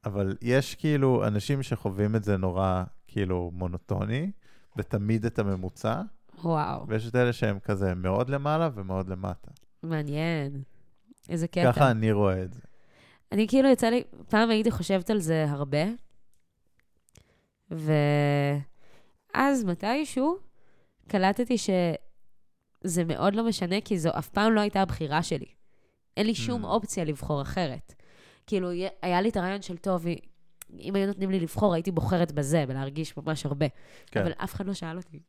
A: אבל יש כאילו אנשים שחווים את זה נורא כאילו מונוטוני, ותמיד את הממוצע,
B: וואו,
A: ויש את אלה שהם כזה מאוד למעלה ומאוד למטה.
B: מעניין. איזה קטע.
A: ככה אני רואה את זה.
B: אני כאילו יצא לי, פעם הייתי חושבת על זה הרבה, ואז מתישהו קלטתי שזה מאוד לא משנה, כי זו אף פעם לא הייתה הבחירה שלי. אין לי שום
A: Mm.
B: אופציה לבחור אחרת. כאילו, יה- היה לי את הרעיון של טוב, אם היו נותנים לי לבחור, הייתי בוחרת בזה, בלהרגיש ממש הרבה.
A: כן.
B: אבל אף אחד לא שאל אותי.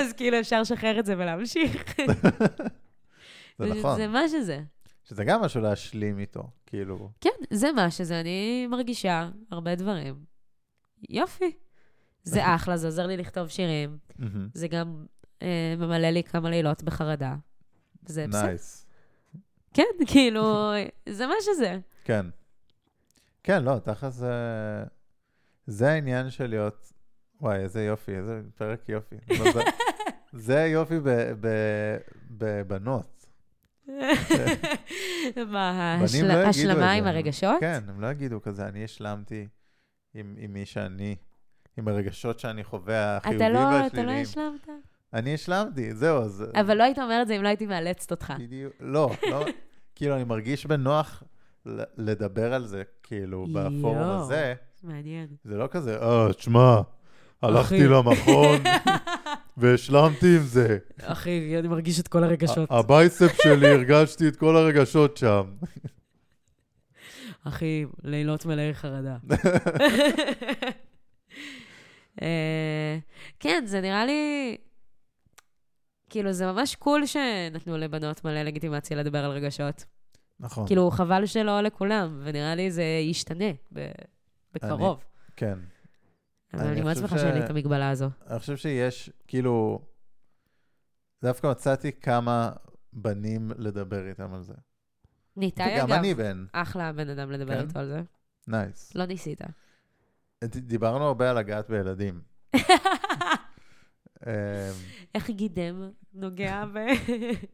B: אז כאילו, אפשר לשחרר את זה ולהמשיך.
A: זה נכון.
B: זה מה שזה.
A: שזה גם משהו להשלים איתו, כאילו.
B: כן, זה מה שזה, אני מרגישה הרבה דברים. יופי.
A: נכון.
B: זה אחלה, זה עוזר לי לכתוב שירים,
A: מהמם.
B: זה גם אה, ממלא לי כמה לילות בחרדה. זה בסדר.
A: נייס.
B: כן, כאילו, זה מה שזה.
A: כן. כן, לא, תכל'ס זה... זה העניין של להיות... וואי, איזה יופי, איזה פרק יופי. לא, זה- זה היופי ב- ב- בבנות. בנים
B: מה,
A: לא
B: ההשל-
A: יגידו את
B: ההשלמה
A: זה.
B: עם הרגשות?
A: כן, הם לא יגידו כזה, אני השלמתי עם, עם מי שאני, עם הרגשות שאני חווה,
B: אתה
A: החיובים
B: לא, אתה לא
A: והשליליים.
B: השלמת?
A: אני השלמתי, זהו, אז...
B: אבל לא היית אומר את זה אם לא הייתי מאלצת אותך.
A: בדיוק, לא, לא, כאילו, אני מרגיש בנוח ל- לדבר על זה, כאילו, בפורום
B: יואו.
A: הזה.
B: מעניין.
A: זה לא כזה, אה, תשמע, הלכתי
B: אחי."
A: למכון והשלמתי עם זה.
B: אחי, אני מרגיש את כל הרגשות.
A: ה- הבייספ שלי, הרגשתי את כל הרגשות שם.
B: אחי, לילות מלאי חרדה. אה, כן, זה נראה לי... כאילו, זה ממש קול שנתנו לבנות מלא לגיטימציה לדבר על רגשות.
A: נכון.
B: כאילו, חבל שלא לכולם, ונראה לי זה ישתנה ב- בקרוב.
A: כן.
B: אבל
A: אני
B: אני ממש
A: חושב
B: שמחה
A: ש-
B: שאין לי את המגבלה הזו.
A: אני חושב שיש, כאילו, דווקא מצאתי כמה בנים לדבר איתם על זה.
B: ניתאי,
A: וגם
B: אגב,
A: אני בן,
B: אחלה בן אדם לדבר
A: כן?
B: איתו על זה.
A: נייס.
B: לא ניסית.
A: ד- דיברנו הרבה על לגעת בילדים. אה,
B: איך גידם נוגע
A: עם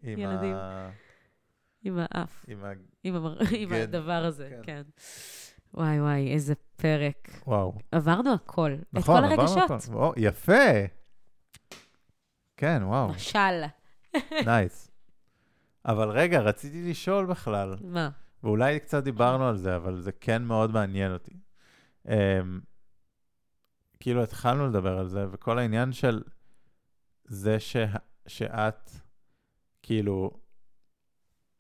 B: בילדים?
A: ה-
B: עם האף.
A: עם ה...
B: עם, המר... עם
A: כן,
B: הדבר הזה,
A: כן.
B: כן. וואי וואי, איזה פרק.
A: וואו.
B: עברנו הכל,
A: נכון,
B: את כל
A: עברנו
B: הרגשות.
A: הכל. וואו, יפה. כן, וואו,
B: משל.
A: נייס. אבל רגע, רציתי לשאול בכלל,
B: מה?
A: ואולי קצת דיברנו על זה, אבל זה כן מאוד מעניין אותי. Um, כאילו, התחלנו לדבר על זה, וכל העניין של זה שה- שאת, כאילו,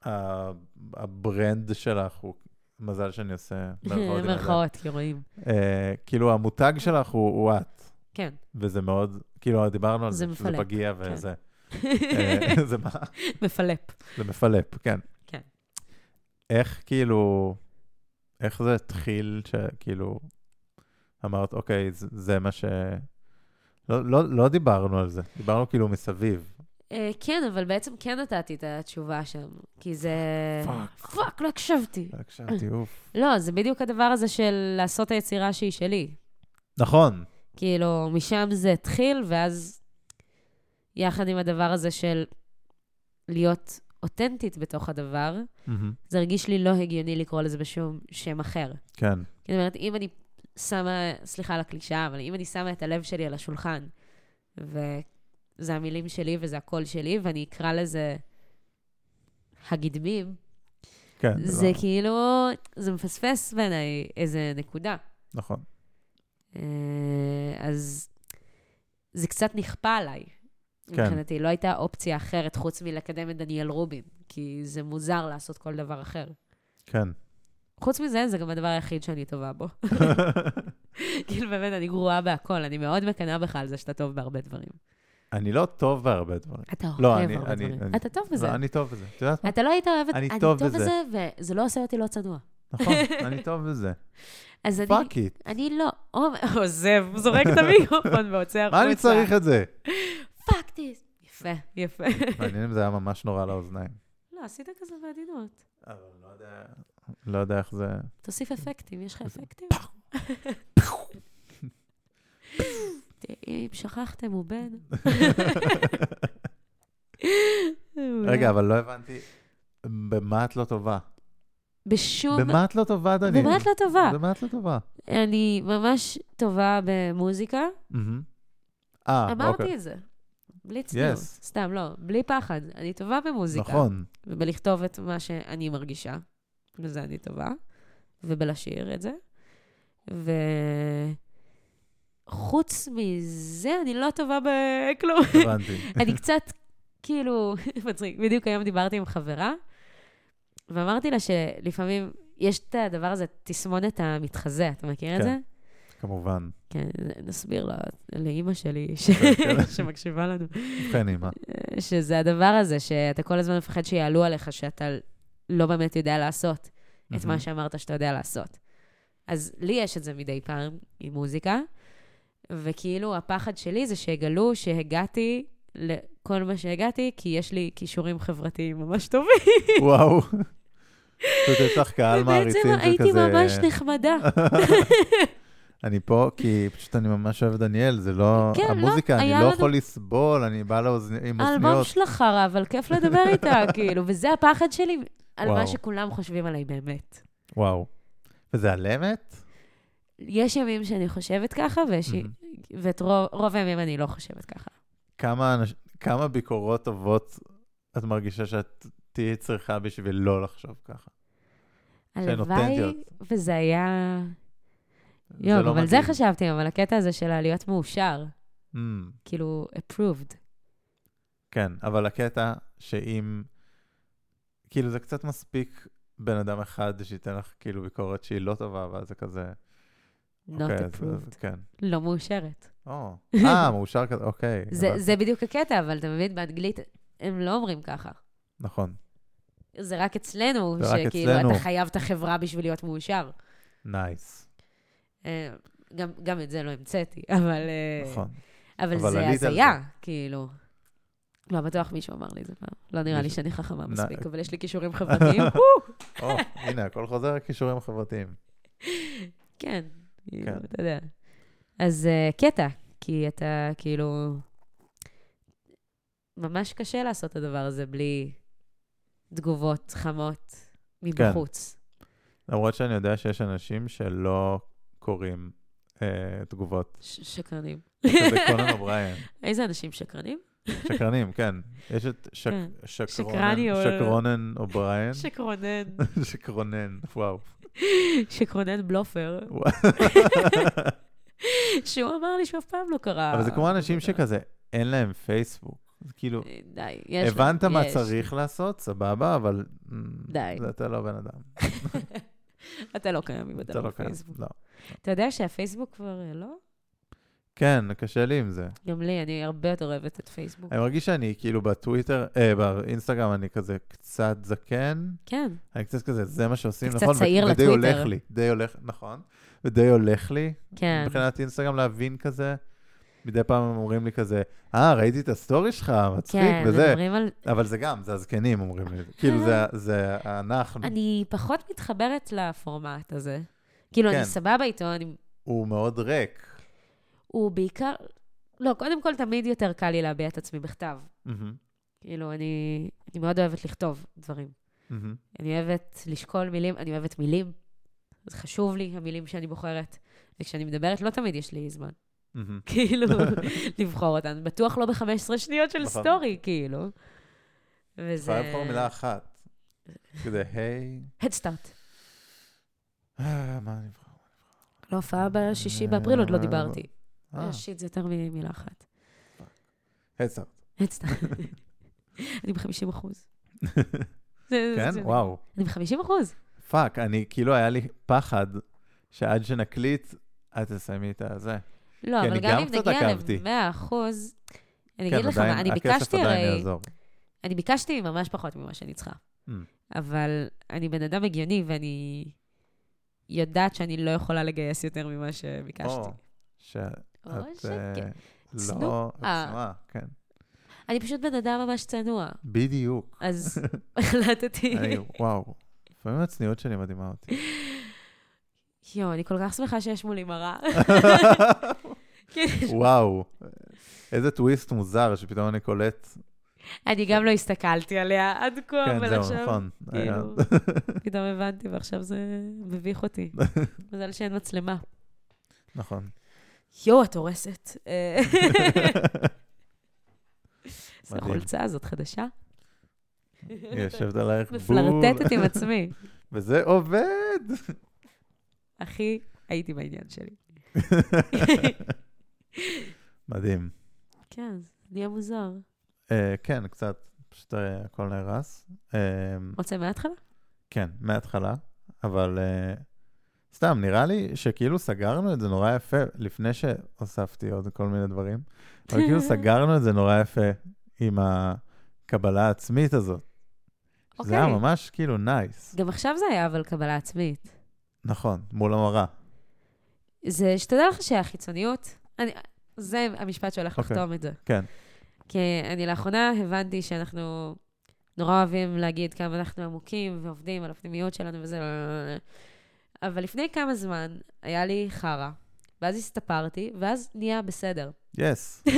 A: ה- הברנד שלך הוא, מזל שאני עושה מירכאות עם הידיים.
B: מרכאות, כי רואים.
A: אה, כאילו, המותג שלך הוא הוא את,
B: כן.
A: וזה מאוד, כאילו, דיברנו על
B: זה
A: זה, שזה
B: מפלפ,
A: פגיע
B: כן.
A: וזה. אה, זה מה?
B: מפלפ.
A: זה מפלפ, כן.
B: כן.
A: איך כאילו, איך זה התחיל שכאילו אמרת, אוקיי, זה, זה מה ש... לא, לא, לא דיברנו על זה, דיברנו כאילו מסביב.
B: אה, כן, אבל בעצם כן נתתי את התשובה שם, כי זה...
A: פאק.
B: פאק, לא הקשבתי.
A: הקשבתי, אוף.
B: לא, זה בדיוק הדבר הזה של לעשות היצירה שהיא שלי.
A: נכון,
B: כאילו, משם זה התחיל, ואז יחד עם הדבר הזה של להיות אותנטית בתוך הדבר,
A: מהמם,
B: זה הרגיש לי לא הגיוני לקרוא לזה בשום שם אחר.
A: כן,
B: זאת אומרת, אם אני שמה, סליחה על הקלישאה, אבל אם אני שמה את הלב שלי על השולחן, וזה המילים שלי וזה הקול שלי, ואני אקרא לזה הגדמים,
A: כן,
B: זה
A: לא,
B: כאילו, זה מפספס בעיניי איזה נקודה.
A: נכון.
B: אה, אז זה קצת נכפה עליי.
A: כן.
B: כן. מבחינתי, לא הייתה אופציה אחרת חוץ מלקדם את דניאל רובין, כי זה מוזר לעשות כל דבר אחר.
A: כן.
B: חוץ מזה, זה גם הדבר היחיד שאני טובה בו. כאילו, באמת, אני גרועה בהכל, אני מאוד מקנאה בך על זה שאתה טוב בהרבה דברים.
A: אני לא טוב בהרבה דברים.
B: אתה
A: לא,
B: אוהב
A: אני-
B: הרבה
A: אני-
B: דברים.
A: אני-
B: אתה טוב בזה.
A: לא, אני טוב בזה. את יודעת מה?
B: אתה לא היית אוהב את...
A: אני
B: אני
A: טוב
B: טוב
A: בזה.
B: בזה, וזה לא עושה אותי לא צנוע.
A: נכון, אני טוב בזה.
B: אז אני...
A: פאק איט,
B: אני לא... או- עוזב, זורק את המיקרופון ויוצא החוצה.
A: מה אני צריך את זה?
B: פאק דיס. יפה, יפה.
A: מעניין אם זה היה ממש נורא לאוזניים.
B: לא, עשית כזה בעדינות.
A: אבל לא יודע... לא יודע איך זה...
B: תוסיף אפקטים, יש לך אפקטים? אם שכחתם, הוא בן.
A: רגע, אבל לא הבנתי, במה את לא טובה?
B: בשום...
A: במה את לא טובה, דניאל?
B: במה את לא טובה?
A: במה את לא טובה?
B: אני ממש טובה במוזיקה.
A: מהמם. אה,
B: אמרתי
A: אוקיי.
B: את זה. בלי צניעות.
A: Yes.
B: סתם, לא, בלי פחד. אני טובה במוזיקה.
A: נכון,
B: ובלכתוב את מה שאני מרגישה. בזה אני טובה. ובלשיר את זה. וחוץ מזה, אני לא טובה בכלום.
A: הבנתי.
B: אני קצת, כאילו, מצחיק, בדיוק היום דיברתי עם חברה, ואמרתי לה שלפעמים יש את הדבר הזה, תסמונת המתחזה, אתה מכיר
A: כן.
B: את זה?
A: כמובן.
B: כן, נסביר לה, לאימא שלי, ש...
A: כן.
B: שמקשיבה לנו,
A: ובכן, אימא.
B: שזה הדבר הזה שאתה כל הזמן מפחד שיעלו עליך, שאתה לא באמת יודע לעשות את
A: מהמם.
B: מה שאמרת שאתה יודע לעשות. אז לי יש את זה מדי פעם עם מוזיקה, וכאילו הפחד שלי זה שיגלו שהגעתי לכל מה שהגעתי, כי יש לי כישורים חברתיים ממש טובים.
A: וואו. פשוט יש לך קהל מעריצים
B: ובעצם
A: של כזה...
B: הייתי ממש נחמדה.
A: אני פה כי פשוט אני ממש אוהב דניאל, זה לא...
B: כן, לא,
A: המוזיקה, אני
B: היה
A: לא
B: לנו-
A: יכול לסבול, אני בא לאוזני- עם
B: האלבום
A: אוזניות.
B: שלך חרא, אבל כיף לדבר איתה, כאילו, וזה הפחד שלי על
A: וואו.
B: מה שכולם חושבים עליי באמת.
A: וואו. וזה על אמת?
B: יש ימים שאני חושבת ככה, ויש...
A: מהמם.
B: ואת רוב, רוב הימים אני לא חושבת ככה.
A: כמה, אנש... כמה ביקורות טובות את מרגישה שאת תהיי צריכה בשביל לא לחשוב ככה? שהן
B: הלוואי,
A: אותנטיות.
B: וזה היה... יום,
A: לא
B: אבל זה
A: מתאים.
B: חשבתי, אבל הקטע הזה של להיות מאושר,
A: Mm,
B: כאילו, approved.
A: כן, אבל הקטע שאם... כאילו, זה קצת מספיק בן אדם אחד שייתן לך כאילו ביקורת שהיא לא טובה, ואז זה כזה...
B: Not
A: אוקיי, אז- אז
B: approved.
A: כן.
B: לא מאושרת.
A: או, אה, מאושר כזה, אוקיי.
B: זה,
A: הבנתי.
B: זה בדיוק הקטע, אבל אתה מבין, באנגלית הם לא אומרים ככה.
A: נכון.
B: זה רק אצלנו,
A: זה רק
B: שכאילו,
A: אצלנו.
B: אתה חייב את החברה בשביל להיות מאושר.
A: נייס.
B: אה, גם, גם את זה לא המצאתי, אבל... אה,
A: נכון.
B: אבל
A: אבל
B: זה
A: עלית על
B: הזיה, כאילו. לא בטוח מישהו אמר לי את זה פעם. לא נראה לי
A: מישהו- אה, כן.
B: שאני חכמה
A: נא-
B: מספיק, אבל יש לי כישורים חברתיים.
A: או, הנה, הכל חוזר לכישורים החברתיים.
B: כן, כאילו,
A: כן.
B: אתה יודע. אז אה, קטע, כי אתה כאילו... ממש קשה לעשות את הדבר הזה בלי תגובות חמות מבחוץ.
A: כן. למרות שאני יודע שיש אנשים שלא קוראים אה, תגובות.
B: ש- שקרנים.
A: כזה קונן אובריין.
B: איזה אנשים שקרנים?
A: שקרנים, כן. יש את שק-
B: כן.
A: שקרונן,
B: שקרני או-
A: שקרונן אובריין.
B: כן. שקרונן.
A: שקרונן, וואו.
B: שקרונן בלופר.
A: וואו.
B: שהוא אמר לי שהוא אף פעם לא קרא. אה, לא
A: אבל זה כמו אנשים שכזה, אין להם פייסבוק. זה כאילו,
B: די, יש להם,
A: הבנת מה
B: יש.
A: צריך לעשות, סבבה, אבל... mm,
B: די.
A: זה אתה לא בן אדם.
B: אתה לא קיים אם אתה
A: אתה
B: לא
A: לא קיים.
B: בפייסבוק.
A: לא.
B: אתה יודע שהפייסבוק כבר אה, לא?
A: כן, קשה לי עם זה.
B: גם לי, אני הרבה יותר אוהבת את פייסבוק.
A: אני מרגיש שאני כאילו בטוויטר, אה, באינסטגרם אני כזה קצת זקן,
B: כן,
A: אני קצת כזה, זה מה שעושים,
B: אתה קצת
A: נכון? ו-
B: צעיר
A: ודי
B: לטוויטר.
A: הולך לי, די הולך, נכון. ודי הולך לי,
B: כן.
A: מבחינת אינסטגרם להבין כזה. מדי פעם הם אומרים לי כזה, אה, ראיתי את הסטורי שלך, מצחיק
B: כן,
A: וזה.
B: מדברים על...
A: אבל זה גם, זה הזקנים אומרים לי, כאילו זה, זה אנחנו,
B: אני פחות מתחברת לפורמט הזה. כאילו,
A: כן.
B: אני סבבה איתו, אני...
A: הוא מאוד ריק.
B: הוא בעיקר... לא, קודם כל, תמיד יותר קל לי להביע את עצמי בכתב.
A: מהמם,
B: כאילו, אני, אני מאוד אוהבת לכתוב דברים.
A: מהמם,
B: אני אוהבת לשקול מילים, אני אוהבת מילים. זה חשוב לי, המילים שאני בוחרת. וכשאני מדברת, לא תמיד יש לי זמן.
A: מהמם.
B: כאילו, לבחור אותן. בטוח לא ב-15 שניות של
A: נכון.
B: סטורי, כאילו.
A: את
B: וזה...
A: יכולה לבחור מילה אחת. כזה, היי,
B: Head start.
A: אה, מה אני אבחר?
B: לא, הופעה בשישי באפריל עוד לא דיברתי.
A: אה,
B: אה, שיט, זה יותר ממילה אחת.
A: היי-סארט.
B: Head start. אני ב-50 אחוז. זה-
A: כן?
B: זה-
A: וואו.
B: אני ב-50 אחוז.
A: פאק, אני, כאילו היה לי פחד שעד שנקליט, את תסיימי את הזה.
B: לא,
A: כי
B: אבל
A: אני
B: גם
A: גם
B: אם
A: קצת
B: נגיע
A: עקבתי.
B: ל-100 אחוז, אני
A: כן,
B: אגיד לך
A: עדיין-
B: מה, אני
A: הכסף
B: ביקשתי
A: עדיין
B: הרי...
A: יעזור.
B: אני ביקשתי ממש פחות ממה שאני צריכה.
A: Mm.
B: אבל אני בן אדם הגיוני, ואני יודעת שאני לא יכולה לגייס יותר ממה שביקשתי.
A: או, שאת
B: או
A: אה,
B: שכן. צנועה.
A: לא עצמה, כן.
B: אני פשוט בן אדם ממש צנוע,
A: בדיוק.
B: אז החלטתי...
A: אני, וואו. לפעמים הצניעות שלי מדהימה אותי.
B: יואו, אני כל כך שמחה שיש מולי מראה. כן.
A: וואו. איזה טוויסט מוזר שפתאום אני קולט.
B: אני גם לא הסתכלתי עליה עד כה,
A: כן,
B: לא, אבל
A: זהו,
B: עכשיו...
A: נכון. אה. היה-
B: כאילו, פתאום הבנתי, ועכשיו זה מביך אותי. מזל שאין מצלמה.
A: נכון.
B: יואו, את הורסת. אה, איזה
A: מדהים.
B: חולצה הזאת חדשה.
A: היא יושבת עלייך בול.
B: מפלרטטת עם עצמי.
A: וזה עובד.
B: הכי הייתי בעניין שלי.
A: מדהים.
B: כן, זה נהיה מוזר.
A: אה, כן, קצת. פשוט אה, הכל נהרס. אה,
B: רוצה מההתחלה?
A: כן, מההתחלה, אבל uh, סתם, נראה לי שכאילו סגרנו את זה נורא יפה, לפני שהוספתי עוד כל מיני דברים, אבל כאילו סגרנו את זה נורא יפה עם הקבלה העצמית הזאת. Okay. זה היה
B: אוקיי.
A: ממש כאילו נייס.
B: גם עכשיו זה היה אבל קבלה עצמית.
A: נכון, מול המראה.
B: זה, שתדע לך שהחיצוניות, אני, זה המשפט שהולך
A: אוקיי.
B: לחתום את זה.
A: כן.
B: כי אני לאחרונה הבנתי שאנחנו נורא אוהבים להגיד כמה אנחנו עמוקים ועובדים על הפנימיות שלנו וזה, לא, לא, לא, לא. אבל לפני כמה זמן היה לי חרא, ואז הסתפרתי, ואז נהיה בסדר.
A: יס, yes,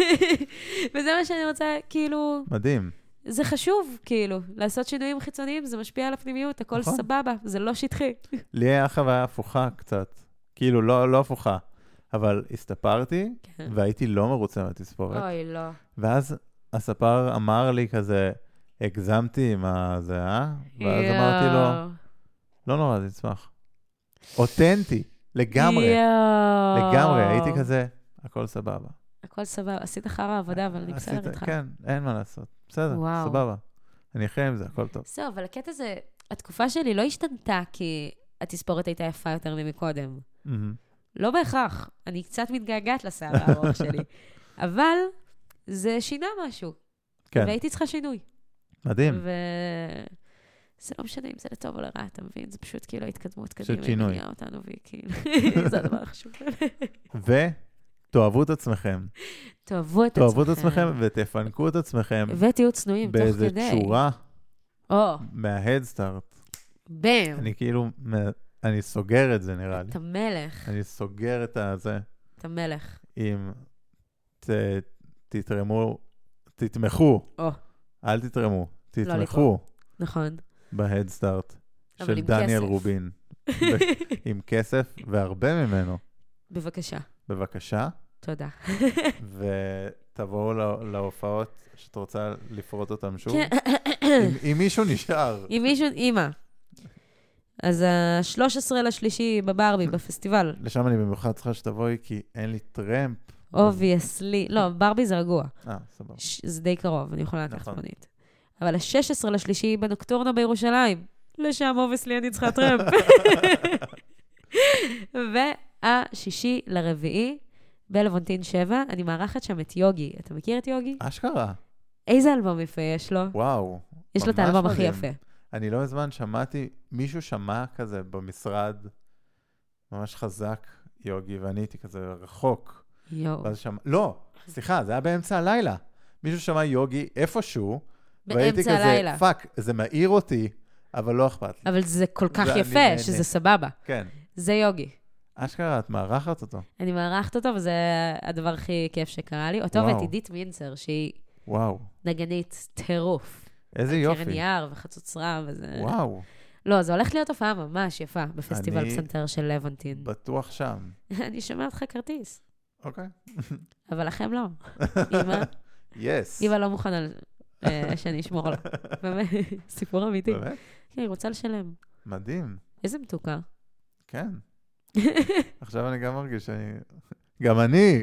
B: וזה מה שאני רוצה, כאילו,
A: מדהים.
B: זה חשוב, כאילו, לעשות שינויים חיצוניים, זה משפיע על הפנימיות, הכל
A: נכון.
B: סבבה, זה לא שטחי.
A: לי היה חוויה הפוכה קצת. כאילו, לא, לא הפוכה, אבל הסתפרתי,
B: כן.
A: והייתי לא מרוצה מהתספורת.
B: אוי, לא.
A: ואז הספר אמר לי כזה, הגזמתי עם הזה, אה? ואז אמרתי לו,
B: יואו.
A: לא נורא, זה יצמח. אותנטי, לגמרי,
B: יואו.
A: לגמרי, הייתי כזה, הכל סבבה.
B: הכל סבבה, עשית חרא עבודה, אבל אני
A: עשית-
B: בסדר איתך.
A: כן, אין מה לעשות, בסדר,
B: וואו.
A: סבבה. אני אחיה עם זה, הכל טוב.
B: זהו, אבל הקטע זה, התקופה שלי לא השתנתה כי התספורת הייתה יפה יותר ממקודם.
A: מהמם.
B: לא בהכרח, אני קצת מתגעגעת לשיער הארוך שלי. אבל זה שינה משהו,
A: כן,
B: והייתי צריכה שינוי.
A: מדהים.
B: ו... זה לא משנה אם זה לטוב או לרע, אתה מבין? זה פשוט כאילו התקדמות קדימה, היא
A: שינוי.
B: מניעה אותנו, והיא כאילו, זה הדבר החשוב.
A: ותאהבו את עצמכם,
B: תאהבו את עצמכם.
A: תאהבו את עצמכם ותפנקו את עצמכם
B: ותהיו צנועים תוך כדי.
A: באיזה תשורה
B: או, כן.
A: מההדסטארט.
B: בם.
A: אני כאילו, מ- אני סוגר את זה נראה לי.
B: אתה מלך,
A: אני סוגר את הזה
B: אתה מלך.
A: עם ת, תתרמו, תתמכו,
B: או, לא
A: אל תתרמו, תתמכו
B: לתרום. נכון.
A: בהדסטארט
B: אבל
A: של
B: עם
A: דניאל
B: כסף.
A: רובין. ב- עם כסף והרבה ממנו,
B: בבקשה.
A: בבקשה,
B: תודה.
A: ותבואו לה- להופעות שאת רוצה לפרוט אותן שוב.
B: כן,
A: אם- אם מישהו נשאר,
B: אם מישהו, אימא. אז ה-13 לשלישי בברבי, בפסטיבל.
A: לשם אני במיוחד צריכה שתבואי, כי אין לי טרמפ,
B: אובייסלי, לא, ברבי זה רגוע.
A: אה, סבבה.
B: ש- זה די קרוב, אני יכולה לקחת
A: נכון.
B: מונית. אבל ה-16 לשלישי בנוקטורנה בירושלים. לשם אובייסלי אני צריכה טרמפ. והשישי לרביעי, בלוונטין 7, אני מארחת שם את יוגי. אתה מכיר את יוגי?
A: אשכרה,
B: איזה אלבום יפה יש לו?
A: וואו.
B: יש לו את
A: ממש
B: האלבום הכי
A: מדהים.
B: יפה.
A: אני לא מזמן שמעתי, מישהו שמע כזה במשרד, ממש חזק, יוגי, ואני הייתי כזה רחוק.
B: יואו.
A: ואז שמע... לא, סליחה, זה היה באמצע הלילה. מישהו שמע יוגי איפשהו, והייתי
B: באמצע
A: כזה,
B: הלילה.
A: פאק, זה מעיר אותי, אבל לא אכפת לי.
B: אבל זה כל כך
A: זה אני
B: יפה,
A: נהנה.
B: שזה סבבה.
A: כן,
B: זה יוגי.
A: אשכרה, את מארחת אותו.
B: אני מארחת אותו, וזה הדבר הכי כיף שקרה לי. אותו
A: וואו.
B: ואת עידית מינצר, שהיא
A: וואו,
B: נגנית טירוף.
A: איזה
B: קרן
A: יופי.
B: יער וחצוצרה וזה...
A: וואו,
B: לא, זו הולכת להיות הופעה ממש יפה בפסטיבל
A: אני-
B: פסנתר של לבנטין.
A: בטוח שם.
B: אני שומעת לך כרטיס,
A: אוקיי.
B: אבל לכם לא. אמא,
A: יס.
B: אמא לא מוכנה אה, שאני אשמור לה. באמת, סיפור אמיתי.
A: באמת?
B: כן, היא רוצה לשלם.
A: מדהים,
B: איזה מתוקה.
A: כן. עכשיו אני גם מרגיש שאני... גם אני!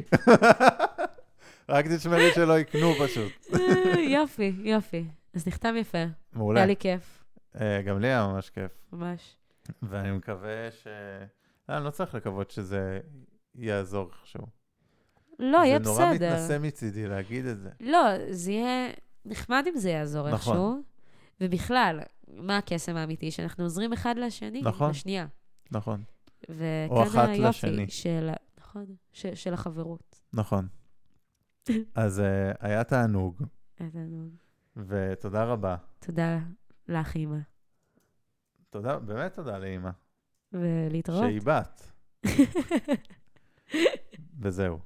A: רק תשמרי שלא יקנו פשוט.
B: אה, יופי, יופי. אז נכתב יפה.
A: מעולה.
B: היה לי כיף,
A: אה, גם לי היה ממש כיף.
B: ממש.
A: ואני מקווה ש... לא, אני לא צריך לקוות שזה יעזור איכשהו.
B: לא, יהיה
A: זה נורא
B: בסדר.
A: מתנשא מצידי להגיד את זה.
B: לא, זה יהיה נחמד אם זה יעזור
A: נכון.
B: איכשהו. ובכלל, מה הקסם האמיתי? שאנחנו עוזרים אחד לשני,
A: נכון.
B: לשנייה.
A: נכון, או
B: וכאן
A: אחת
B: היופי
A: לשני.
B: של, ה- נכון, ש, של החברות.
A: נכון. אז אה, היה תענוג,
B: אז אני-
A: ותודה רבה.
B: תודה לך, אימא.
A: תודה, באמת תודה לאימא.
B: ולהתראות.
A: שהיא בת, וזהו.